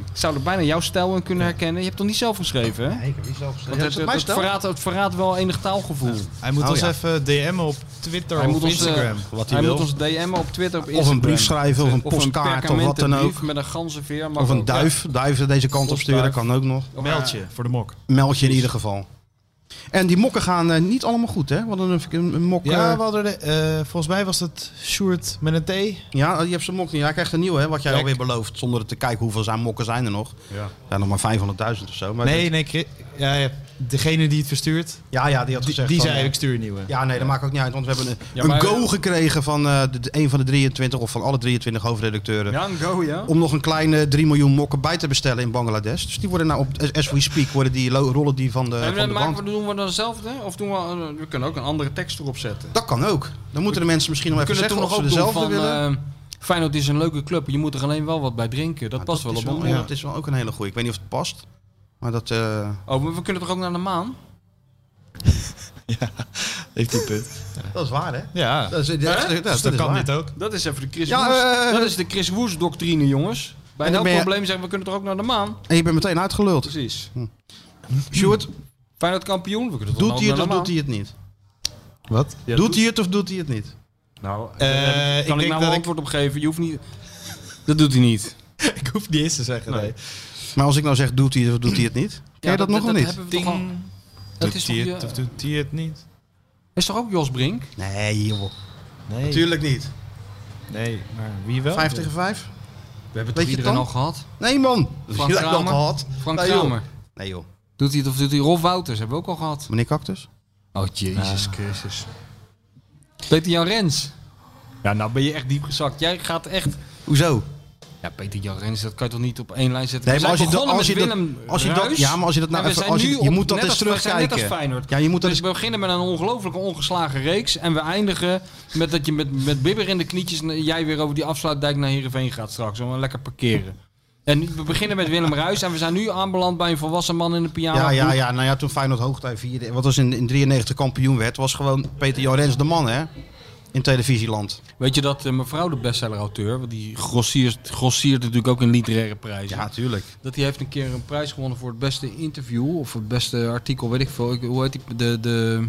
S5: Ik zou er bijna jouw stijl in kunnen herkennen. Je hebt het toch niet zelf geschreven, hè?
S4: Nee, ik heb niet zelf gezegd.
S5: Want
S4: Ja,
S5: het,
S4: is dat
S5: het,
S4: mijn
S5: het
S4: stel?
S5: verraadt, het verraadt wel enig taalgevoel.
S6: Hij moet
S4: Oh,
S6: ons
S4: ja.
S6: even DM'en op Twitter
S5: Hij
S6: of
S5: moet ons, eh,
S6: Instagram.
S4: Wat hij
S5: Hij
S4: wil.
S5: moet ons DM'en op Twitter, op Instagram.
S4: Of een brief schrijven, of een postkaart, of wat dan
S5: perkamenten brief
S4: ook.
S5: Met een ganzenveer. mag
S4: Of een
S5: ook.
S4: duif, duif deze kant op
S5: Postduif.
S4: sturen, kan ook nog.
S5: Ja. Of-
S6: Meld je voor de mok.
S4: Meld je in ieder geval. En die mokken gaan eh, niet allemaal goed, hè? Wat een, een, een mok.
S6: Ja,
S4: Ja,
S6: we hadden de, eh, volgens mij was dat Sjoerd met een T.
S4: ja, je hebt zijn mok niet. Hij krijgt een nieuwe, hè? Wat jij
S6: Ja,
S4: alweer belooft. Zonder te kijken hoeveel zijn mokken zijn er nog. Ja, nog maar 500.000 of zo. Maar
S6: Nee, nee, Chri- ja, ja, degene die het verstuurt,
S4: ja, ja, die had
S6: die,
S4: gezegd.
S6: die
S4: van,
S6: zei
S4: eh,
S6: ik stuur een nieuwe.
S4: Ja, nee, dat maakt ook niet uit. Want we hebben een,
S5: Ja,
S4: een
S5: maar-
S4: go gekregen van eh, de, de- een van de 23 of van alle 23 hoofdredacteuren.
S5: Ja, een go, ja.
S4: Om nog een kleine 3 miljoen mokken bij te bestellen in Bangladesh. Dus die worden nou op as we speak, worden die lo- rollen die eh, van de,
S5: En
S4: van de
S5: maken
S4: band.
S5: we, doen we dan hetzelfde? Of doen we, we kunnen ook een andere tekst erop zetten.
S4: Dat kan ook. Dan moeten de mensen misschien nog
S5: We
S4: even
S5: kunnen
S4: zeggen
S5: toen
S4: of
S5: nog
S4: ze
S5: ook doen
S4: dezelfde
S5: van...
S4: willen.
S5: eh Feyenoord is een leuke club, je moet er alleen wel wat bij drinken. Dat
S4: Maar
S5: past
S4: dat
S5: wel
S4: is
S5: op
S4: ja,
S5: een
S4: Dat is wel ook een hele goeie. Ik weet niet of het past. Maar dat... eh,
S5: Oh, maar we kunnen toch ook naar de maan?
S6: Heeft hij punt.
S4: Dat is waar, hè?
S6: Ja,
S4: Dat is, dat,
S5: Hè?
S4: dat- dat
S6: dus
S4: is
S6: dat kan
S4: waar.
S6: dit ook.
S5: Dat is even de Chris
S4: Ja,
S5: Woes.
S4: eh,
S5: dat is de Chris Woes doctrine, jongens.
S4: En
S5: Bij een
S4: dan ben je-
S5: probleem zeggen we, we kunnen toch ook naar de maan?
S4: En je bent meteen uitgeluld.
S5: Precies.
S4: Sjoerd,
S5: Feyenoord kampioen, we kunnen toch
S4: Hm. doet hij het
S5: ook
S4: of
S5: naar
S4: doet
S5: de
S4: hij het niet?
S6: Wat?
S5: maan? Ja,
S4: Doet hij het of doet hij het niet?
S5: Nou,
S6: Eh, ik
S5: kan ik, nou
S6: denk dat
S5: een
S6: ik-
S5: antwoord op geven? Je hoeft niet... Dat doet hij niet.
S6: ik hoef niet eens te zeggen, nee.
S4: Maar als ik nou zeg, doet hij het of doet hij het niet? Ken je dat, nog of niet?
S5: hebben we toch al-
S6: Ding.
S5: Dat
S6: Doet
S5: is toch,
S6: hij
S5: je-
S6: het of doet hij het niet?
S5: is toch ook Jos Brink?
S4: Nee, joh.
S6: Nee,
S4: Natuurlijk niet.
S6: nee, maar wie wel?
S4: 5 tegen 5?
S5: We hebben
S4: Weet
S5: toch
S4: je
S5: iedereen
S4: dan?
S5: al gehad?
S4: Nee, man.
S5: Frank
S4: dat
S5: Kramer?
S4: gehad.
S5: Frank
S4: nee, joh.
S5: Kramer.
S4: Nee, joh.
S5: Doet hij het of doet hij Rolf Wouters? Hebben we ook al gehad.
S4: Meneer Cactus?
S5: Oh, jezus Christus. Peter-Jan Rens. Ja, nou ben je echt diep gezakt. Jij gaat echt...
S4: Hoezo?
S5: Ja, Peter-Jan Rens, dat kan je toch niet op één lijn zetten?
S4: Nee,
S5: We
S4: maar als
S5: zijn
S4: je, dat,
S5: begonnen
S4: als, je
S5: met
S4: dat,
S5: Willem
S4: als je dat,
S5: Ruijs.
S4: ja, maar als je dat
S5: En
S4: nou
S5: we
S4: even,
S5: zijn
S4: als je,
S5: nu
S4: je
S5: op-
S4: moet dat
S5: net
S4: eens
S5: als- we zijn
S4: terugkijken.
S5: Net als Feyenoord.
S4: Ja, je moet dat
S5: dus we beginnen met een ongelooflijke ongeslagen reeks. En we eindigen met dat je met, met bibber in de knietjes... en jij weer over die afsluitdijk naar Heerenveen gaat straks. Om lekker parkeren. En we beginnen met Willem Ruijs. En we zijn nu aanbeland bij een volwassen man in een piano.
S4: Ja, ja, ja. Nou ja, toen Feyenoord hoogtij vierde, wat was in, in 93 kampioen werd, was gewoon Peter Jan Rens de man, hè? In televisieland.
S5: Weet je dat eh, mevrouw de bestseller-auteur... want die grossiert, grossiert natuurlijk ook in literaire prijzen...
S4: natuurlijk.
S5: Dat hij heeft een keer een prijs gewonnen voor het beste interview of het beste artikel, weet ik veel. Ik, hoe heet die? De, de,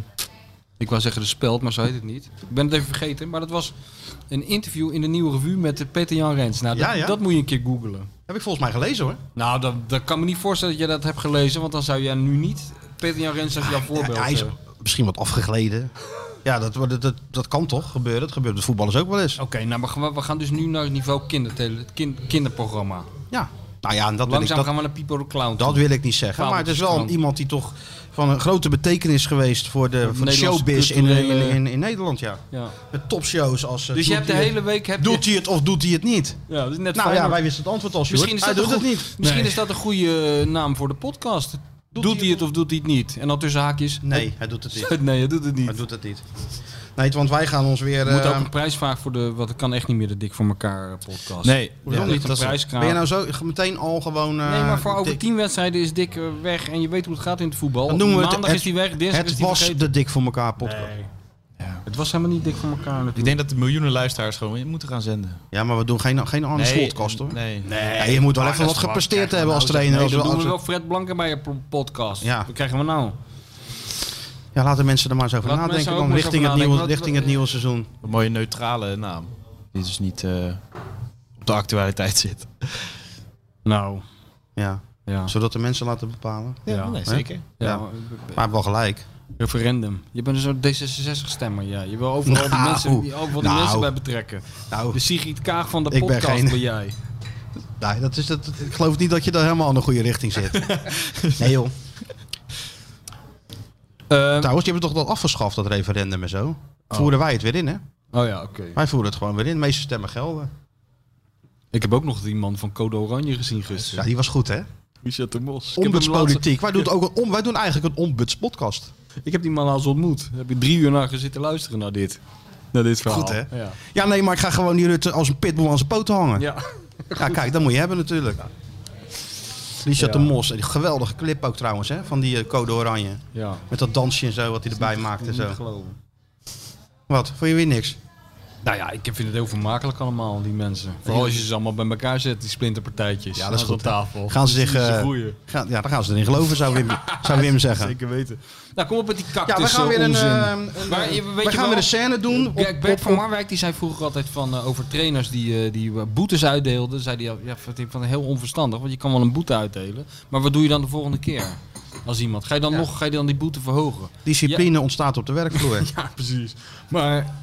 S5: ik wou zeggen de speld, maar zo heet het niet. Ik ben het even vergeten, maar dat was een interview in de Nieuwe Revue met eh, Peter Jan Rens. Nou, dat,
S4: Ja, ja.
S5: dat moet je een keer googlen.
S4: Heb ik volgens mij gelezen hoor.
S5: Nou, dat, dat kan me niet voorstellen dat je dat hebt gelezen, want dan zou jij nu niet Peter Jan Rens als jouw voorbeeld
S4: Ah,
S5: eh,
S4: Ja, hij is
S5: hebben.
S4: misschien wat afgegleden. Ja, dat, dat, dat, dat kan toch gebeuren. Dat gebeurt met voetballers ook wel eens.
S5: Oké, nou, maar we- we gaan dus nu naar het niveau kindertele, kin- kinderprogramma.
S4: Ja. Nou ja, en dat wil ik,
S5: Langzaam
S4: dat,
S5: gaan we naar Pipo de Clown. toe.
S4: dat wil ik niet zeggen. Maar het is wel
S5: Fabeltjeskrant.
S4: iemand die toch van een grote betekenis geweest voor de, voor de
S5: Nederlandse
S4: showbiz in, in,
S5: culturele-
S4: in, in Nederland. Ja. Met topshows als... eh,
S5: Dus je
S4: doet
S5: hebt de
S4: hij het-
S5: hele week... Heb
S4: Doet
S5: je,
S4: hij het of doet hij het niet?
S5: ja, dat is net
S4: nou ja,
S5: Feyenoord.
S4: wij wisten het antwoord al, Sjoerd.
S5: Misschien is
S4: Hij
S5: dat, een
S4: doet
S5: goed-
S4: het niet.
S5: Misschien
S4: Nee.
S5: is dat een goede eh, naam voor de podcast. Doet, hij het of doet hij het niet? En dan tussen haakjes...
S4: Nee, hij doet het niet.
S5: Nee, hij doet het niet.
S4: Hij doet het niet. Nee, want wij gaan ons weer...
S5: Er moet
S4: eh,
S5: ook een prijsvraag voor de... Want het kan echt niet meer de Dik voor elkaar eh, podcast.
S6: Nee.
S5: Hoezo
S4: Ja,
S5: niet
S4: dat
S5: een
S4: is-
S5: prijskraam?
S4: ben je nou zo meteen al gewoon... eh,
S5: Nee, maar voor over
S4: dik-
S5: tien wedstrijden is Dik eh, weg. En je weet hoe het gaat in het voetbal.
S4: Dan noemen we het-
S5: Maandag
S4: het-
S5: is hij weg, dinsdag is
S4: Het
S5: hij
S4: was
S5: vergeten.
S4: de dik voor elkaar podcast.
S5: Het was helemaal niet Dik voor elkaar natuurlijk.
S6: Ik denk dat de miljoenen luisteraars gewoon in moeten gaan zenden.
S4: Ja, maar we doen geen, geen Arne Slotcast, hoor.
S6: Nee.
S4: Ja, je moet wel even wat gepresteerd hebben als trainer.
S5: nou, Nee,
S4: Als
S5: dan
S4: we-
S5: doen
S4: als
S5: we
S4: we-
S5: wel Fred Blanken bij je pro- podcast.
S4: Ja.
S5: Wat krijgen we nou?
S4: Ja, laten mensen er maar eens over
S5: Laat mensen
S4: nadenken.
S5: ook
S4: Dan
S5: maar eens
S4: richting,
S5: over
S4: het nieuwe,
S5: nadenken.
S4: richting het nieuwe seizoen.
S6: Een mooie neutrale naam. Die dus niet eh, op de actualiteit zit.
S5: Nou,
S4: Ja.
S5: ja.
S4: Zodat de mensen laten bepalen.
S6: Ja, nee, zeker.
S4: Ja.
S5: Ja,
S4: Maar wel gelijk.
S5: Referendum. Je bent een soort D66-stemmer, ja. Je wil overal die
S4: Nou,
S5: mensen, die- overal die
S4: nou.
S5: mensen bij betrekken.
S4: Nou,
S5: De Sigrid Kaag van de
S4: Ik ben
S5: podcast
S4: geen-
S5: ben jij.
S4: nee, dat is dat, ik geloof niet dat je daar helemaal in de goede richting zit. nee joh.
S5: Eh,
S4: Trouwens, je hebt het toch dat afgeschaft, dat referendum en zo? Voeren wij het weer in, hè?
S5: oh ja, oké.
S4: Wij voeren het gewoon weer in. De meeste stemmen gelden.
S5: Ik heb ook nog die man van Code Oranje gezien
S4: Ja,
S5: gisteren.
S4: die was goed, hè?
S5: Richard de Mos. Ik heb, hem laatst-
S4: Ombudspolitiek. Wij doen, het ook een om, wij doen eigenlijk een ombudspodcast.
S5: ik heb die man laatst ontmoet. Daar heb ik drie uur naar gezitten luisteren naar dit. Naar dit verhaal.
S4: Goed, hè?
S5: Ja.
S4: Ja, nee, maar ik ga gewoon die Rutte als een pitbull aan zijn poten hangen.
S5: ja.
S4: Ja, kijk, dat moet je hebben natuurlijk. Richard
S5: Ja.
S4: de Mos, die geweldige clip ook trouwens, hè, van die eh, Code Oranje.
S5: Ja.
S4: Met dat dansje en zo, wat hij erbij maakt en
S5: Niet
S4: zo.
S5: te geloven.
S4: Wat, vond je weer niks?
S5: Nou ja, ik vind het heel vermakelijk allemaal, die mensen. Vooral als je ze allemaal bij elkaar zet, die splinterpartijtjes. Nou,
S4: Ja, dat is
S5: Aan zo'n
S4: goed, hè?
S5: tafel.
S4: Gaan ze zich...
S5: Zien
S4: eh,
S5: groeien.
S4: gaan, ja, dan gaan ze erin geloven, zou Wim, zou Wim zeggen.
S5: Zeker weten. Nou, kom op met die cactus.
S4: Ja, we gaan weer een...
S5: onzin.
S4: eh, een,
S5: Maar
S4: eh,
S5: je- weet
S4: we
S5: je
S4: gaan
S5: wel-
S4: weer een scène doen. op-
S5: Kijk, Bert
S4: op-
S5: van Marwijk die zei vroeger altijd van, eh, over trainers die, eh, die eh, boetes uitdeelden. Zei die al, ja, van- van heel onverstandig, want je kan wel een boete uitdelen. Maar wat doe je dan de volgende keer als iemand? Ga je dan nog ga je dan die boete verhogen?
S4: Discipline ontstaat op de werkvloer.
S5: Ja, precies. Maar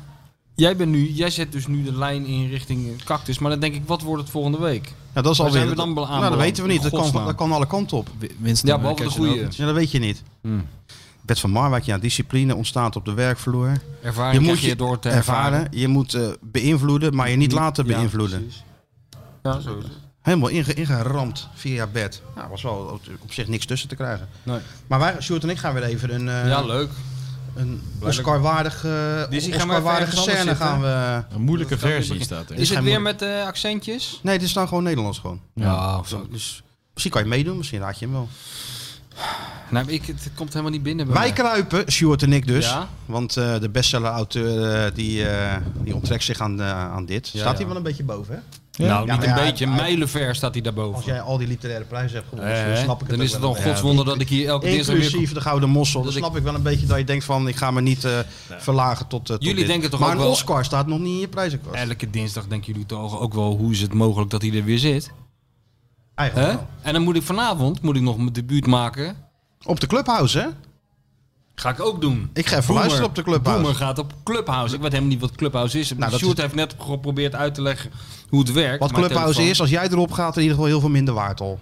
S5: jij, bent nu, jij zet dus nu de lijn in richting eh, cactus. Maar dan denk ik, wat wordt het volgende week?
S4: Ja, dat is
S5: Waar
S4: alweer...
S5: zijn we dan bela-
S4: nou, dat
S5: aanbeland?
S4: weten we niet. Dat kan,
S5: Godsnaam.
S4: dat kan alle kanten op.
S6: Winston,
S5: Ja, behalve de goede
S4: Ja, dat weet je niet.
S5: Hmm.
S4: Bert van Marwijk, ja, discipline ontstaat op de werkvloer.
S5: ervaring
S4: je
S5: Ah, krijg
S4: moet
S5: je,
S4: je
S5: door te
S4: ervaren.
S5: ervaren.
S4: Je moet eh, beïnvloeden, maar je niet laten
S5: ja,
S4: beïnvloeden.
S5: precies. Ja, zo.
S4: Helemaal inge- ingeramd via bed. Nou, was wel op- op zich niks tussen te krijgen.
S5: Nee.
S4: Maar wij, Sjoerd en ik gaan weer even een, eh,
S5: ja, leuk.
S4: een Oscar-waardige
S5: Dizzy, ga maar even
S4: Oscar
S5: ergens anders
S4: scène
S5: zitten.
S4: gaan we...
S6: Een moeilijke
S5: Dat kan
S6: versie
S5: niet.
S6: staat er.
S5: Is het
S4: geen
S5: weer
S4: moe-
S5: met eh, accentjes?
S4: Nee, dit is dan gewoon Nederlands gewoon.
S5: Ja, zo.
S4: Dus misschien kan je meedoen, misschien raad je hem wel.
S5: Nou, ik, het komt helemaal niet binnen bij
S4: Wij
S5: mij.
S4: kruipen, Sjoerd en ik dus.
S5: Ja.
S4: Want eh, de bestseller-auteur eh, die, eh, die onttrekt zich aan, eh, aan dit. Staat
S5: ja.
S4: hij wel een beetje boven, hè?
S5: Nou,
S4: Ja,
S5: niet
S4: maar
S5: een
S4: ja,
S5: beetje.
S4: hij-
S5: Mijlenver staat hij daarboven.
S4: Als jij al die literaire prijzen hebt gewonnen,
S5: Eh,
S4: dan snap ik het
S5: dan
S4: ook
S5: is het
S4: wel.
S5: dan godswonder dat ik hier elke dinsdag weer...
S4: Inclusief de Gouden Mossel. Dan
S5: Dat ik-
S4: snap ik wel een beetje dat je denkt van, ik ga me niet eh, verlagen tot, eh, tot
S5: Jullie
S4: dit.
S5: denken toch
S4: maar
S5: ook
S4: een
S5: wel-
S4: Oscar staat nog niet in je prijzenkast.
S5: Elke dinsdag denken jullie toch ook wel hoe is het mogelijk dat hij er weer zit.
S4: Eigenlijk
S5: Hè?
S4: wel.
S5: En dan moet ik vanavond moet ik nog mijn debuut maken.
S4: Op de Clubhouse, hè?
S5: Ga ik ook doen.
S4: Ik ga even
S5: Boomer.
S4: luisteren op de Clubhouse.
S5: Boomer gaat op Clubhouse. Ik weet helemaal niet wat Clubhouse is.
S4: Nou, dat
S5: Sjoerd
S4: is-
S5: heeft net geprobeerd uit te leggen hoe het werkt.
S4: Wat
S5: Mijn
S4: Clubhouse
S5: telefoon.
S4: is, als jij erop gaat, in ieder geval heel veel minder waard al.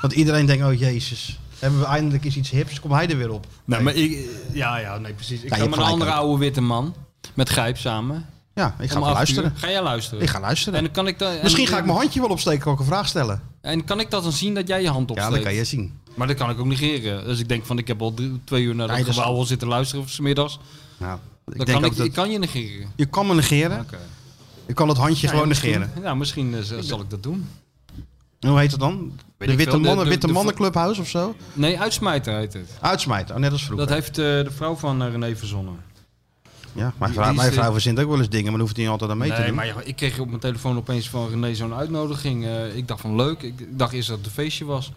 S4: Want iedereen denkt, oh jezus, hebben we eindelijk eens iets hips, kom hij er weer op.
S5: Nee, Nou, maar ik, ja, ja, nee, precies. Ik
S4: je
S5: ga
S4: hebt
S5: met een
S4: gelijk
S5: andere
S4: ook.
S5: oude witte man. Met Grijp samen.
S4: Ja, ik ga even
S5: Om acht
S4: luisteren.
S5: uur. Ga jij luisteren?
S4: Ik ga luisteren.
S5: En dan kan ik dan, en-
S4: Misschien ga ik mijn handje wel opsteken, kan ik een vraag stellen.
S5: En kan ik dat dan zien dat jij je hand
S4: Ja,
S5: opsteekt?
S4: dat kan je zien.
S5: Maar dat kan ik ook negeren. Dus ik denk van, ik heb al drie- twee uur naar dat
S4: Nee, dat is-
S5: gebouw al zitten luisteren smiddags.
S4: Nou, ik denk
S5: Dan kan
S4: ook
S5: ik,
S4: dat...
S5: ik kan je negeren.
S4: Je kan me negeren,
S5: Oké.
S4: je kan het handje
S5: Ja,
S4: gewoon
S5: misschien-
S4: negeren.
S5: Ja, misschien eh, z- zal ik dat doen.
S4: En Hoe heet dat dan?
S5: ik
S4: De Witte,
S5: veel. De-
S4: mannen,
S5: de-
S4: witte
S5: de-
S4: mannen Clubhouse of zo?
S5: Nee, uitsmijter heet het.
S4: Uitsmijten, oh, net als vroeger.
S5: Dat heeft eh, de vrouw van eh, René verzonnen.
S4: Ja, mijn
S5: Die-
S4: vrouw,
S5: die
S4: mijn
S5: is, eh,
S4: vrouw verzint ook wel eens dingen, maar dan hoeft hij niet altijd aan mee te
S5: Nee,
S4: doen.
S5: maar ja, ik kreeg op mijn telefoon opeens van René zo'n uitnodiging. Eh, ik dacht van leuk. Ik ik dacht eerst dat het een feestje was.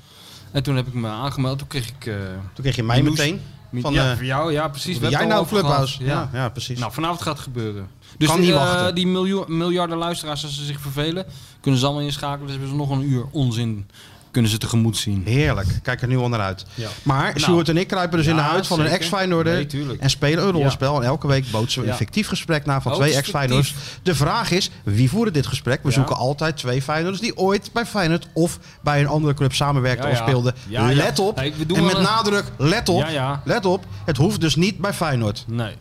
S5: En toen heb ik me aangemeld. Toen kreeg ik... eh,
S4: Toen kreeg je mij
S5: Minoes-
S4: meteen. Van,
S5: van, ja,
S4: eh,
S5: voor jou, ja precies.
S4: Ben
S5: We
S4: jij
S5: hebben het
S4: nou
S5: al over
S4: Clubhouse?
S5: gehad.
S4: Ja, ja, precies.
S5: Nou, vanavond gaat het gebeuren. Dus
S4: Kan niet
S5: eh,
S4: wachten.
S5: die miljoen, miljarden luisteraars, als ze zich vervelen, kunnen ze allemaal inschakelen. Dus hebben ze nog een uur onzin kunnen ze tegemoet zien.
S4: Heerlijk. Kijk er nu al naar uit.
S5: Ja.
S4: Maar
S5: Nou.
S4: Sjoerd en ik kruipen dus in de
S5: Ja,
S4: huid van een
S5: zeker.
S4: ex-Feyenoorder.
S5: Nee, tuurlijk.
S4: en spelen een
S5: Ja.
S4: rollenspel. En elke week bootsen we een
S5: Ja.
S4: fictief gesprek na van
S5: Oh,
S4: twee
S5: het is
S4: ex-Feyenoorders. De vraag is, wie voeren dit gesprek? We
S5: Ja.
S4: zoeken altijd twee Feyenoorders die ooit bij Feyenoord of bij een andere club samenwerkten
S5: Ja,
S4: of
S5: ja.
S4: speelden.
S5: Ja, ja.
S4: Let op.
S5: Nee, we doen
S4: en
S5: wel
S4: met
S5: een-
S4: nadruk, let op.
S5: Ja, ja.
S4: Let op. Het hoeft dus niet bij Feyenoord.
S5: Nee.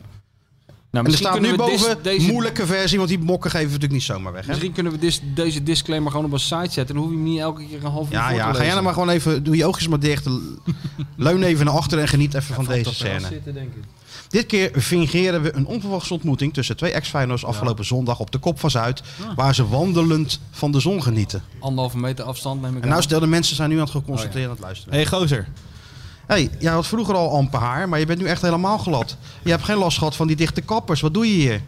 S4: En
S5: Nou,
S4: er
S5: misschien
S4: staat nu
S5: kunnen we dis-
S4: boven
S5: deze-
S4: moeilijke versie, want die mokken geven we natuurlijk niet zomaar weg. Hè?
S5: Misschien kunnen we dis- deze disclaimer gewoon op een site zetten. Dan hoef je hem niet elke keer een half uur
S4: Ja,
S5: voor te
S4: ja. Ga
S5: lezen.
S4: jij nou maar gewoon even, doe je oogjes maar dicht. Leun even naar achter en geniet even van deze
S5: Dat zal
S4: scène.
S5: zitten, denk ik.
S4: Dit keer fingeren we een onverwachte ontmoeting tussen twee ex-Feyenoorders afgelopen zondag op de Kop van Zuid,
S5: Ah.
S4: waar ze wandelend van de zon genieten.
S5: Anderhalve meter afstand neem ik
S4: En nou
S5: aan.
S4: stel, de mensen zijn nu aan het geconcentreerd
S5: Oh,
S4: aan het luisteren.
S6: hey, gozer.
S4: hey, jij had vroeger al amper haar, maar je bent nu echt helemaal glad. Je hebt geen last gehad van die dichte kappers. Wat doe je hier?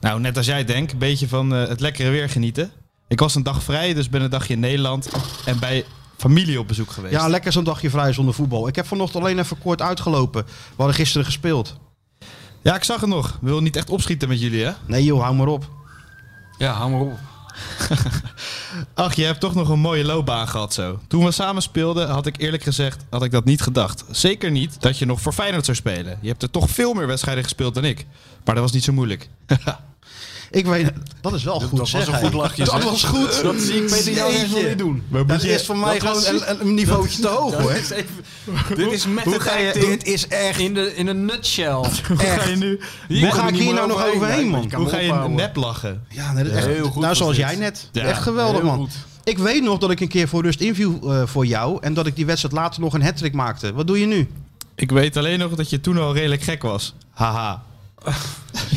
S6: Nou, net als jij denkt, een beetje van eh, het lekkere weer genieten. Ik was een dag vrij, dus ben een dagje in Nederland en bij familie op bezoek geweest.
S4: Ja, lekker zo'n dagje vrij zonder voetbal. Ik heb vanochtend alleen even kort uitgelopen. We hadden gisteren gespeeld.
S6: Ja, ik zag het nog. Wil niet echt opschieten met jullie, hè?
S4: Nee joh, hou maar op.
S5: Ja, hou maar op.
S6: Ach, je hebt toch nog een mooie loopbaan gehad zo. Toen we samen speelden, had ik eerlijk gezegd, had ik dat niet gedacht. Zeker niet dat je nog voor Feyenoord zou spelen. Je hebt er toch veel meer wedstrijden gespeeld dan ik. Maar dat was niet zo moeilijk.
S4: Ik weet, dat is wel goed
S5: was
S4: zeg,
S5: een
S4: hey.
S5: goed lachje,
S4: Dat
S5: zeg.
S4: was goed.
S5: Dat zie ik beter jou echt wel
S4: Jeetje.
S5: niet doen.
S4: Dat is voor mij
S5: dat
S4: gewoon
S5: was-
S4: een, een niveautje te hoog hoor.
S5: Dit is even- dit is met
S4: Hoe
S5: het
S4: ga je,
S5: acting
S4: dit is echt,
S5: in, de, in een nutshell.
S4: echt.
S6: nu?
S4: Hoe ga ik hier nou nog overheen, man?
S6: Hoe ga je nep lachen?
S4: Ja, nee, dat is echt,
S5: heel goed
S4: nou,
S5: was
S4: zoals
S5: dit.
S4: jij net.
S6: Ja,
S4: echt geweldig,
S5: heel
S4: man.
S5: goed.
S4: Ik weet nog dat ik een keer voor rust interview eh, voor jou. En dat ik die wedstrijd later nog een hat maakte. Wat doe je nu?
S6: Ik weet alleen nog dat je toen al redelijk gek was. Haha.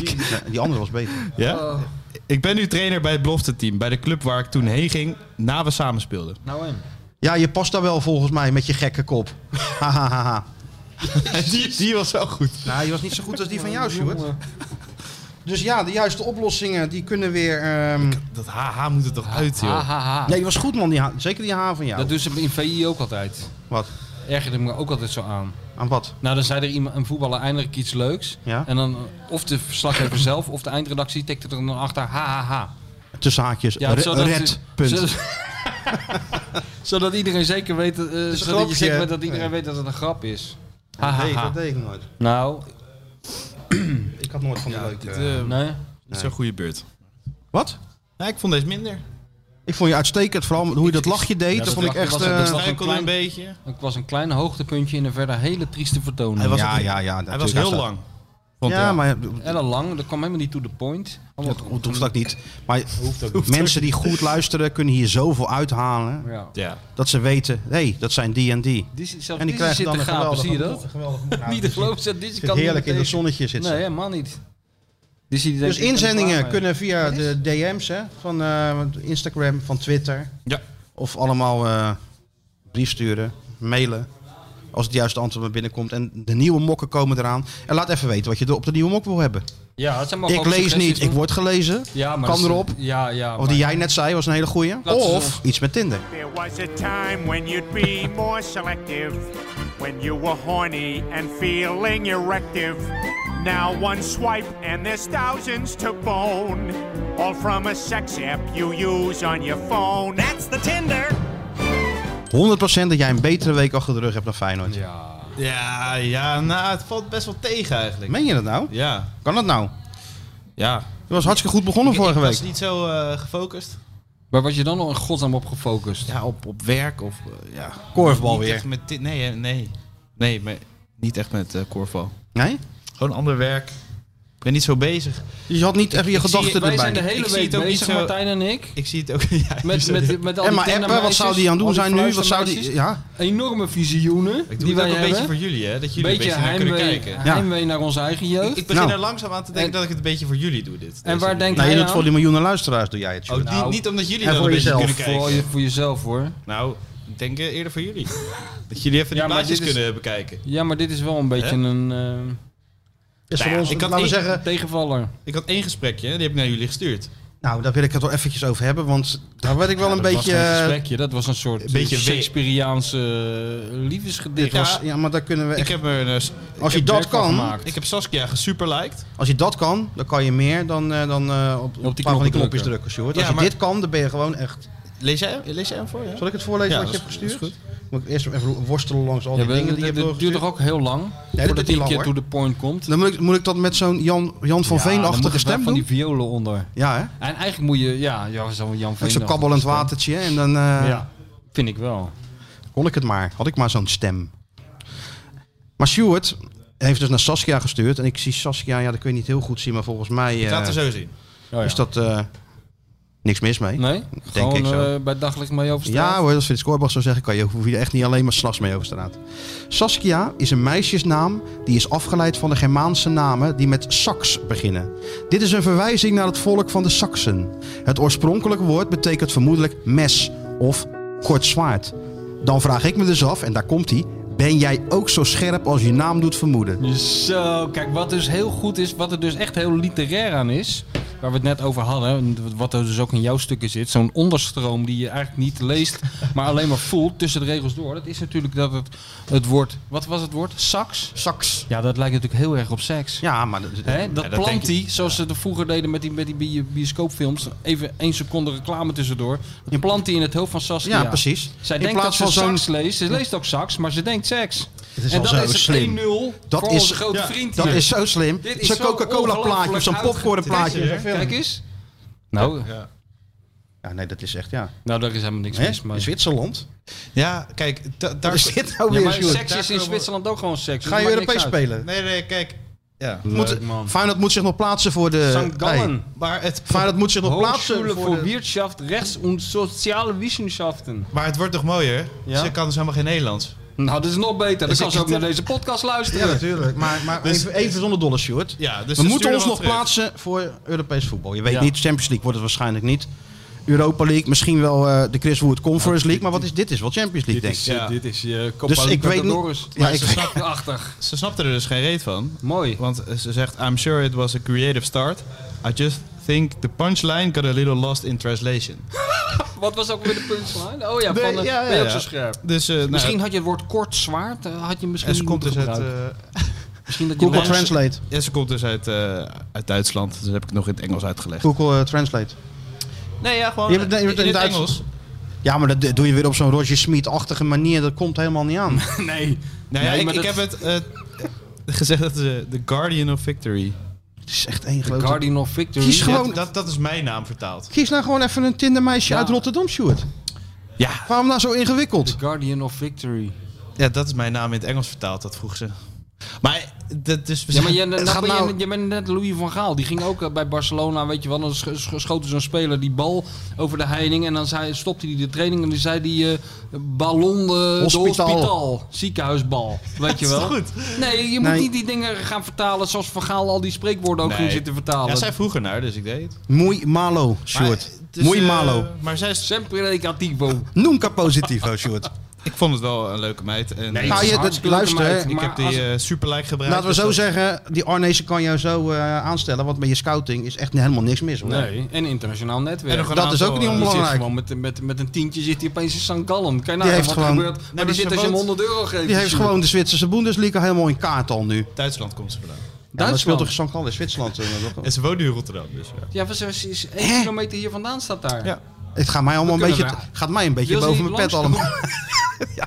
S4: Nee, die andere was beter.
S6: Ja?
S5: Oh.
S6: Ik ben nu trainer bij het belofte team. Bij de club waar ik toen heen ging, na we samen speelden.
S5: Nou en?
S4: Ja, je past daar wel volgens mij met je gekke kop. Hahaha.
S6: die, die was wel goed.
S4: nou, die was niet zo goed als die van jou, Stuart. Dus ja, de juiste oplossingen die kunnen weer. ehm,
S6: Dat haha moet er toch uit, joh.
S5: Ha, ha, ha.
S4: Nee, die was goed, man. Die ha- Zeker die haar van jou.
S5: Dat doen ze in VI ook altijd.
S4: Wat?
S5: Ergerde me ook altijd zo aan.
S4: Aan wat?
S5: Nou, dan zei er iemand, een voetballer eindelijk iets leuks.
S4: Ja.
S5: En dan eh, of de verslaggever zelf of de eindredactie tikte er dan achter. Ha, ha, ha.
S4: Tussen haakjes.
S5: Ja,
S4: re-
S5: zodat-
S4: red. Punt.
S5: Zodat, zodat iedereen zeker weet, eh, zodat
S4: grapje,
S5: je zeker
S4: hè?
S5: weet dat iedereen
S4: Ja.
S5: weet dat het een grap is. Ha,
S4: Dat
S5: ha,
S4: deed-
S5: ha.
S4: Dat deed ik nooit.
S5: Nou,
S4: Ik had nooit van die leuke.
S5: nee.
S6: Dat is een goede beurt.
S4: Wat?
S6: Ja, ik vond deze minder.
S4: Ik vond je uitstekend, vooral hoe je dat lachje deed.
S5: dat
S4: dat vond ik
S5: lachje
S4: echt.
S5: was ook- dat
S4: eh,
S5: was
S6: Hij kon
S5: klein-
S6: een beetje.
S5: Het was een klein hoogtepuntje in een verder hele trieste vertoning.
S6: was
S4: ja,
S6: ook-
S4: ja, ja,
S6: Hij
S4: natuurlijk.
S6: was heel
S4: staat-
S6: lang.
S4: Ja, maar
S5: Ella Lang, dat kwam helemaal niet to the point. Allemaal
S4: dat hoeft hoeft ook niet. Maar mensen die goed luisteren kunnen hier zoveel uithalen.
S5: Ja.
S6: Ja.
S4: Dat ze weten, hé, hey, dat zijn die en die.
S5: Die, zit- zelfs
S4: En die krijgen
S5: zit
S4: dan
S5: te
S4: een
S5: gapen,
S4: geweldige Nou, dus
S5: zie je dat? Niet te geloven, zegt Dizzy
S4: Zit
S5: kan
S4: heerlijk
S5: niet
S4: in het
S5: tegen.
S4: zonnetje zit ze.
S5: Nee, helemaal niet. Dizzy die denkt,
S4: Dus
S5: ik ben er klaar
S4: inzendingen
S5: mee.
S4: kunnen via de DM's hè, van eh, Instagram, van Twitter.
S6: Ja.
S4: Of allemaal eh, brief sturen, mailen. Als het juiste antwoord maar binnenkomt. En de nieuwe mokken komen eraan. En laat even weten wat je er op de nieuwe mok wil hebben.
S5: Ja, het zijn maar
S4: Ik
S5: gewoon
S4: lees
S5: suggesties
S4: niet, ik
S5: doen.
S4: word gelezen.
S5: Ja, maar
S4: kan
S5: dat is-
S4: erop.
S5: Ja, ja.
S4: Of die jij net zei, was een hele goeie.
S5: Laten we-
S4: Of iets met Tinder.
S11: There was a time when you'd be more selective, when you were horny and feeling erective. Now one swipe and there's thousands to bone, all from a sex app you use on your phone. That's the Tinder.
S4: 100% dat jij een betere week achter de rug hebt dan Feyenoord.
S5: Ja.
S6: Ja, ja, nou, het valt best wel tegen eigenlijk.
S4: Meen je dat nou?
S6: Ja,
S4: Kan dat nou?
S6: ja.
S4: Je was hartstikke goed begonnen
S6: Ik-
S4: vorige
S6: ik
S4: week.
S6: was niet zo eh, gefocust.
S5: Waar was je dan al in godsnaam op gefocust?
S6: Ja, op, op werk of... eh, ja.
S4: Korfbal
S6: Niet
S4: weer.
S6: echt met dit- nee, hè, nee. Nee, maar niet echt met eh korfbal.
S4: Nee?
S6: Gewoon ander werk. Ik ben niet zo bezig.
S4: Je had niet even je
S6: ik zie-
S4: gedachten
S5: Wij zijn de
S4: erbij.
S5: hele
S6: Ik zie
S5: week
S6: het ook niet
S5: bezig,
S6: zo-
S5: Martijn en ik.
S6: Ik zie het ook... Ja,
S5: Met,
S6: sorry.
S5: met, met al
S4: En maar
S5: die
S4: appen, wat
S5: kindermeisjes,
S4: zou die aan
S5: al
S4: doen zijn nu? Wat zou die,
S5: fluistermeisjes.
S4: ja? Nou,
S5: Enorme visioenen
S6: ik doe
S5: die
S6: het ook
S5: wij
S6: een beetje
S5: hebben.
S6: voor jullie, hè. Dat jullie
S5: beetje
S6: een beetje naar kunnen
S5: heimwee,
S6: kijken.
S5: heimwee naar onze eigen
S6: Ik,
S5: jeugd.
S6: ik begin
S4: Nou.
S6: er langzaam aan te denken
S5: En-
S6: dat ik het een beetje voor jullie doe, dit.
S5: en
S6: deze
S5: waar
S6: week.
S5: denk
S4: Nee, je
S5: jij
S4: doet voor
S5: aan?
S4: die miljoenen luisteraars, doe jij het.
S6: Oh,
S4: Sjoerd.
S6: die,
S5: Nou,
S6: niet omdat jullie
S4: en
S6: dan
S4: voor
S6: een beetje
S4: jezelf.
S6: kunnen
S5: Voor,
S6: kijken.
S5: je, voor jezelf hoor.
S6: Nou, ik denk eh, eerder voor jullie. dat jullie even die
S5: Ja, maar
S6: plaatjes
S5: dit is-
S6: kunnen bekijken.
S5: Ja, maar dit is wel een beetje een eh,
S4: Is voor
S6: Nou ja,
S4: ons,
S6: ik had
S4: laten we
S6: één-
S4: zeggen,
S5: tegenvaller.
S4: Eh,
S6: Ik had één gesprekje, die heb ik naar jullie gestuurd.
S4: nou, daar wil ik het wel eventjes over hebben, want daar werd ik wel een
S5: dat was
S4: beetje...
S5: geen
S4: eh,
S5: gesprekje, dat was een soort
S6: een beetje
S5: eh,
S6: we-
S5: Shakespeareaanse eh, liefdesgedicht.
S4: dit was- Ja, maar daar kunnen we
S6: Ik
S4: echt...
S6: heb, er een, eh,
S4: Als
S6: ik
S4: je
S6: heb
S4: dat
S5: werk van
S4: kan,
S5: gemaakt.
S6: Ik heb Saskia gesuperliked.
S4: als je dat kan, dan kan je meer dan, eh, dan eh, op, op een paar van die knopjes
S5: knoppen
S4: drukken,
S5: drukken.
S4: Sjoerd.
S6: Ja,
S4: als je
S6: maar-
S4: dit kan, dan ben je gewoon echt...
S6: Lees jij, lees jij hem voor? Ja?
S12: Zal ik het voorlezen
S6: Ja,
S12: wat je
S6: dat
S12: hebt
S6: is-
S12: gestuurd?
S6: dat is
S12: Moet ik eerst even worstelen langs al die
S5: maar
S12: dingen
S5: dit-
S12: die je hebt
S5: dit duurt
S12: doorgestuurd?
S5: toch ook heel lang
S12: dit duurt
S5: voordat hij
S12: niet
S5: een keer
S12: lang,
S5: to the point komt.
S4: Dan moet ik, moet ik dat met zo'n Jan, Jan van
S5: Ja, dan moet
S4: Veen-achtige
S5: er
S4: stem
S5: wel
S4: doen?
S5: van die violen onder.
S4: Ja, hè?
S5: En eigenlijk moet je, ja, ja zo'n Jan
S4: Ook
S5: Veen.
S4: Zo'n kabbelend watertje en dan... eh,
S5: Ja, vind ik wel.
S4: Kon ik het maar. Had ik maar zo'n stem. Maar Stuart heeft dus naar Saskia gestuurd. En ik zie Saskia, ja, dat kun je niet heel goed zien, maar volgens mij...
S6: Ik
S4: eh,
S6: laat het zo zien.
S5: ja.
S4: Is dat eh, niks mis mee?
S5: Nee?
S4: Denk
S5: Gewoon
S4: ik zo.
S5: eh, bij daglicht mee overstaan?
S4: Ja hoor, als Frits Korbach zou zeggen, kan je, hoef je er echt niet alleen maar s'nachts mee over straat. Saskia is een meisjesnaam die is afgeleid van de Germaanse namen die met Sax beginnen. Dit is een verwijzing naar het volk van de Saksen. Het oorspronkelijke woord betekent vermoedelijk mes of kort zwaard. Dan vraag ik me dus af, en daar komt hij, ben jij ook zo scherp als je naam doet vermoeden?
S5: Zo, kijk, wat dus heel goed is, wat er dus echt heel literair aan is, waar we het net over hadden, wat er dus ook in jouw stukken zit, zo'n onderstroom die je eigenlijk niet leest, maar alleen maar voelt tussen de regels door, dat is natuurlijk dat het, het woord, wat was het woord? Sax?
S4: Sax.
S5: Ja, dat lijkt natuurlijk heel erg op seks.
S4: Ja, maar...
S5: Hè, dat
S6: Ja, dat denk
S5: plant hij, zoals ze dat vroeger deden met die, met die bi- bioscoopfilms, even één seconde reclame tussendoor, dat plant hij in het hoofd van Saskia.
S4: Ja, precies.
S5: Zij
S4: In
S5: denkt
S4: plaats
S5: dat ze
S4: van zo'n-
S5: sax leest, ze leest ook sax, maar ze denkt seks.
S12: Het is
S5: en
S12: al
S5: dat
S12: zo
S5: is het 1-0
S12: slim.
S4: Dat
S5: voor
S4: is-
S5: onze grote vriend
S4: Dat
S5: hier.
S4: is zo slim.
S5: Dit is
S4: Zo'n
S5: zo
S4: Coca-Cola plaatje of zo'n
S5: ongelooflijk
S4: popcorn plaatje.
S5: uitgedacht. Kijk eens. Nou,
S4: Ja, nee, dat is echt, ja.
S5: nou, daar is helemaal niks
S4: Hè?
S5: mis mee.
S4: In Zwitserland?
S6: Ja, kijk, da- daar
S4: Daar is dit nou
S5: Ja,
S4: weer,
S5: maar
S4: Sjoerd?
S5: seks is in Zwitserland ook gewoon seks.
S4: Ga je
S5: Dat maakt niks
S4: Europees
S5: uit.
S4: spelen? Eh,
S6: Nee, nee, kijk. Ja.
S4: Moet, eh, Feyenoord moet zich nog plaatsen voor de...
S5: St. Gallen.
S6: Maar het,
S4: Feyenoord moet zich nog plaatsen
S5: Hochschule
S4: voor,
S5: voor
S4: de-
S5: Wirtschaft, Rechts- en Soziale Wissenschaften.
S6: maar het wordt toch mooier?
S5: Ja?
S6: Ze kan dus helemaal geen Nederlands.
S5: Nou, dat is nog beter. Dan
S6: Dus
S5: kan
S6: ik-
S5: ze ook naar deze podcast luisteren.
S4: Ja, natuurlijk. Maar, maar even, even zonder dolle, Sjoerd.
S6: Ja, dus
S4: We
S6: ze
S4: moeten
S6: sturen
S4: ons
S6: wat
S4: nog
S6: terug.
S4: plaatsen voor Europees voetbal. Je weet
S5: Ja.
S4: niet, Champions League wordt het waarschijnlijk niet. Europa League, misschien wel eh, de Chris Wood Conference League. Maar wat is dit? Is wel Champions League, denk ik.
S6: Ja.
S5: Dit is je Copa
S4: Dus ik weet
S5: Libertadores.
S4: niet... Ja, ik
S5: Ze snapt achtig.
S6: Ze snapte er dus geen reet van.
S5: Mooi.
S6: Want eh, ze zegt, I'm sure it was a creative start. I just think the punchline got a little lost in translation.
S5: Wat was ook weer de punchline? Oh ja,
S6: Nee,
S5: van de,
S6: ja, ja,
S5: ben je ook
S6: ja.
S5: zo scherp.
S6: Dus eh, nou,
S5: Misschien had je het woord kort zwaard, eh, had je misschien
S6: en ze
S5: niet
S6: komt dus
S5: moeten
S6: uit,
S5: gebruiken.
S6: eh,
S5: Misschien dat je
S4: Google
S5: les-
S4: Translate.
S6: ja, ze komt dus uit, eh, uit Duitsland. Dus dat heb ik nog in het Engels uitgelegd.
S4: Google eh, Translate.
S6: Nee, ja, gewoon
S4: Je
S5: eh,
S4: hebt het- je hebt het
S6: in
S4: in
S6: het
S4: Duits-
S6: Engels.
S4: Ja, maar dat doe je weer op zo'n Roger Smit-achtige manier. Dat komt helemaal niet aan.
S5: Nee.
S6: Nou ja,
S5: Nee,
S6: ik,
S5: maar
S6: ik
S5: dat-
S6: heb het eh, gezegd dat ze The Guardian of Victory.
S4: Het is echt één
S5: The
S4: grote...
S5: Guardian of Victory.
S4: Kies gewoon-
S6: Dat, dat, dat is mijn naam vertaald.
S4: Kies nou gewoon even een Tindermeisje
S5: Ja.
S4: uit Rotterdam, Sjoerd.
S6: Ja.
S4: Waarom nou zo ingewikkeld?
S5: The Guardian of Victory.
S6: ja, dat is mijn naam in het Engels vertaald, dat vroeg ze. Maar dat dus is...
S5: Ja, maar je,
S4: Het
S5: nou
S4: gaat
S5: ben je-
S4: nou-
S5: je bent net Louis van Gaal. Die ging ook eh, bij Barcelona, weet je wel. Dan sch- sch- schoten zo'n speler die bal over de heining. En dan zei, stopte hij de training en dan zei hij... eh ballon eh,
S4: Hospitaal.
S5: de hospitaal. Ziekenhuisbal, weet je wel. Nee, je moet
S4: Nee.
S5: niet die dingen gaan vertalen zoals Van Gaal al die spreekwoorden ook
S6: Nee.
S5: ging zitten vertalen.
S6: Ja, zij vroeg ernaar, dus ik deed het.
S4: Muy malo, Sjoerd.
S6: Maar, dus,
S4: Muy
S6: eh,
S4: malo.
S6: Maar zij is...
S5: Sempre negativo.
S4: Nunca positivo, Sjoerd.
S6: Ik vond het wel een leuke meid. En,
S5: Nee,
S4: Nou,
S6: eh,
S5: het is
S4: je- dat-
S5: hartstikke leuke
S4: luister,
S5: meid,
S4: hè,
S6: ik
S5: maar
S6: heb die
S5: als-
S6: eh, superlike gebruikt.
S4: Laten we zo
S6: dus dat-
S4: zeggen, die Arnezen kan jou zo eh, aanstellen. Want met je scouting is echt helemaal niks mis. Hoor.
S5: Nee, en internationaal netwerk.
S6: En nog een
S4: Dat is
S6: aantal,
S4: ook niet
S6: eh,
S5: Die zit
S4: onbelangrijk.
S5: gewoon met, met, met een tientje zit hij opeens in St. Gallen. Kan je
S4: Die
S5: nagaan
S4: heeft
S5: wat er
S4: gewoon-
S5: gebeurt. Maar die
S6: maar
S5: zit
S6: ze
S5: als je hem
S6: woont-
S5: 100 euro geeft.
S4: Die heeft gewoon de Zwitserse Bundesliga helemaal in kaart al nu.
S6: Duitsland komt ze vandaan.
S4: Ja, maar dat speelt toch
S5: Duitsland.
S4: St. Gallen in Zwitserland? eh, toch?
S6: En ze woont nu in Rotterdam, dus ja.
S5: Ja, was is, is één kilometer hier vandaan staat daar.
S6: Ja.
S4: Het gaat mij allemaal een
S5: We
S4: beetje,
S5: kunnen
S4: gaat mij een beetje
S5: Wil ze
S4: boven
S5: niet
S4: mijn pet
S5: langs
S4: allemaal.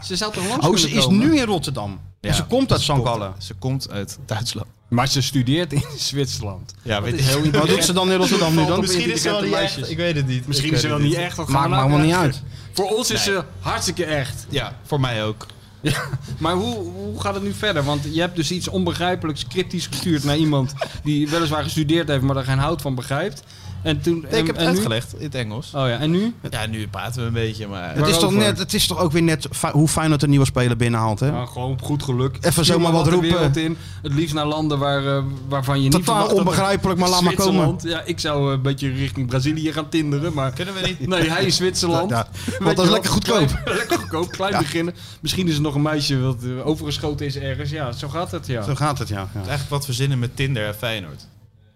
S5: Ze zou toch langs
S4: Oh, ze
S5: kunnen
S4: is
S5: komen?
S4: nu in Rotterdam. En
S6: Ja,
S4: ze komt uit
S6: ze
S4: St. Gallen.
S6: Ze komt uit Duitsland.
S5: Maar ze studeert in Zwitserland.
S6: Ja, weet
S5: is
S6: ik.
S5: heel
S4: Wat doet
S5: intelligent.
S4: ze dan in Rotterdam nu dan?
S5: Misschien is ze wel niet echt.
S6: Ik weet het niet.
S5: Misschien is ze wel niet echt. dat gaan
S4: Maakt
S5: we
S4: me
S5: later
S4: helemaal niet uit.
S5: Voor ons is ze hartstikke echt.
S6: Ja, voor mij ook.
S5: Ja, maar hoe, hoe gaat het nu verder? Want je hebt dus iets onbegrijpelijks cryptisch gestuurd naar iemand die weliswaar gestudeerd heeft, maar daar geen hout van begrijpt. En toen, en,
S6: ik heb het
S5: en nu?
S6: uitgelegd in het Engels.
S5: Oh ja, en nu?
S6: Ja, nu praten we een beetje, maar...
S4: Het is, toch
S5: Waarover?
S4: net, het is toch ook weer net fi- hoe Feyenoord een nieuwe speler binnenhaalt, hè?
S5: Ja, gewoon op goed geluk.
S4: Even
S5: Stuur
S4: zomaar
S5: maar
S4: wat
S5: de
S4: roepen.
S5: wereld in. Het liefst naar landen waar, eh, waarvan je niet
S4: Totaal
S5: verwacht dat-
S4: onbegrijpelijk, maar laat maar komen.
S5: Zwitserland. Ja, ik zou eh, een beetje richting Brazilië gaan tinderen, maar...
S6: Kunnen we niet?
S5: Nee, hij is Zwitserland.
S4: Ja,
S5: Weet
S4: want
S5: je
S4: dat is
S5: wel,
S4: lekker goedkoop.
S5: Klein, lekker goedkoop, klein beginnen. Misschien is er nog een meisje wat eh, overgeschoten is ergens. Ja, zo gaat het, ja.
S4: Zo gaat het, ja. ja.
S6: Eigenlijk wat we zinnen met Tinder en Feyenoord.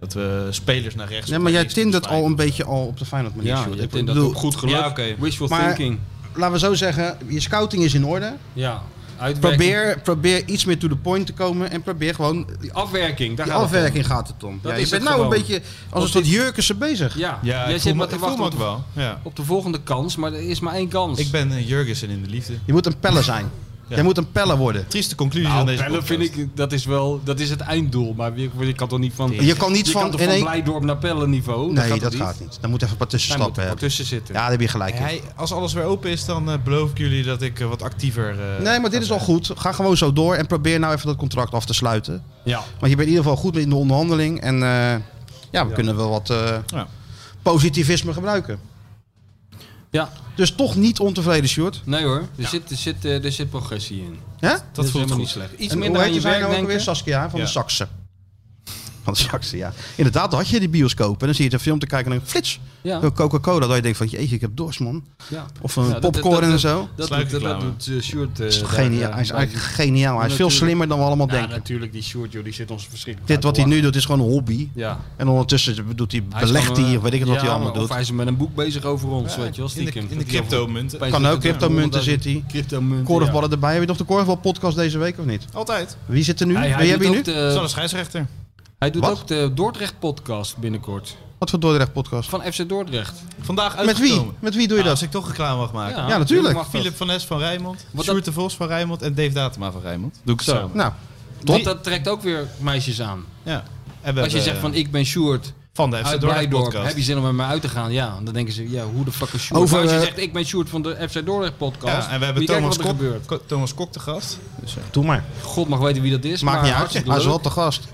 S6: Dat we spelers naar rechts...
S4: Ja, maar jij
S6: links doen
S4: tindert al
S6: spijken.
S4: een beetje al op de Feyenoord manier.
S5: Ja,
S4: Sjoerd.
S5: je
S4: Ik
S5: tindert
S4: bedoel,
S5: op goed geluk.
S6: Ja, oké.
S5: Wishful
S4: Maar-
S5: thinking.
S4: Laten we zo zeggen, je scouting is in orde.
S5: Ja. Uitwerking.
S4: Probeer, probeer iets meer to the point te komen en probeer gewoon...
S5: Die afwerking, daar
S4: Die
S5: gaat het om.
S4: afwerking gaat het om.
S5: Dat
S4: Ja,
S5: is
S4: je bent
S5: het
S4: nou een
S5: gewoon.
S4: beetje
S5: Op
S4: als een soort
S5: dit-
S4: jurkense bezig.
S5: Ja,
S6: Ja,
S5: jij
S6: ik
S5: zit
S6: voel
S5: maar
S6: me-
S5: te
S6: ik voel
S5: wachten op,
S6: me ook wel, ja.
S5: op de volgende kans, maar er is maar één kans.
S6: Ik ben eh, Jurgensen in de liefde.
S4: Je moet een peller zijn. Jij moet een peller worden.
S6: Trieste conclusie
S5: Nou,
S6: van deze
S5: bellen
S6: podcast.
S5: vind ik, dat is wel, dat is het einddoel. Maar je, je kan toch niet van,
S4: Je kan niet van-
S5: toch
S4: in
S5: van
S4: één-
S5: Blijdorp naar Pellen niveau?
S4: Nee, dat gaat niet. Daar moet even wat
S5: Daar moet
S4: tussenstappen
S5: er wat
S4: hebben.
S5: tussen zitten.
S4: Ja, daar heb je gelijk in.
S6: Hij, als alles weer open is, dan eh, beloof ik jullie dat ik eh, wat actiever... eh,
S4: Nee, maar dit is al goed. Ga gewoon zo door en probeer nou even dat contract af te sluiten.
S5: Ja.
S4: Want je bent in ieder geval goed in de onderhandeling. En eh, ja, we
S5: Ja.
S4: kunnen wel wat eh,
S6: Ja.
S4: positivisme gebruiken.
S5: Ja,
S4: Dus toch niet ontevreden, Sjoerd.
S5: nee hoor. Er, zit, er, zit, eh, er zit progressie in.
S4: Hè?
S5: Dat is
S6: voelt
S5: helemaal
S6: goed.
S5: niet slecht. Iets
S4: En
S5: minder
S4: hoe
S5: aan
S4: heet
S5: je
S4: zij
S5: werk
S4: nou ook
S5: denken.
S4: weer? Saskia van
S6: Ja.
S4: de Saxe. Van de Saxe, ja. Inderdaad, dan had je die bioscoop. En dan zie je een film te kijken en dan flits.
S5: Ja.
S4: Een Coca-Cola. Dat je denkt van, jeetje, ik heb dorst, man.
S5: Ja.
S4: Of een
S5: Ja, dat- dat-
S4: popcorn
S5: dat-
S4: en zo.
S5: Dat,
S6: Sluit
S5: dat,
S6: reclame.
S5: dat doet eh, Sjoerd. eh,
S4: Is
S5: daar,
S4: geniaal.
S5: eh,
S4: Hij is
S5: bij-
S4: eigenlijk geniaal. Hij is veel
S5: Natuurlijk.
S4: slimmer dan we allemaal
S5: Ja,
S4: denken.
S5: natuurlijk, die Sjoerd, joh, die zit ons verschrikkelijk
S4: Dit
S5: aan
S4: wat
S5: te
S4: hij nu
S5: lachen.
S4: doet is gewoon een hobby.
S5: Ja.
S4: En ondertussen doet hij,
S5: Hij is
S4: belegt
S5: gewoon,
S4: hij,
S5: eh,
S4: of weet ik het wat
S5: ja,
S4: hij allemaal
S5: maar Of
S4: doet.
S5: hij is met een boek bezig over ons, weet je wel,
S6: in de-
S5: stiekem.
S6: in de cryptomunten.
S4: Kan ook, cryptomunten zit hij.
S5: Cryptomunten,
S4: Korfballen erbij. Heb je nog de korfbalpodcast deze week of niet?
S6: Altijd.
S4: Wie zit er nu?
S5: ja. Hij- hij
S4: Wie hebben
S5: doet
S4: je nu?
S5: ook de-
S6: Zo'n scheidsrechter.
S5: Hij doet
S4: Wat?
S5: ook de Dordrecht-podcast binnenkort.
S4: Wat voor Dordrecht podcast?
S5: Van FC Dordrecht.
S6: Vandaag
S4: Met wie?
S6: uitgekomen.
S4: Met wie doe je
S6: Ah,
S4: dat?
S6: Als ik toch reclame mag maken.
S4: Ja, natuurlijk.
S5: mag dat.
S6: Philip van Nes van Rijmond,
S5: dat-
S6: Sjoerd de Vos van Rijmond en Dave Datema van Rijmond. Doe ik
S5: Zo.
S6: zo. samen.
S4: Nou,
S5: Want
S4: top.
S5: dat trekt ook weer meisjes aan.
S6: Ja. En we hebben,
S5: Als je zegt
S6: eh,
S5: van ik ben Sjoerd
S6: van de FC
S5: uit
S6: Dordrecht
S5: Blijdorp,
S6: podcast.
S5: heb je zin om met mij uit te gaan? Ja, dan denken ze, ja, hoe de fuck is Sjoerd?
S4: Over,
S5: Maar als je
S4: eh,
S5: zegt ik ben Sjoerd van de FC Dordrecht podcast,
S6: Ja, en we hebben
S5: wie kijkt
S6: Thomas
S5: wat er
S6: Kok,
S5: gebeurt.
S6: Ko- Thomas Kok te gast. Dus, eh,
S4: Doe maar.
S5: God mag weten wie dat is,
S4: Maakt
S5: maar
S4: niet uit.
S5: hartstikke
S4: Hij is wel
S5: leuk.
S4: te gast.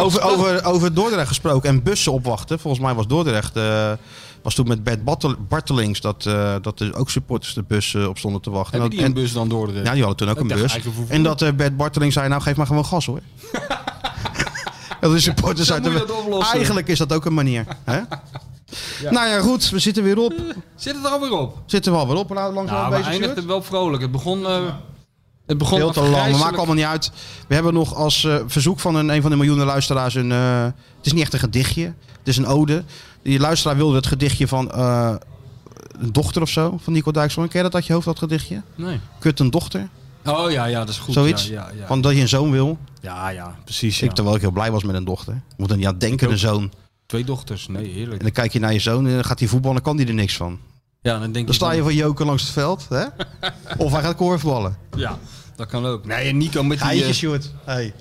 S4: over, over, over Dordrecht gesproken en bussen opwachten. Volgens mij was Dordrecht. eh, was toen met Bert Bartel- Bartelings dat, eh, dat er ook supporters de bussen op stonden te wachten.
S5: Hebben
S4: En
S5: die een
S4: dat- en-
S5: bus dan Dordrecht?
S4: Ja, die hadden toen ook
S5: Ik
S4: een
S5: dacht
S4: bus.
S5: eigenlijk vervoer.
S4: En dat eh, Bert Barteling zei, nou geef maar gewoon gas hoor. dat de supporters
S5: dan
S4: uit de-
S5: moet je dat oplossen.
S4: Eigenlijk is dat ook een manier. Hè? Nou ja, goed. We zitten weer op.
S5: Zit het er alweer op?
S4: Zitten we alweer op. Laten we langzaam
S5: Nou, we
S4: bezig
S5: eindigden
S4: Sjoerd?
S5: wel vrolijk. Het begon... eh, het begon
S4: Heel te lang. We
S5: afgrijzelijk.
S4: maken allemaal niet uit. We hebben nog als eh, verzoek van een, een van de miljoenen luisteraars een. eh, het is niet echt een gedichtje. Het is een ode. Die luisteraar wilde het gedichtje van. eh, een dochter of zo van Nico Dijkshoorn. Ken je dat uit je hoofd, dat gedichtje?
S5: Nee.
S4: Kut een dochter,
S5: Oh ja, ja, dat is goed.
S4: zoiets.
S5: Ja, ja, ja.
S4: Van dat je een zoon wil.
S5: ja, ja precies.
S4: Ik,
S5: Ja.
S4: terwijl ik heel blij was met een dochter. Want een ja, denkende
S5: ook.
S4: zoon.
S5: Twee dochters, nee, heerlijk.
S4: En dan kijk je naar je zoon en dan gaat hij voetballen, kan hij er niks van.
S5: Ja, dan denk
S4: Dan
S5: ik
S4: sta
S5: van-
S4: je van joken langs het veld, hè? of hij gaat korfballen.
S5: Ja, dat kan ook. Nee, en Nico met die...
S4: Geitje,
S5: eh,
S4: Sjoerd. Hey.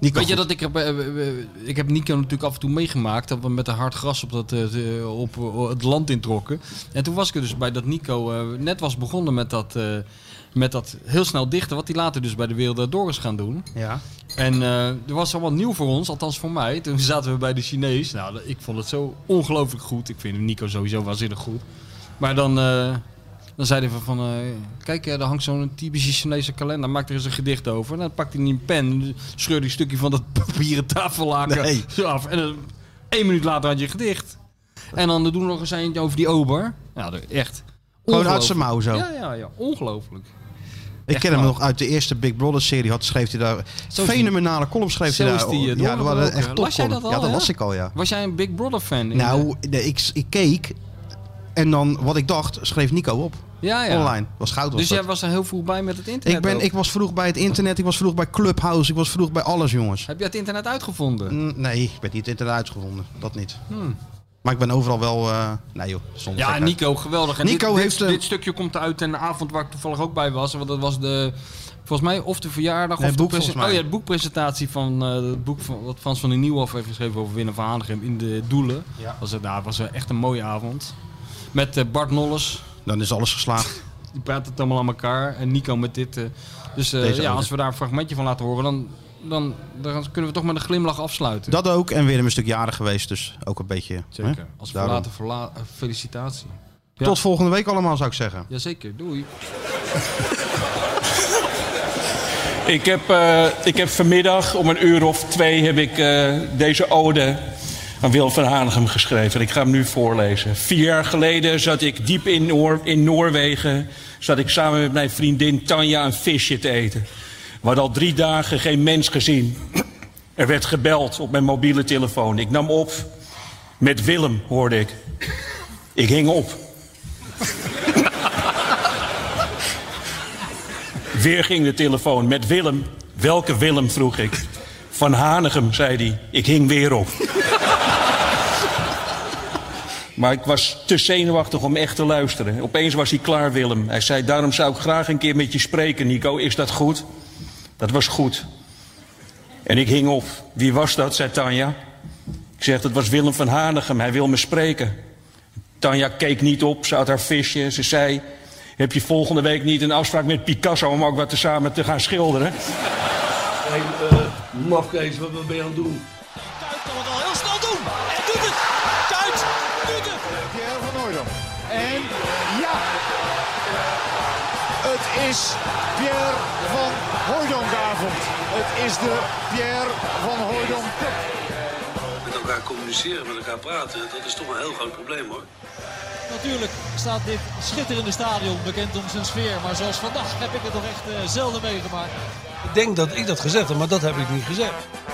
S4: Nico,
S5: Weet je
S4: goed.
S5: dat ik heb, eh, eh, eh, ik heb Nico natuurlijk af en toe meegemaakt dat we met een hard gras op, dat, eh, eh, op eh, het land introkken. En toen was ik er dus bij dat Nico eh, net was begonnen met dat, eh, met dat heel snel dichten, wat hij later dus bij de Wereld Daardoor is gaan doen.
S4: Ja.
S5: En eh, er was allemaal nieuw voor ons, althans voor mij. Toen zaten we bij de Chinees. Nou, dat- ik vond het zo ongelooflijk goed. Ik vind Nico sowieso waanzinnig goed. Maar dan, eh, dan zeiden we van... eh, kijk, eh, daar hangt zo'n typische Chinese kalender. Maak er eens een gedicht over. En dan pakt hij een pen. en Scheurde hij een stukje van dat papieren tafellaken
S4: Nee.
S5: zo af. En dan, één minuut later had je een gedicht. En dan doen we nog eens eentje over die ober. Ja, dat- echt.
S4: Gewoon uit
S5: ongelooflijk.
S4: zijn mouw zo.
S5: Ja, ja, ja. Ongelooflijk.
S4: ik
S5: echt
S4: ken hem
S5: waar.
S4: nog uit de eerste Big Brother serie. Had, schreef hij daar
S5: Zo is die-
S4: fenomenale columns schreef
S5: zo
S4: hij
S5: is
S4: daar.
S5: die, eh,
S4: ja, dat waren
S5: doorgebroken.
S4: echt top
S5: Las jij dat al,
S4: Ja, dat
S5: hè?
S4: las ik al, ja.
S5: Was jij een Big Brother fan? in de-
S4: Nou, de- ik, ik keek en dan wat ik dacht, schreef Nico op.
S5: ja, ja.
S4: Online. Was goud was
S5: Dus
S4: dat.
S5: jij was er heel vroeg bij met het internet.
S4: ik, ben,
S5: ook.
S4: ik was vroeg bij het internet, ik was vroeg bij Clubhouse, ik was vroeg bij alles, jongens.
S5: Heb jij het internet uitgevonden?
S4: Mm, Nee, ik ben niet internet uitgevonden. Dat niet. Maar ik ben overal wel... eh, nee joh, zonder
S5: Hmm. Ja,
S4: gekheid.
S5: Nico, geweldig. En
S4: Nico
S5: dit, dit-
S4: heeft,
S5: dit,
S4: eh,
S5: stukje komt uit in de avond waar ik toevallig ook bij was. Want dat was de, volgens mij, of de
S4: Nee,
S5: verjaardag of
S4: het
S5: de
S4: boek,
S5: presen-
S4: volgens mij.
S5: Oh ja, de boekpresentatie van eh, het boek van, wat Frans van den Nieuwhof heeft geschreven over Winnen van Hanegem in de Doelen.
S4: Ja.
S5: Was het, nou, het was eh, echt een mooie avond. Met eh, Bart Nolles,
S4: Dan is alles geslaagd.
S5: die praat het allemaal aan elkaar. En Nico met dit. eh, dus eh,
S4: Deze
S5: ja,
S4: ode.
S5: als we daar een fragmentje van laten horen, dan, dan, dan kunnen we toch met een glimlach afsluiten.
S4: Dat ook. En weer een stuk jarig geweest, dus ook een beetje... hè?
S5: Zeker. Als
S4: Daarom.
S5: verlaten, verla eh, felicitatie. Ja.
S4: Tot volgende week allemaal, zou ik zeggen.
S5: Jazeker, doei.
S13: Ik heb, eh, ik heb vanmiddag om een uur of twee heb ik, eh, deze ode aan Wil van Hanegem geschreven. Ik ga hem nu voorlezen. Vier jaar geleden zat ik diep in, Noor- in Noorwegen. Zat ik samen met mijn vriendin Tanja een visje te eten. We hadden al drie dagen geen mens gezien. Er werd gebeld op mijn mobiele telefoon. Ik nam op. Met Willem hoorde ik. Ik hing op.
S8: Weer ging de telefoon met Willem. Welke Willem, vroeg ik. Van Hanegem, zei hij. Ik hing weer op. Maar ik was te zenuwachtig om echt te luisteren. Opeens was hij klaar, Willem. Hij zei, daarom zou ik graag een keer met je spreken, Nico. Is dat goed? Dat was goed. En ik hing op. Wie was dat, zei Tanja. Ik zeg, dat was Willem van Hanegem. Hij wil me spreken. Tanja keek niet op. Ze had haar visje. Ze zei, heb je volgende week niet een afspraak met Picasso... om ook wat te samen te gaan schilderen?
S1: Hey, eh, mafkees, wat ben je aan het doen?
S3: Pierre van Hooydonk. En ja, het is Pierre van Hooydonkavond. Het is de Pierre van Hooydonk Cup.
S1: Met elkaar communiceren, met elkaar praten, dat is toch een heel groot probleem hoor.
S13: Natuurlijk staat dit schitterende stadion bekend om zijn sfeer. Maar zoals vandaag heb ik het toch echt eh, zelden meegemaakt.
S14: Ik denk dat ik dat gezegd heb, maar dat heb ik niet gezegd.